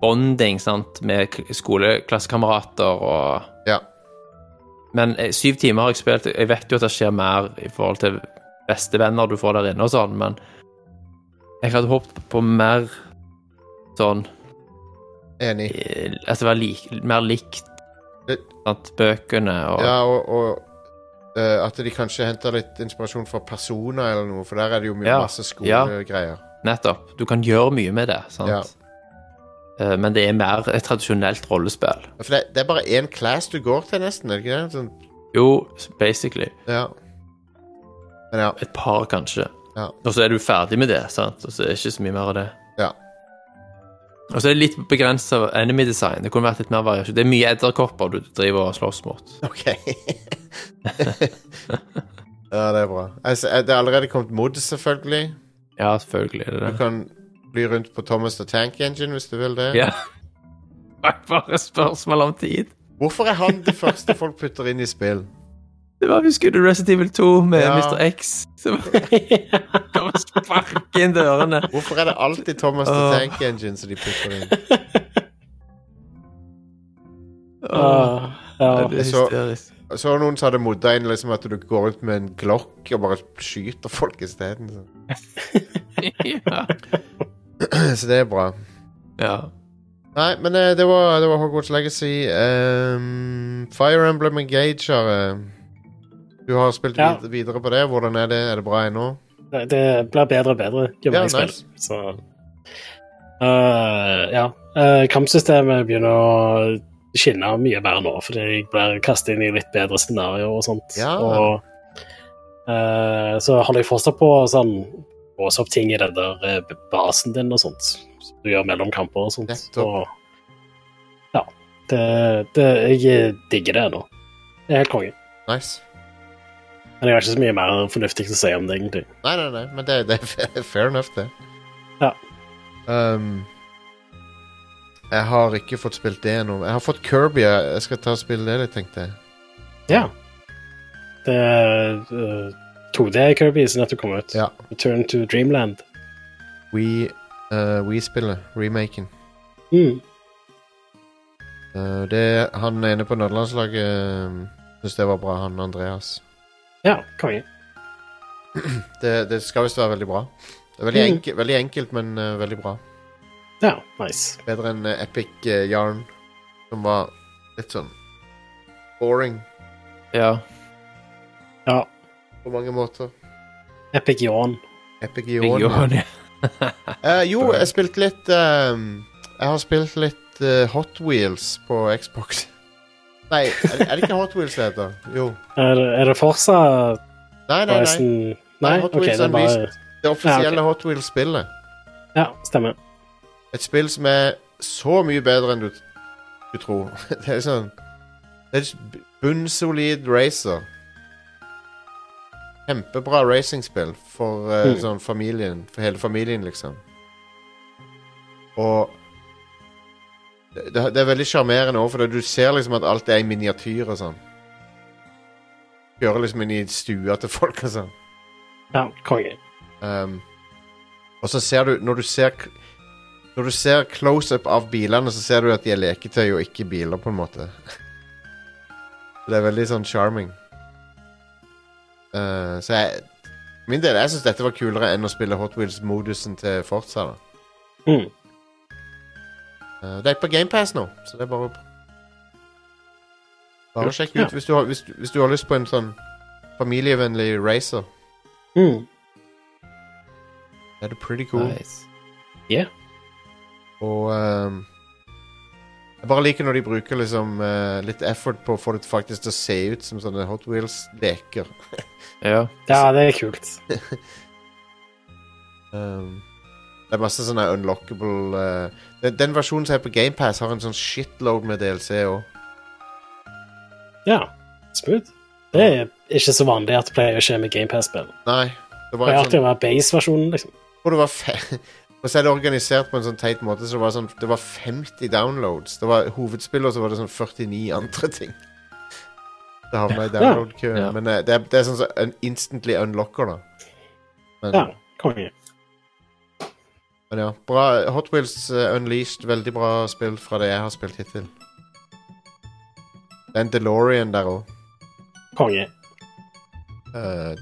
Speaker 3: bonding sant? med k- skoleklassekamerater og
Speaker 1: Ja.
Speaker 3: Men eh, syv timer har jeg spilt. Jeg vet jo at det skjer mer i forhold til bestevenner du får der inne og sånn, men jeg hadde håpet på mer sånn
Speaker 1: Enig.
Speaker 3: eh, At det var lik, mer likt
Speaker 1: Det-
Speaker 3: sant? bøkene og
Speaker 1: Ja, og, og eh, at de kanskje henter litt inspirasjon fra personer eller noe, for der er det jo mye
Speaker 3: Ja.
Speaker 1: masse skolegreier.
Speaker 3: Nettopp. Du kan gjøre mye med det, sant?
Speaker 1: Ja.
Speaker 3: Eh, Men det er mer et tradisjonelt rollespill.
Speaker 1: For det, det er bare én class du går til, nesten, er det ikke det? Sånn,
Speaker 3: Jo, basically.
Speaker 1: ja. Men ja.
Speaker 3: Et par, kanskje.
Speaker 1: Ja.
Speaker 3: Og så er du ferdig med det, sant? og så er det ikke så mye mer av det.
Speaker 1: ja. [LAUGHS]
Speaker 3: Og så er det litt begrensa enemy design. Det kunne vært litt mer variasjon. Det er mye edderkopper du driver og slåss mot. [LAUGHS]
Speaker 1: OK. ja, det er bra. Altså, det er allerede kommet mods, selvfølgelig.
Speaker 3: Ja, selvfølgelig er det
Speaker 1: Du
Speaker 3: det.
Speaker 1: kan bli rundt på Thomas the Tank Engine hvis du vil det.
Speaker 3: Ja. Det var bare et spørsmål om tid.
Speaker 1: Hvorfor er han det første folk putter inn i spill?
Speaker 3: Det var Husker du Resident Evil 2 med
Speaker 1: Ja.
Speaker 3: Mr. X? [LAUGHS] Som kom og sparket inn dørene.
Speaker 1: Hvorfor er det alltid Thomas the
Speaker 3: Åh.
Speaker 1: Tank Engine som de putter inn?
Speaker 3: Åh,
Speaker 2: Ah, ja.
Speaker 3: det er
Speaker 1: Så-
Speaker 3: hysterisk. [LAUGHS]
Speaker 1: Så var det noen som hadde modda inn liksom at du går rundt med en glokk og bare skyter folk liksom. isteden. Så.
Speaker 3: ja.
Speaker 1: [CLEARS THROAT] så det er bra.
Speaker 3: ja.
Speaker 1: Nei, men eh, det, var, det var Hogwarts Legacy. Ehm, Fire Emblem Engager eh. Du har spilt
Speaker 2: Ja.
Speaker 1: vid videre på det. Hvordan er det? Er det bra ennå?
Speaker 2: Nei, Det blir bedre og bedre jo
Speaker 1: Ja,
Speaker 2: mer jeg spiller.
Speaker 1: nice.
Speaker 2: Så Øh, Ja. Eh, kampsystemet begynner å skinne mye mer nå, fordi jeg blir kastet inn i litt bedre scenarioer og sånt.
Speaker 1: Ja.
Speaker 2: Og eh, så holder jeg fortsatt på å sånn, låse opp ting i den der eh, basen din og sånt, som du gjør mellom kamper og sånt.
Speaker 1: Nettopp.
Speaker 2: Og, ja. Det, det, jeg digger det nå. Det er helt konge.
Speaker 1: Nice.
Speaker 2: Men jeg har ikke så mye mer fornuftig å si om det, egentlig.
Speaker 1: Nei, nei, nei, men det, det er fair enough, det.
Speaker 2: Ja.
Speaker 1: Ehm, jeg har ikke fått spilt det ennå. Jeg har fått Kirby. Jeg jeg skal ta og spille det litt, tenkte jeg.
Speaker 2: Ja. Det er eh, 2D Kirby som nettopp kom ut.
Speaker 1: Ja.
Speaker 2: Return to Dreamland.
Speaker 1: We, eh, we spiller remaken.
Speaker 2: Mm.
Speaker 1: Eh, det han ene på nederlandslaget uh, syns det var bra, han Andreas.
Speaker 2: Ja, konge.
Speaker 1: Det, det skal visst være veldig bra. Det er veldig,
Speaker 2: Mm.
Speaker 1: enke, veldig enkelt, men eh, veldig bra.
Speaker 2: Ja, nice.
Speaker 1: Bedre enn eh, Epic eh, Yarn, som var litt sånn boring
Speaker 3: ja.
Speaker 2: Ja,
Speaker 1: på mange måter.
Speaker 2: Epic Yawn.
Speaker 1: Epic
Speaker 3: Big
Speaker 1: Yarn. ja.
Speaker 3: Yawn, ja.
Speaker 1: Eh, jo, jeg spilte litt ehm, Jeg har spilt litt eh, Hot Wheels på Xbox. Nei, er, det- er det ikke Hot Wheels det heter? Jo.
Speaker 2: Er, det- er det Forza
Speaker 1: Nei, nei, nei.
Speaker 2: Horizon
Speaker 1: Nei,
Speaker 2: Nei,
Speaker 1: Hot
Speaker 2: OK,
Speaker 1: Wheels
Speaker 2: det er bare
Speaker 1: Unleashed. Det offisielle
Speaker 2: Ja,
Speaker 1: Hot Wheels-spillet.
Speaker 2: Ja, stemmer.
Speaker 1: Et spill som er så mye bedre enn du, du tror. [LAUGHS] Det er sånn Det er et bunnsolid racer. Kjempebra racingspill for eh,
Speaker 2: Mm.
Speaker 1: sånn familien, for hele familien, liksom. Og det, det det er veldig sjarmerende òg, for du ser liksom at alt er i miniatyr og sånn. Kjører liksom inn i stua til folk og sånn.
Speaker 2: Ja, konge.
Speaker 1: Um, og så ser du Når du ser k- Når du ser close-up av bilene, så ser du at de er leketøy og ikke biler, på en måte. [LAUGHS] det er veldig sånn charming. Uh, så jeg Min del, jeg syns dette var kulere enn å spille Hot Wheels-modusen til Forza. da
Speaker 2: Mm.
Speaker 1: Eh, Det er på GamePass nå, så det er bare Bare sjekk ut
Speaker 2: Ja.
Speaker 1: hvis, du har, hvis, du- hvis du har lyst på en sånn familievennlig racer.
Speaker 2: Mm.
Speaker 1: Det er det pretty cool.
Speaker 3: Nice.
Speaker 1: Og ehm, Jeg bare liker når de bruker liksom eh, litt effort på å få det faktisk til å se ut som sånne Hot Wheels-leker.
Speaker 3: Ja.
Speaker 2: Ja, det er kult.
Speaker 1: Ehm, det er masse sånne unlockable eh, den, den versjonen som er på GamePass, har en sånn shitload med DLC òg.
Speaker 2: Ja, smooth. Det er ikke så vanlig at det pleier å skje med GamePass-spill.
Speaker 1: Nei. Det
Speaker 2: Det
Speaker 1: var
Speaker 2: er
Speaker 1: en
Speaker 2: alltid
Speaker 1: sånn,
Speaker 2: å være base-versjonen, liksom.
Speaker 1: jeg tror det var fe [LAUGHS] Og så er det organisert på en sånn teit måte, så det var, sånn, det var 50 downloads. Det var hovedspill, og så var det sånn 49 andre ting. Det havna i download-køen.
Speaker 3: Ja.
Speaker 1: Men eh, det, er, det er sånn som un instantly unlocker, da. Men,
Speaker 2: Ja, konge.
Speaker 1: Men ja, bra. Hot Wheels eh, Unleashed, veldig bra spill fra det jeg har spilt hittil. Det er en DeLorean der òg.
Speaker 2: Konge.
Speaker 1: Eh,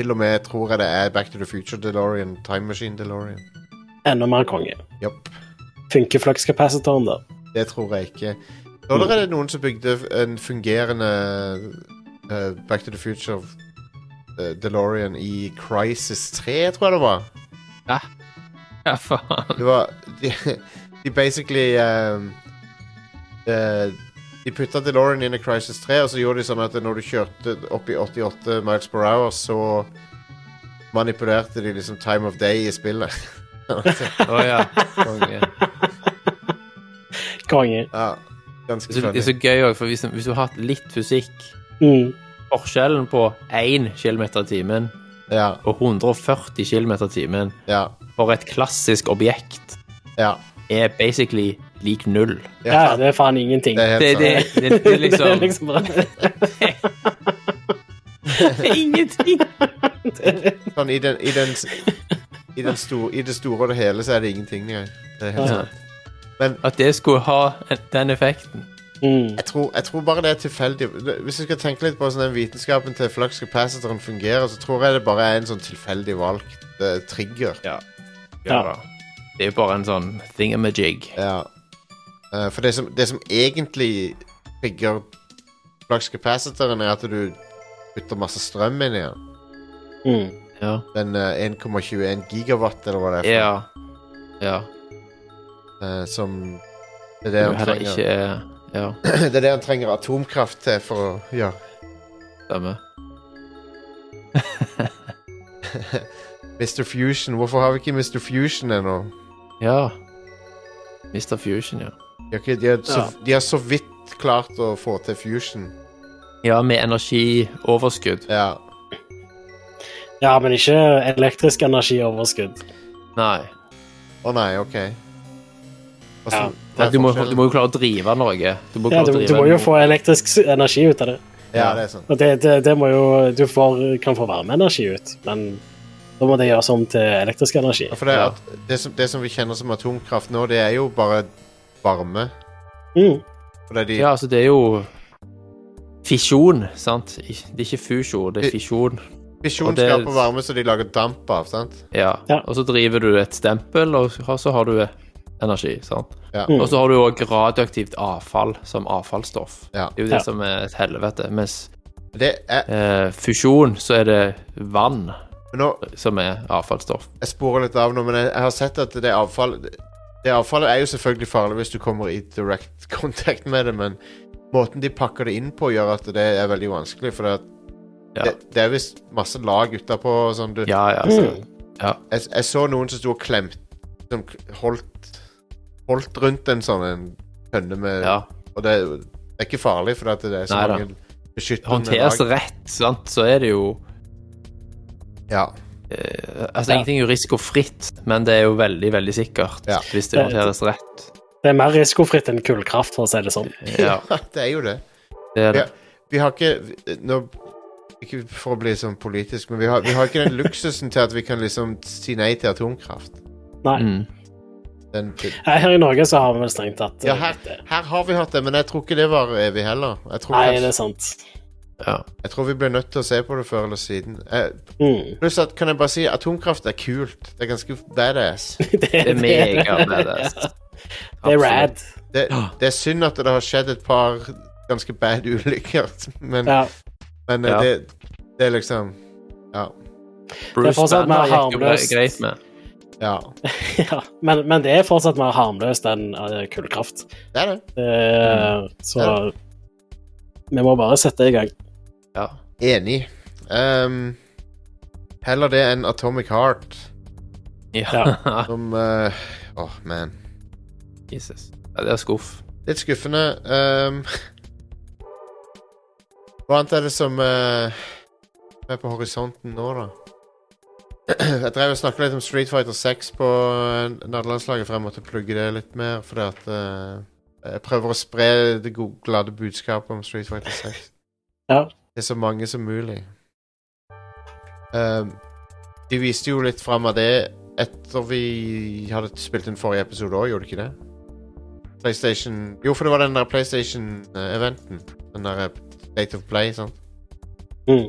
Speaker 1: til og med tror jeg det er Back to the Future DeLorean. Time Machine DeLorean.
Speaker 2: Enda mer konge.
Speaker 1: Jopp.
Speaker 2: Funker flux-kapasitoren der?
Speaker 1: Det tror jeg ikke. Så er det noen som bygde en fungerende eh, Back to the Future eh, DeLorean i Crisis 3, tror jeg det var.
Speaker 3: Ja. ja, faen.
Speaker 1: Det var De, [LAUGHS] de basically eh, eh, De putta DeLorean inn i Crisis 3, og så gjorde de sånn at når du kjørte opp i 88 miles per hour, så manipulerte de liksom time of day i spillet. [LAUGHS]
Speaker 3: Å [LAUGHS] ja. Konge.
Speaker 2: Konge.
Speaker 1: ja, ganske
Speaker 3: Det er så- det er
Speaker 1: funny.
Speaker 3: så gøy òg, for hvis, hvis du har hatt litt fysikk
Speaker 2: Mm.
Speaker 3: Forskjellen på 1 km i timen
Speaker 1: Ja,
Speaker 3: og 140 km i timen
Speaker 1: ja,
Speaker 3: for et klassisk objekt
Speaker 1: ja.
Speaker 3: er basically lik null.
Speaker 2: Ja, det er faen ingenting.
Speaker 1: det er helt
Speaker 3: Det, det,
Speaker 1: sant.
Speaker 3: det, [LAUGHS] det, er
Speaker 2: [LAUGHS] Det er
Speaker 3: liksom
Speaker 2: liksom bare
Speaker 3: [LAUGHS] det er ingenting.
Speaker 1: Sånn, i, den, i, den, i, den store, I det store og det hele så er det ingenting. Jeg. Det er helt sant.
Speaker 3: [LAUGHS] At det skulle ha den effekten.
Speaker 2: mm.
Speaker 1: Jeg tror, jeg tror bare det er tilfeldig. Hvis vi skal tenke litt på hvordan den vitenskapen til flux capacitoren fungerer, så tror jeg det bare er en sånn tilfeldig valgt eh, trigger.
Speaker 2: Ja.
Speaker 3: da. Det er jo bare en sånn thingamajig.
Speaker 1: Ja. Eh, for det som, det som egentlig trigger flux capacitoren, er at du putter masse strøm inn i den.
Speaker 2: Mm.
Speaker 3: Ja.
Speaker 1: Den eh, 1,21 gigawatt, eller hva det er,
Speaker 3: Ja. ja.
Speaker 1: for, eh, som det er
Speaker 3: Det
Speaker 1: det,
Speaker 3: er
Speaker 1: han
Speaker 3: heller
Speaker 1: trenger.
Speaker 3: ikke eh, Ja,
Speaker 1: [CLEARS THROAT] det er det han trenger atomkraft til for å gjøre.
Speaker 3: stemmer.
Speaker 1: Mr. Fusion. Hvorfor har vi ikke Mr. Fusion ennå?
Speaker 3: Ja. Mr. Fusion, ja.
Speaker 1: De har, ikke, de, har så, de har så vidt klart å få til fusion.
Speaker 3: Ja, med energioverskudd.
Speaker 1: Ja.
Speaker 2: Ja, men ikke elektrisk energioverskudd.
Speaker 3: Nei.
Speaker 1: Å nei, OK. Hvordan-
Speaker 2: Ja.
Speaker 1: hva er
Speaker 3: du, må,
Speaker 1: forskjellen?
Speaker 3: du må jo klare å drive noe. Du må,
Speaker 2: Ja,
Speaker 3: klare
Speaker 2: du,
Speaker 3: å drive
Speaker 2: du må
Speaker 3: noe.
Speaker 2: jo få elektrisk s- energi ut av det.
Speaker 1: Ja, det er sant.
Speaker 2: Og det, det, det må jo Du får, kan få varmeenergi ut, men da må det gjøres om til elektrisk energi.
Speaker 1: Ja, For det, er
Speaker 3: Ja.
Speaker 1: at det, som, det som vi kjenner som atomkraft nå, det er jo bare varme.
Speaker 2: Mm.
Speaker 1: Fordi de,
Speaker 3: Ja, altså, det er jo Fisjon, sant? Ik- Det er ikke fusjon, det er
Speaker 1: Det-
Speaker 3: fisjon.
Speaker 1: Fisjon
Speaker 3: og det-
Speaker 1: skaper varme, så de lager damp av, sant?
Speaker 3: Ja.
Speaker 2: Ja.
Speaker 3: Og så driver du et stempel, og så har du energi, sant?
Speaker 1: Ja.
Speaker 2: Mm.
Speaker 3: Og så har du òg radioaktivt avfall som avfallsstoff.
Speaker 1: Ja.
Speaker 3: Det er jo det
Speaker 2: Ja.
Speaker 3: som er et helvete. Mens
Speaker 1: Det er,
Speaker 3: eh, fusjon, så er det vann
Speaker 1: nå,
Speaker 3: som er avfallsstoff.
Speaker 1: jeg sporer litt av nå, men jeg, jeg har sett at det avfall Det avfallet er jo selvfølgelig farlig hvis du kommer i direct [LAUGHS] contact med det, men måten de pakker det inn på, gjør at det er veldig vanskelig. For det, at
Speaker 3: Ja.
Speaker 1: det, det er visst masse lag utapå. og Sånn, du,
Speaker 3: Ja, ja, altså.
Speaker 2: Mm.
Speaker 1: jeg, jeg så noen som sto og klemte Som k- holdt, holdt rundt en sånn en tønne med
Speaker 3: ja.
Speaker 1: Og det, det er ikke farlig, for at det er så
Speaker 3: Nei da.
Speaker 1: mange beskyttende
Speaker 3: Håndteres
Speaker 1: lag.
Speaker 3: rett, sant, så er det jo
Speaker 1: Ja.
Speaker 3: eh, Altså,
Speaker 2: Ja.
Speaker 3: ingenting er jo risikofritt, men det er jo veldig, veldig sikkert
Speaker 1: Ja.
Speaker 3: hvis det håndteres rett.
Speaker 2: Det er mer risikofritt enn kullkraft, for å si det sånn.
Speaker 3: Ja,
Speaker 1: [LAUGHS] det er jo det.
Speaker 3: det er det.
Speaker 1: Vi har ikke nå, Ikke for å bli sånn politisk, men vi har, vi har ikke den luksusen til at vi kan liksom si nei til atomkraft.
Speaker 2: Nei.
Speaker 3: Mm.
Speaker 1: Den,
Speaker 2: Her her i Norge så har vi vel strengt tatt
Speaker 1: ja,
Speaker 2: eh,
Speaker 1: her,
Speaker 2: det.
Speaker 1: her har vi hatt det, men jeg tror ikke det var evig heller. Jeg tror,
Speaker 2: Nei,
Speaker 1: kanskje-
Speaker 2: det er sant.
Speaker 3: Ja.
Speaker 1: jeg tror vi blir nødt til å se på det før eller siden. Eh,
Speaker 2: Mm. [LAUGHS]
Speaker 1: Pluss at, kan jeg bare si, atomkraft er kult. Det er ganske badass.
Speaker 2: [LAUGHS] Det
Speaker 3: Det er mega badass.
Speaker 2: Det er
Speaker 3: Absolutt.
Speaker 2: rad.
Speaker 1: Det, det er synd at det har skjedd et par ganske bad ulykker, [LAUGHS] men,
Speaker 2: Ja. [LAUGHS]
Speaker 1: men eh,
Speaker 3: Ja.
Speaker 1: det, det er liksom Ja.
Speaker 2: Det er
Speaker 3: Bruce
Speaker 2: fortsatt
Speaker 3: Banner
Speaker 2: mer
Speaker 3: gikk jo
Speaker 2: harmløst.
Speaker 3: greit med.
Speaker 1: ja.
Speaker 2: ja. Men, men det er fortsatt mer harmløst enn eh, kullkraft.
Speaker 1: Det er det.
Speaker 2: Eh, Så
Speaker 1: Ja.
Speaker 2: vi må bare sette i gang.
Speaker 3: Ja.
Speaker 1: Enig. Ehm, heller det enn Atomic Heart,
Speaker 3: ja.
Speaker 1: som eh, Åh, man.
Speaker 3: [LAUGHS] Jesus. Ja, det er skuff.
Speaker 1: Litt skuffende. ehm. hva annet er det som eh, er på horisonten nå, da? [CLEARS THROAT] Jeg drev og snakket litt om Street Fighter 6 på eh, nederlandslaget, for jeg måtte plugge det litt mer. Fordi at eh, jeg prøver å spre det go- glade budskapet om Street Fighter 6.
Speaker 2: Ja.
Speaker 1: Det er så mange som mulig. Ehm, de viste jo litt fram av det etter vi hadde spilt inn forrige episode òg, gjorde de ikke det? PlayStation Jo, for det var den der PlayStation-eventen. Den der eh, State of Play, sant.
Speaker 2: Mm.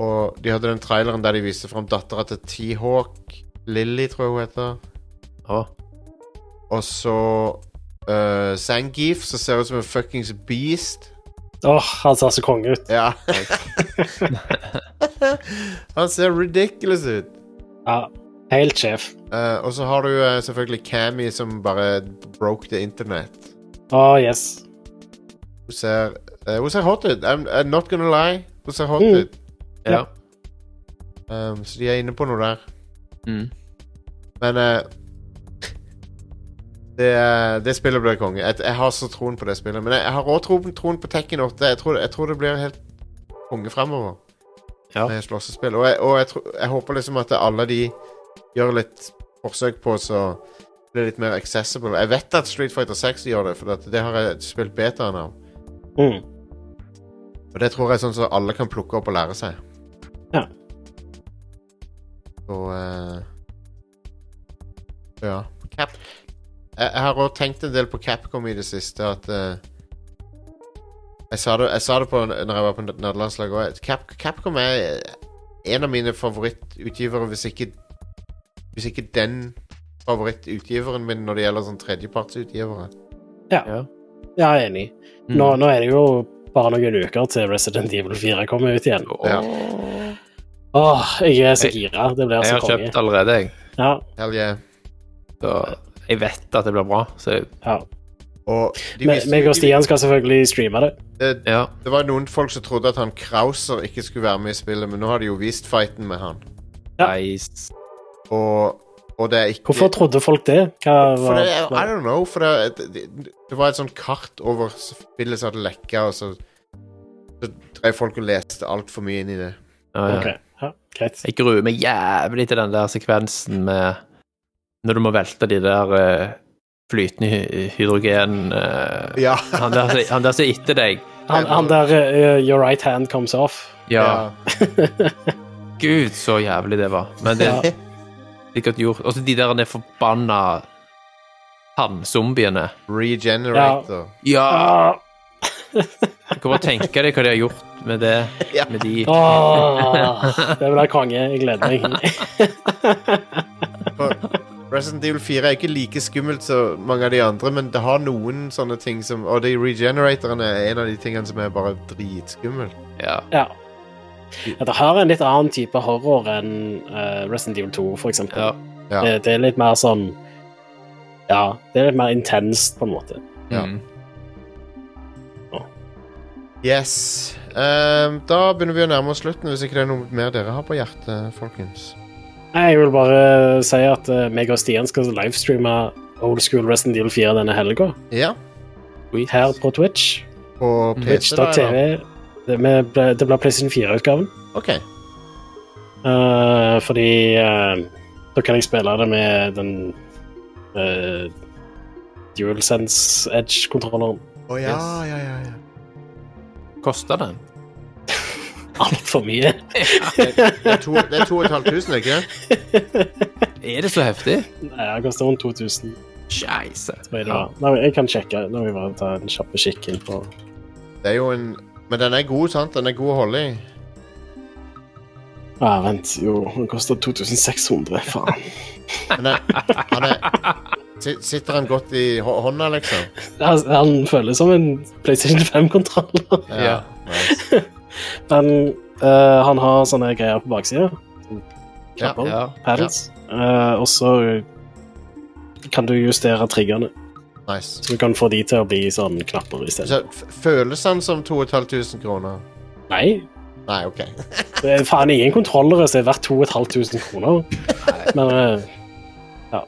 Speaker 1: Og de hadde den traileren der de viste fram dattera til T-Hawk. Lilly, tror jeg hun heter.
Speaker 3: Å.
Speaker 1: eh, Og så uh, Sangif, som ser ut som en fuckings beast.
Speaker 2: Åh, han ser så konge ut.
Speaker 1: Ja. Han ser ridiculous ut.
Speaker 2: Ja, Helt sjef.
Speaker 1: Eh, og så har du eh, selvfølgelig Cammy som bare broke the internet.
Speaker 2: Åh, yes.
Speaker 1: Hun ser, eh, hun ser hot ut. I'm, I'm not gonna lie. Hun ser hot
Speaker 2: Mm.
Speaker 1: ut.
Speaker 3: Ja.
Speaker 1: Um, så de er inne på noe der.
Speaker 3: Mm.
Speaker 1: Men eh, [LAUGHS] det, eh, det spillet blir konge. Jeg, jeg har så troen på det spillet. Men jeg, jeg har òg troen, troen på Tekken 8. Jeg tror, jeg tror det blir helt konge fremover.
Speaker 3: Ja.
Speaker 1: Med slåssespill. Og, jeg, og jeg, tror- jeg håper liksom at alle de gjør litt forsøk på så det blir litt mer accessible. Jeg vet at Street Fighter 6 gjør det, for at det har jeg spilt betaen av.
Speaker 2: Mm.
Speaker 1: Og det tror jeg er sånn som alle kan plukke opp og lære seg.
Speaker 2: Ja.
Speaker 1: Så eh, Ja. Cap. Jeg, jeg har også tenkt en del på Capcom i det siste, at eh, jeg, sa det, jeg sa det på n- når jeg var på nederlandslaget òg. Cap, Capcom er en av mine favorittutgivere, hvis ikke Hvis ikke den favorittutgiveren min når det gjelder sånn tredjepartsutgivere.
Speaker 3: Ja.
Speaker 2: Ja, jeg er enig.
Speaker 3: Mm.
Speaker 2: Nå, nå er det jo bare noen uker til Resident Evil 4 kommer ut igjen.
Speaker 3: Åh.
Speaker 1: Ja.
Speaker 2: Åh, jeg er så
Speaker 3: Jeg-
Speaker 2: gira. Det blir
Speaker 3: Jeg har
Speaker 2: så konge.
Speaker 3: kjøpt allerede, jeg.
Speaker 2: Ja,
Speaker 1: Hell yeah.
Speaker 3: Så jeg vet at det blir bra. Så jeg-
Speaker 2: ja.
Speaker 1: Og de
Speaker 2: Me-
Speaker 1: visste-
Speaker 2: Meg og
Speaker 1: de-
Speaker 2: Stian skal selvfølgelig streame det.
Speaker 1: det,
Speaker 3: ja.
Speaker 1: Det var noen folk som trodde at han Krauser ikke skulle være med i spillet, men nå har de jo vist fighten med han.
Speaker 2: Ja.
Speaker 3: Nice.
Speaker 1: Og, og det er ikke
Speaker 2: Hvorfor trodde folk det? Hva
Speaker 1: For det, er- I
Speaker 2: var
Speaker 1: don't know. For det, er- det, det var et sånt kart over spillet som hadde lekka, og så, så drev folk og leste altfor mye inn i det.
Speaker 3: Ja, ja.
Speaker 2: Ok, ja, greit.
Speaker 3: Jeg gruer meg jævlig til den der sekvensen med Når du må velte de der eh, flytende hy hydrogen eh,
Speaker 1: Ja.
Speaker 3: han, der, som- han der som er etter deg.
Speaker 2: Han, han der eh, Your right hand comes off.
Speaker 3: Ja, gud, så jævlig det var. Men det [LAUGHS] er sikkert gjort. Og så de der forbanna hannzombiene.
Speaker 1: Regenerator.
Speaker 3: Ja!
Speaker 2: Ah,
Speaker 3: Jeg kan bare tenke deg hva de har gjort med det.
Speaker 1: Ja.
Speaker 3: Med de.
Speaker 2: åh, det blir konge. Jeg gleder meg.
Speaker 1: For Resident Evil 4 er ikke like skummelt som mange av de andre, men det har noen sånne ting som Og de regeneratorene er en av de tingene som er bare dritskummelt.
Speaker 3: Ja.
Speaker 2: Ja. Ja, Det har en litt annen type horror enn eh, Resident Evil 2, for eksempel.
Speaker 3: ja.
Speaker 1: Ja.
Speaker 2: Det, det er litt mer sånn Ja, det er litt mer intenst, på en måte.
Speaker 1: Ja.
Speaker 3: Mm.
Speaker 1: Yes. Ehm, da begynner vi å nærme oss slutten, hvis ikke det er noe mer dere har på hjertet, folkens.
Speaker 2: Nei, Jeg vil bare si at eh, meg og Stian skal livestreame Old School Resident Evil 4 denne helga,
Speaker 1: Ja. Mm.
Speaker 3: Sweet.
Speaker 2: her på Twitch.
Speaker 1: På PC, da? eller?
Speaker 2: Twitch.tv. Det med- det blir PlayStation 4-utgaven.
Speaker 1: OK.
Speaker 2: Eh, fordi eh, da kan jeg spille det med den eh, DualSense Edge-kontrolleren.
Speaker 1: Å ja, ja, ja, ja.
Speaker 3: Kosta den?
Speaker 2: Altfor mye.
Speaker 1: Det er to- det er 2500, ikke det?
Speaker 3: Er det så heftig?
Speaker 2: Nei, det koster rundt 2000.
Speaker 3: Scheisse.
Speaker 2: tror jeg det var. Nei, men jeg kan sjekke. Nå må jeg bare ta en kjapp kikk inn på
Speaker 1: Det er jo en Men den er god, sant? Den er god å holde i.
Speaker 2: Ja, vent. Jo, den koster 2600. Faen.
Speaker 1: Men den, han er si- Sitter han godt i hå- hånda, liksom?
Speaker 2: Altså, [LAUGHS] Han føles som en PlayStation 5-kontroller.
Speaker 3: Ja.
Speaker 1: nice.
Speaker 2: Men eh, han har sånne greier på baksida.
Speaker 1: Ja,
Speaker 2: Knapper.
Speaker 3: Ja.
Speaker 2: Paddles. Eh, og så kan du justere triggerne,
Speaker 1: nice.
Speaker 2: så du kan få de til å bli sånn knapper isteden.
Speaker 1: Så f- føles han som 2500 kroner?
Speaker 2: Nei,
Speaker 1: Nei, OK.
Speaker 2: det er faen ingen kontrollere som er verdt 2500 kroner. Men eh, ja.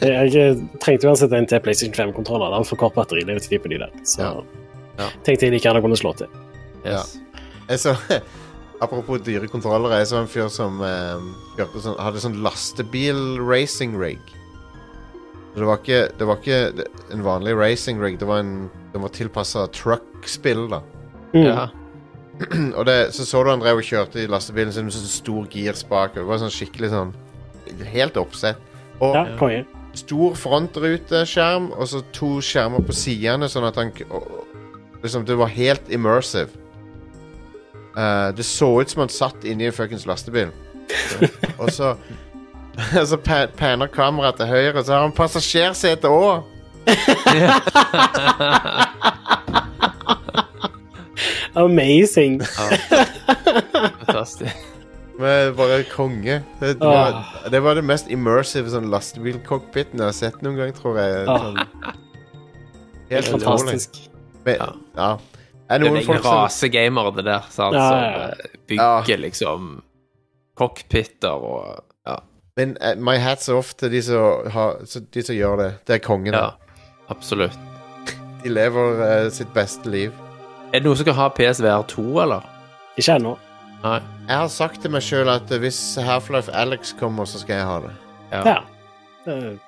Speaker 2: Jeg eh, trengte uansett en til PlayStation 5-kontroller. Det er for kort batterilevetid på de der. Så
Speaker 1: Ja. Ja.
Speaker 2: tenkte jeg like gjerne kunne slå til.
Speaker 3: Yes.
Speaker 1: Jeg så, [LAUGHS] apropos dyre kontrollere, jeg så en fyr som eh, kjørte sånn, hadde sånn lastebil-racing-rig. Det var ikke, det var ikke en vanlig racing-rig, det var, en, det var tilpassa truck-spill, da. [CLEARS THROAT]
Speaker 2: Mm.
Speaker 3: Ja.
Speaker 1: Og det, så så du han drev og kjørte i lastebilen sin med sånn stor girspak. og Det var sånn skikkelig sånn Helt oppsett. Og
Speaker 2: Ja, konge.
Speaker 1: stor frontruteskjerm, og så to skjermer på sidene, sånn at han k- og- og- Liksom, det var helt immersive. Eh, det så ut som han satt inni en fuckings
Speaker 2: [LAUGHS]
Speaker 1: lastebil. og så [LAUGHS] og så pa- panner kameraet til høyre, så har han passasjersete òg!
Speaker 2: Amazing.
Speaker 3: Fantastisk.
Speaker 1: Men bare konge. Det, det, var,
Speaker 2: Ah.
Speaker 1: det var det mest immersive sånn lastebilcockpiten jeg har sett noen gang, tror jeg.
Speaker 2: Ah.
Speaker 1: Sånn.
Speaker 2: Helt fantastisk.
Speaker 1: Men, ja. Er
Speaker 3: Det
Speaker 1: noen
Speaker 3: er en
Speaker 1: folk som
Speaker 3: rasegamer, det der, sant,
Speaker 2: Ja,
Speaker 3: som
Speaker 2: ja, ja.
Speaker 3: eh, bygger
Speaker 1: Ja.
Speaker 3: liksom cockpiter og Ja.
Speaker 1: Men eh, my hats off til de som, har, så de som gjør det. Det er kongen.
Speaker 3: ja
Speaker 1: da.
Speaker 3: absolutt.
Speaker 1: De lever eh, sitt beste liv.
Speaker 3: Er det noen som kan ha PSVR 2, eller?
Speaker 2: Ikke ennå.
Speaker 3: Nei.
Speaker 1: Jeg har sagt til meg sjøl at eh, hvis Half-Life Alex kommer, så skal jeg ha det.
Speaker 2: Ja. Eh,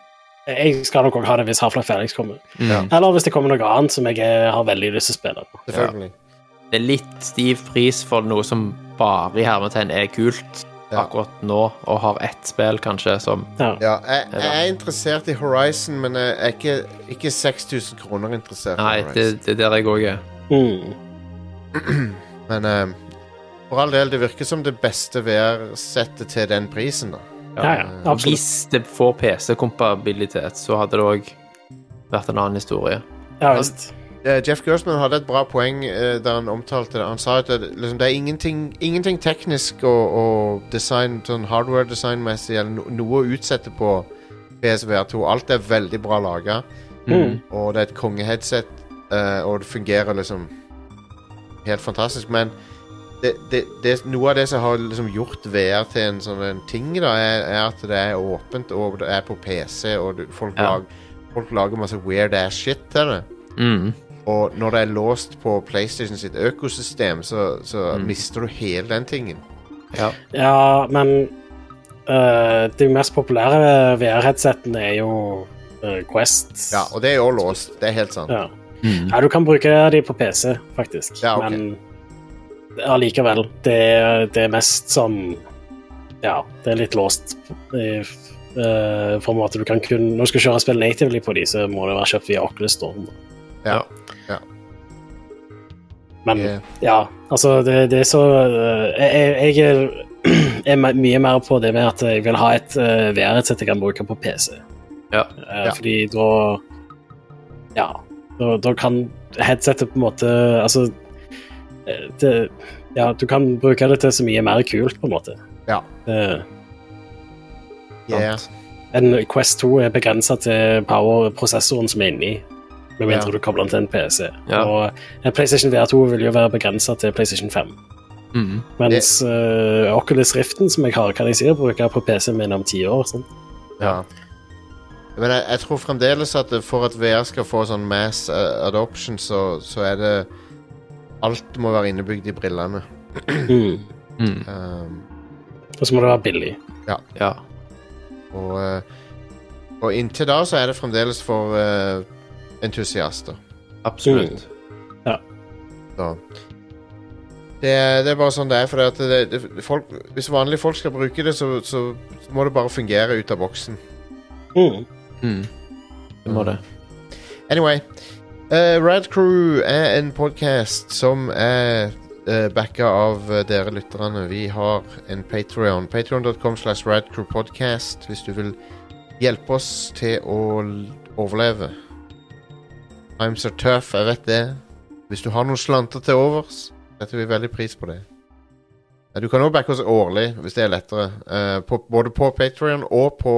Speaker 2: Jeg skal nok òg ha det hvis Half-Life Felix kommer.
Speaker 3: Mm.
Speaker 2: Eller hvis det kommer noe annet som jeg eh, har veldig lyst til å spille. på.
Speaker 1: Selvfølgelig.
Speaker 3: Det er litt stiv pris for noe som bare i hermetegn er kult
Speaker 1: Ja.
Speaker 3: akkurat nå, og har ett spill kanskje som
Speaker 2: Ja.
Speaker 1: Ja, jeg, jeg er interessert i Horizon, men jeg er ikke, ikke 6000 kroner interessert. i
Speaker 3: Nei,
Speaker 1: Horizon.
Speaker 3: det, det er der jeg òg er.
Speaker 2: Mm.
Speaker 1: Men eh, for all del, det virker som det beste VR-settet til den prisen, da.
Speaker 2: ja, ja. Absolutt.
Speaker 3: Hvis det får PC-kompabilitet, så hadde det òg vært en annen historie.
Speaker 2: Ja visst.
Speaker 1: Eh, Jeff Gersman hadde et bra poeng eh, da han omtalte det. Han sa at det, liksom, det er ingenting, ingenting teknisk og, og design, sånn hardware-designmessig eller no, noe å utsette på PSVR2. Alt er veldig bra laga,
Speaker 2: Mm.
Speaker 1: og det er et kongeheadset, eh, og det fungerer liksom helt fantastisk. Men det, det, det, noe av det som har liksom gjort VR til en sånn en ting, da, er, er at det er åpent, og det er på PC, og du, folk,
Speaker 3: Ja.
Speaker 1: lager, folk lager masse weird ass shit til det.
Speaker 3: Mm.
Speaker 1: Og når det er låst på PlayStation sitt økosystem, så, så mister du hele den tingen.
Speaker 3: Ja.
Speaker 2: Ja, men eh, de mest populære VR-headsetene er jo eh, Quest.
Speaker 1: Ja, og det er jo låst. Det er helt sant.
Speaker 2: Ja. ja, du kan bruke de på PC, faktisk.
Speaker 1: Ja, ok.
Speaker 2: Men allikevel, det, er- det er mest sånn Ja, det er litt låst. i, eh, på en måte du kan kun Når du skal kjøre spill natively på de, så må det være kjøpt via Oculus Storm.
Speaker 1: Ja.
Speaker 2: Men
Speaker 1: Yeah.
Speaker 2: ja, altså det, det er så eh, Jeg, jeg er, [CLEARS THROAT] er me- mye mer på det med at jeg vil ha et eh, VR-headset jeg kan bruke på PC.
Speaker 3: Ja.
Speaker 2: Eh,
Speaker 1: Ja.
Speaker 2: Fordi da Ja. Da, da kan headsetet på en måte Altså eh, det, Ja, du kan bruke det til så mye mer kult, på en måte.
Speaker 1: Ja.
Speaker 2: Eh,
Speaker 1: Yeah.
Speaker 2: En Quest 2 er begrensa til power-prosessoren som er inni, med
Speaker 1: Ja.
Speaker 2: mindre du kobler den til en PC.
Speaker 3: Ja.
Speaker 2: Og en PlayStation VR2 vil jo være begrensa til PlayStation 5.
Speaker 3: Mm.
Speaker 2: Mens eh, Oculus Riften, som jeg har, kan jeg sikkert bruke på PC-en min om ti år. Sånn.
Speaker 1: ja. Men jeg, jeg tror fremdeles at det- for at VR skal få sånn mass eh, adoption, så, så er det Alt må være innebygd i brillene.
Speaker 2: Mm.
Speaker 3: Mm.
Speaker 1: Um,
Speaker 2: Og så må det være billig.
Speaker 3: Ja.
Speaker 1: og, eh, og inntil da så er det fremdeles for eh, entusiaster.
Speaker 3: Absolutt.
Speaker 1: Så. Det, er- det er bare sånn det er. For at det, det, folk, hvis vanlige folk skal bruke det, så, så, så må det bare fungere ut av boksen.
Speaker 2: Mm.
Speaker 3: Mm. Det må det.
Speaker 1: Anyway. eh, Rad Crew er en podkast som er uh, backa av eh, dere lytterne. Vi har en Patreon Patreon.com slash radcrewpodcast hvis du vil hjelpe oss til å l- overleve. Times are tough, jeg vet det. Hvis du har noen slanter til overs, setter vi veldig pris på det. Eh, Du kan også backe oss årlig, hvis det er lettere. eh, på, både på Patreon og på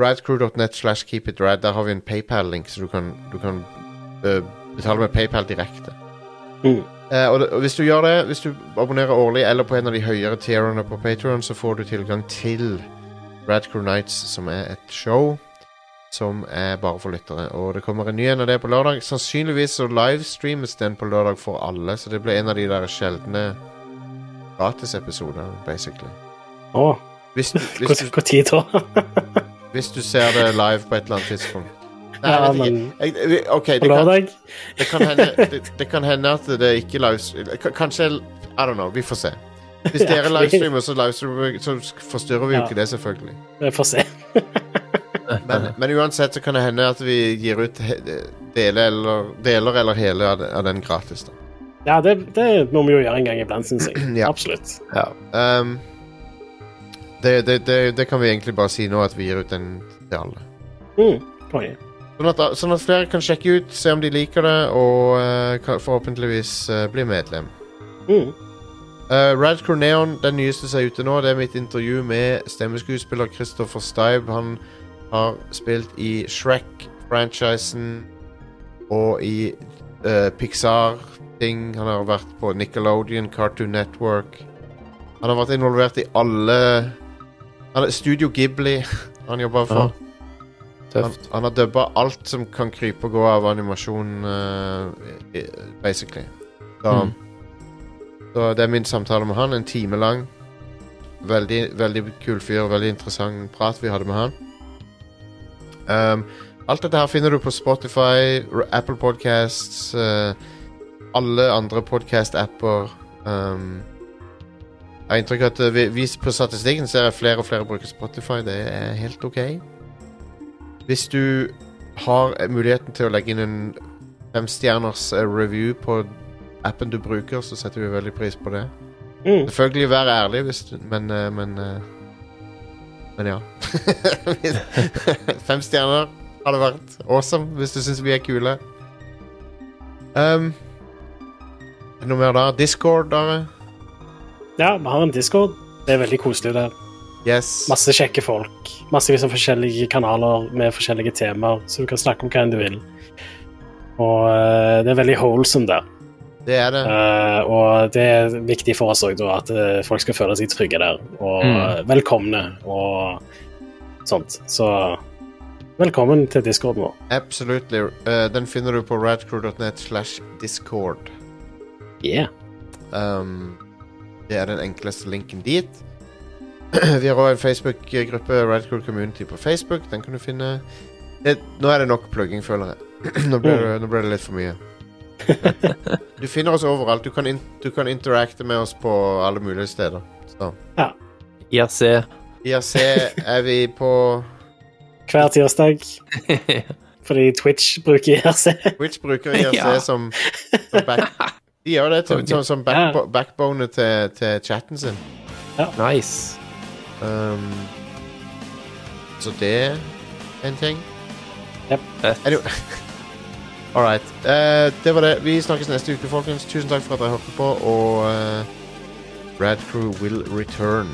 Speaker 1: radcrew.net slash keepitrad. Der har vi en PayPal-link, så du kan, du kan eh, betale med PayPal direkte.
Speaker 2: Mm.
Speaker 1: Eh, og, det- og hvis du gjør det, hvis du abonnerer årlig eller på en av de høyere tierene på Patreon, så får du tilgang til Radcrew Nights, som er et show som er bare for lyttere. Og det kommer en ny en av det på lørdag. Sannsynligvis så livestreames den på lørdag for alle, så det blir en av de der sjeldne gratisepisodene, basically.
Speaker 2: Å,
Speaker 1: Hvis du,
Speaker 2: hvor, [LAUGHS]
Speaker 1: hvis du
Speaker 2: hvor tid da?
Speaker 1: hvis du ser det live på et eller annet tidspunkt. Nei,
Speaker 2: Ja,
Speaker 1: jeg vet ikke.
Speaker 2: men-
Speaker 1: Jeg, jeg, ok, det
Speaker 2: På
Speaker 1: kan,
Speaker 2: lørdag?
Speaker 1: det, kan hende, det, det kan hende at det ikke livestream... k- Kanskje I don't know. Vi får se. Hvis
Speaker 2: Ja,
Speaker 1: dere
Speaker 2: fordi-
Speaker 1: livestreamer, så, livestreamer, vi- så sk- forstyrrer vi jo
Speaker 2: Ja.
Speaker 1: ikke det, selvfølgelig.
Speaker 2: Vi får se.
Speaker 1: Men, men uansett så kan det hende at vi gir ut he, deler, eller, deler eller hele av, de- av den gratis. da.
Speaker 2: Ja, det, det må vi jo gjøre en gang iblant, syns jeg.
Speaker 1: [CLEARS THROAT] Ja.
Speaker 2: Absolutt.
Speaker 3: Ja.
Speaker 1: Um, det, det, det, det kan vi egentlig bare si nå, at vi gir ut den til alle.
Speaker 2: Mm. Konge.
Speaker 1: Sånn at, sånn at flere kan sjekke ut, se om de liker det, og eh, kan, forhåpentligvis eh, bli medlem.
Speaker 2: Mm.
Speaker 1: Uh, Radcrow Neon, den nyeste som er ute nå, det er mitt intervju med stemmeskuespiller Christopher Stibe. Han har spilt i Shrek-franchisen og i eh, Pixar-ting. Han har vært på Nickelodeon, Cartoon Network. Han har vært involvert i alle han er Studio Ghibli han jobber for.
Speaker 3: Ja.
Speaker 1: Han,
Speaker 3: Tøft.
Speaker 1: han har dubba alt som kan krype og gå av animasjon, eh, i- basically. Så,
Speaker 3: Mm.
Speaker 1: så det er min samtale med han, en time lang. Veldig, veldig kul fyr, veldig interessant prat vi hadde med han. Um, alt dette her finner du på Spotify, R- Apple Podcasts, eh, alle andre podcast-apper. Um, jeg har inntrykk av at eh, vi, vi på statistikken ser jeg flere og flere bruker Spotify. Det er helt ok. Hvis du har muligheten til å legge inn en femstjerners eh, review på appen du bruker, så setter vi veldig pris på det.
Speaker 2: Mm.
Speaker 1: Selvfølgelig vær ærlig, hvis du, men eh, Men, eh, men ja. [LAUGHS] Fem stjerner hadde vært awesome hvis du syns vi er kule. Um, er det noe mer da? Discord, da?
Speaker 2: Ja, vi har en Discord. Det er veldig koselig. det.
Speaker 1: Yes.
Speaker 2: Masse kjekke folk. Masse liksom forskjellige kanaler med forskjellige temaer, så du kan snakke om hva enn du vil. Og eh, det er veldig holesome der.
Speaker 1: Det er det.
Speaker 2: Eh, og det er viktig for oss også, da, at eh, folk skal føle seg trygge der, og
Speaker 3: Mm.
Speaker 2: eh, velkomne og sånt. Så velkommen til discorden vår.
Speaker 1: Absolutt. Eh, den finner du på radcrew.net slash discord.
Speaker 2: Yeah.
Speaker 1: Um, det er den enkleste linken dit. [CLEARS THROAT] Vi har òg en Facebook-gruppe, Radcool Community, på Facebook. Den kan du finne. Det, nå er det nok plugging, føler jeg. [CLEARS THROAT] nå, ble det, nå ble det litt for mye. Du finner oss overalt. Du kan, in, du kan interacte med oss på alle mulige steder. Så.
Speaker 3: IRC.
Speaker 1: IRC er vi på
Speaker 2: Hver tirsdag, fordi Twitch bruker [LAUGHS] IRC.
Speaker 1: Twitch bruker IRC
Speaker 3: Ja.
Speaker 1: som, som back... De gjør det til, som, som back,
Speaker 2: Ja.
Speaker 1: backbone til, til chatten sin.
Speaker 3: [LAUGHS] nice.
Speaker 1: Um, så det er en ting.
Speaker 3: Fett.
Speaker 1: Er det jo- [LAUGHS] All right. Eh, det var det. Vi snakkes neste uke, folkens. Tusen takk for at dere hørte på, og eh, Rad Crew will return.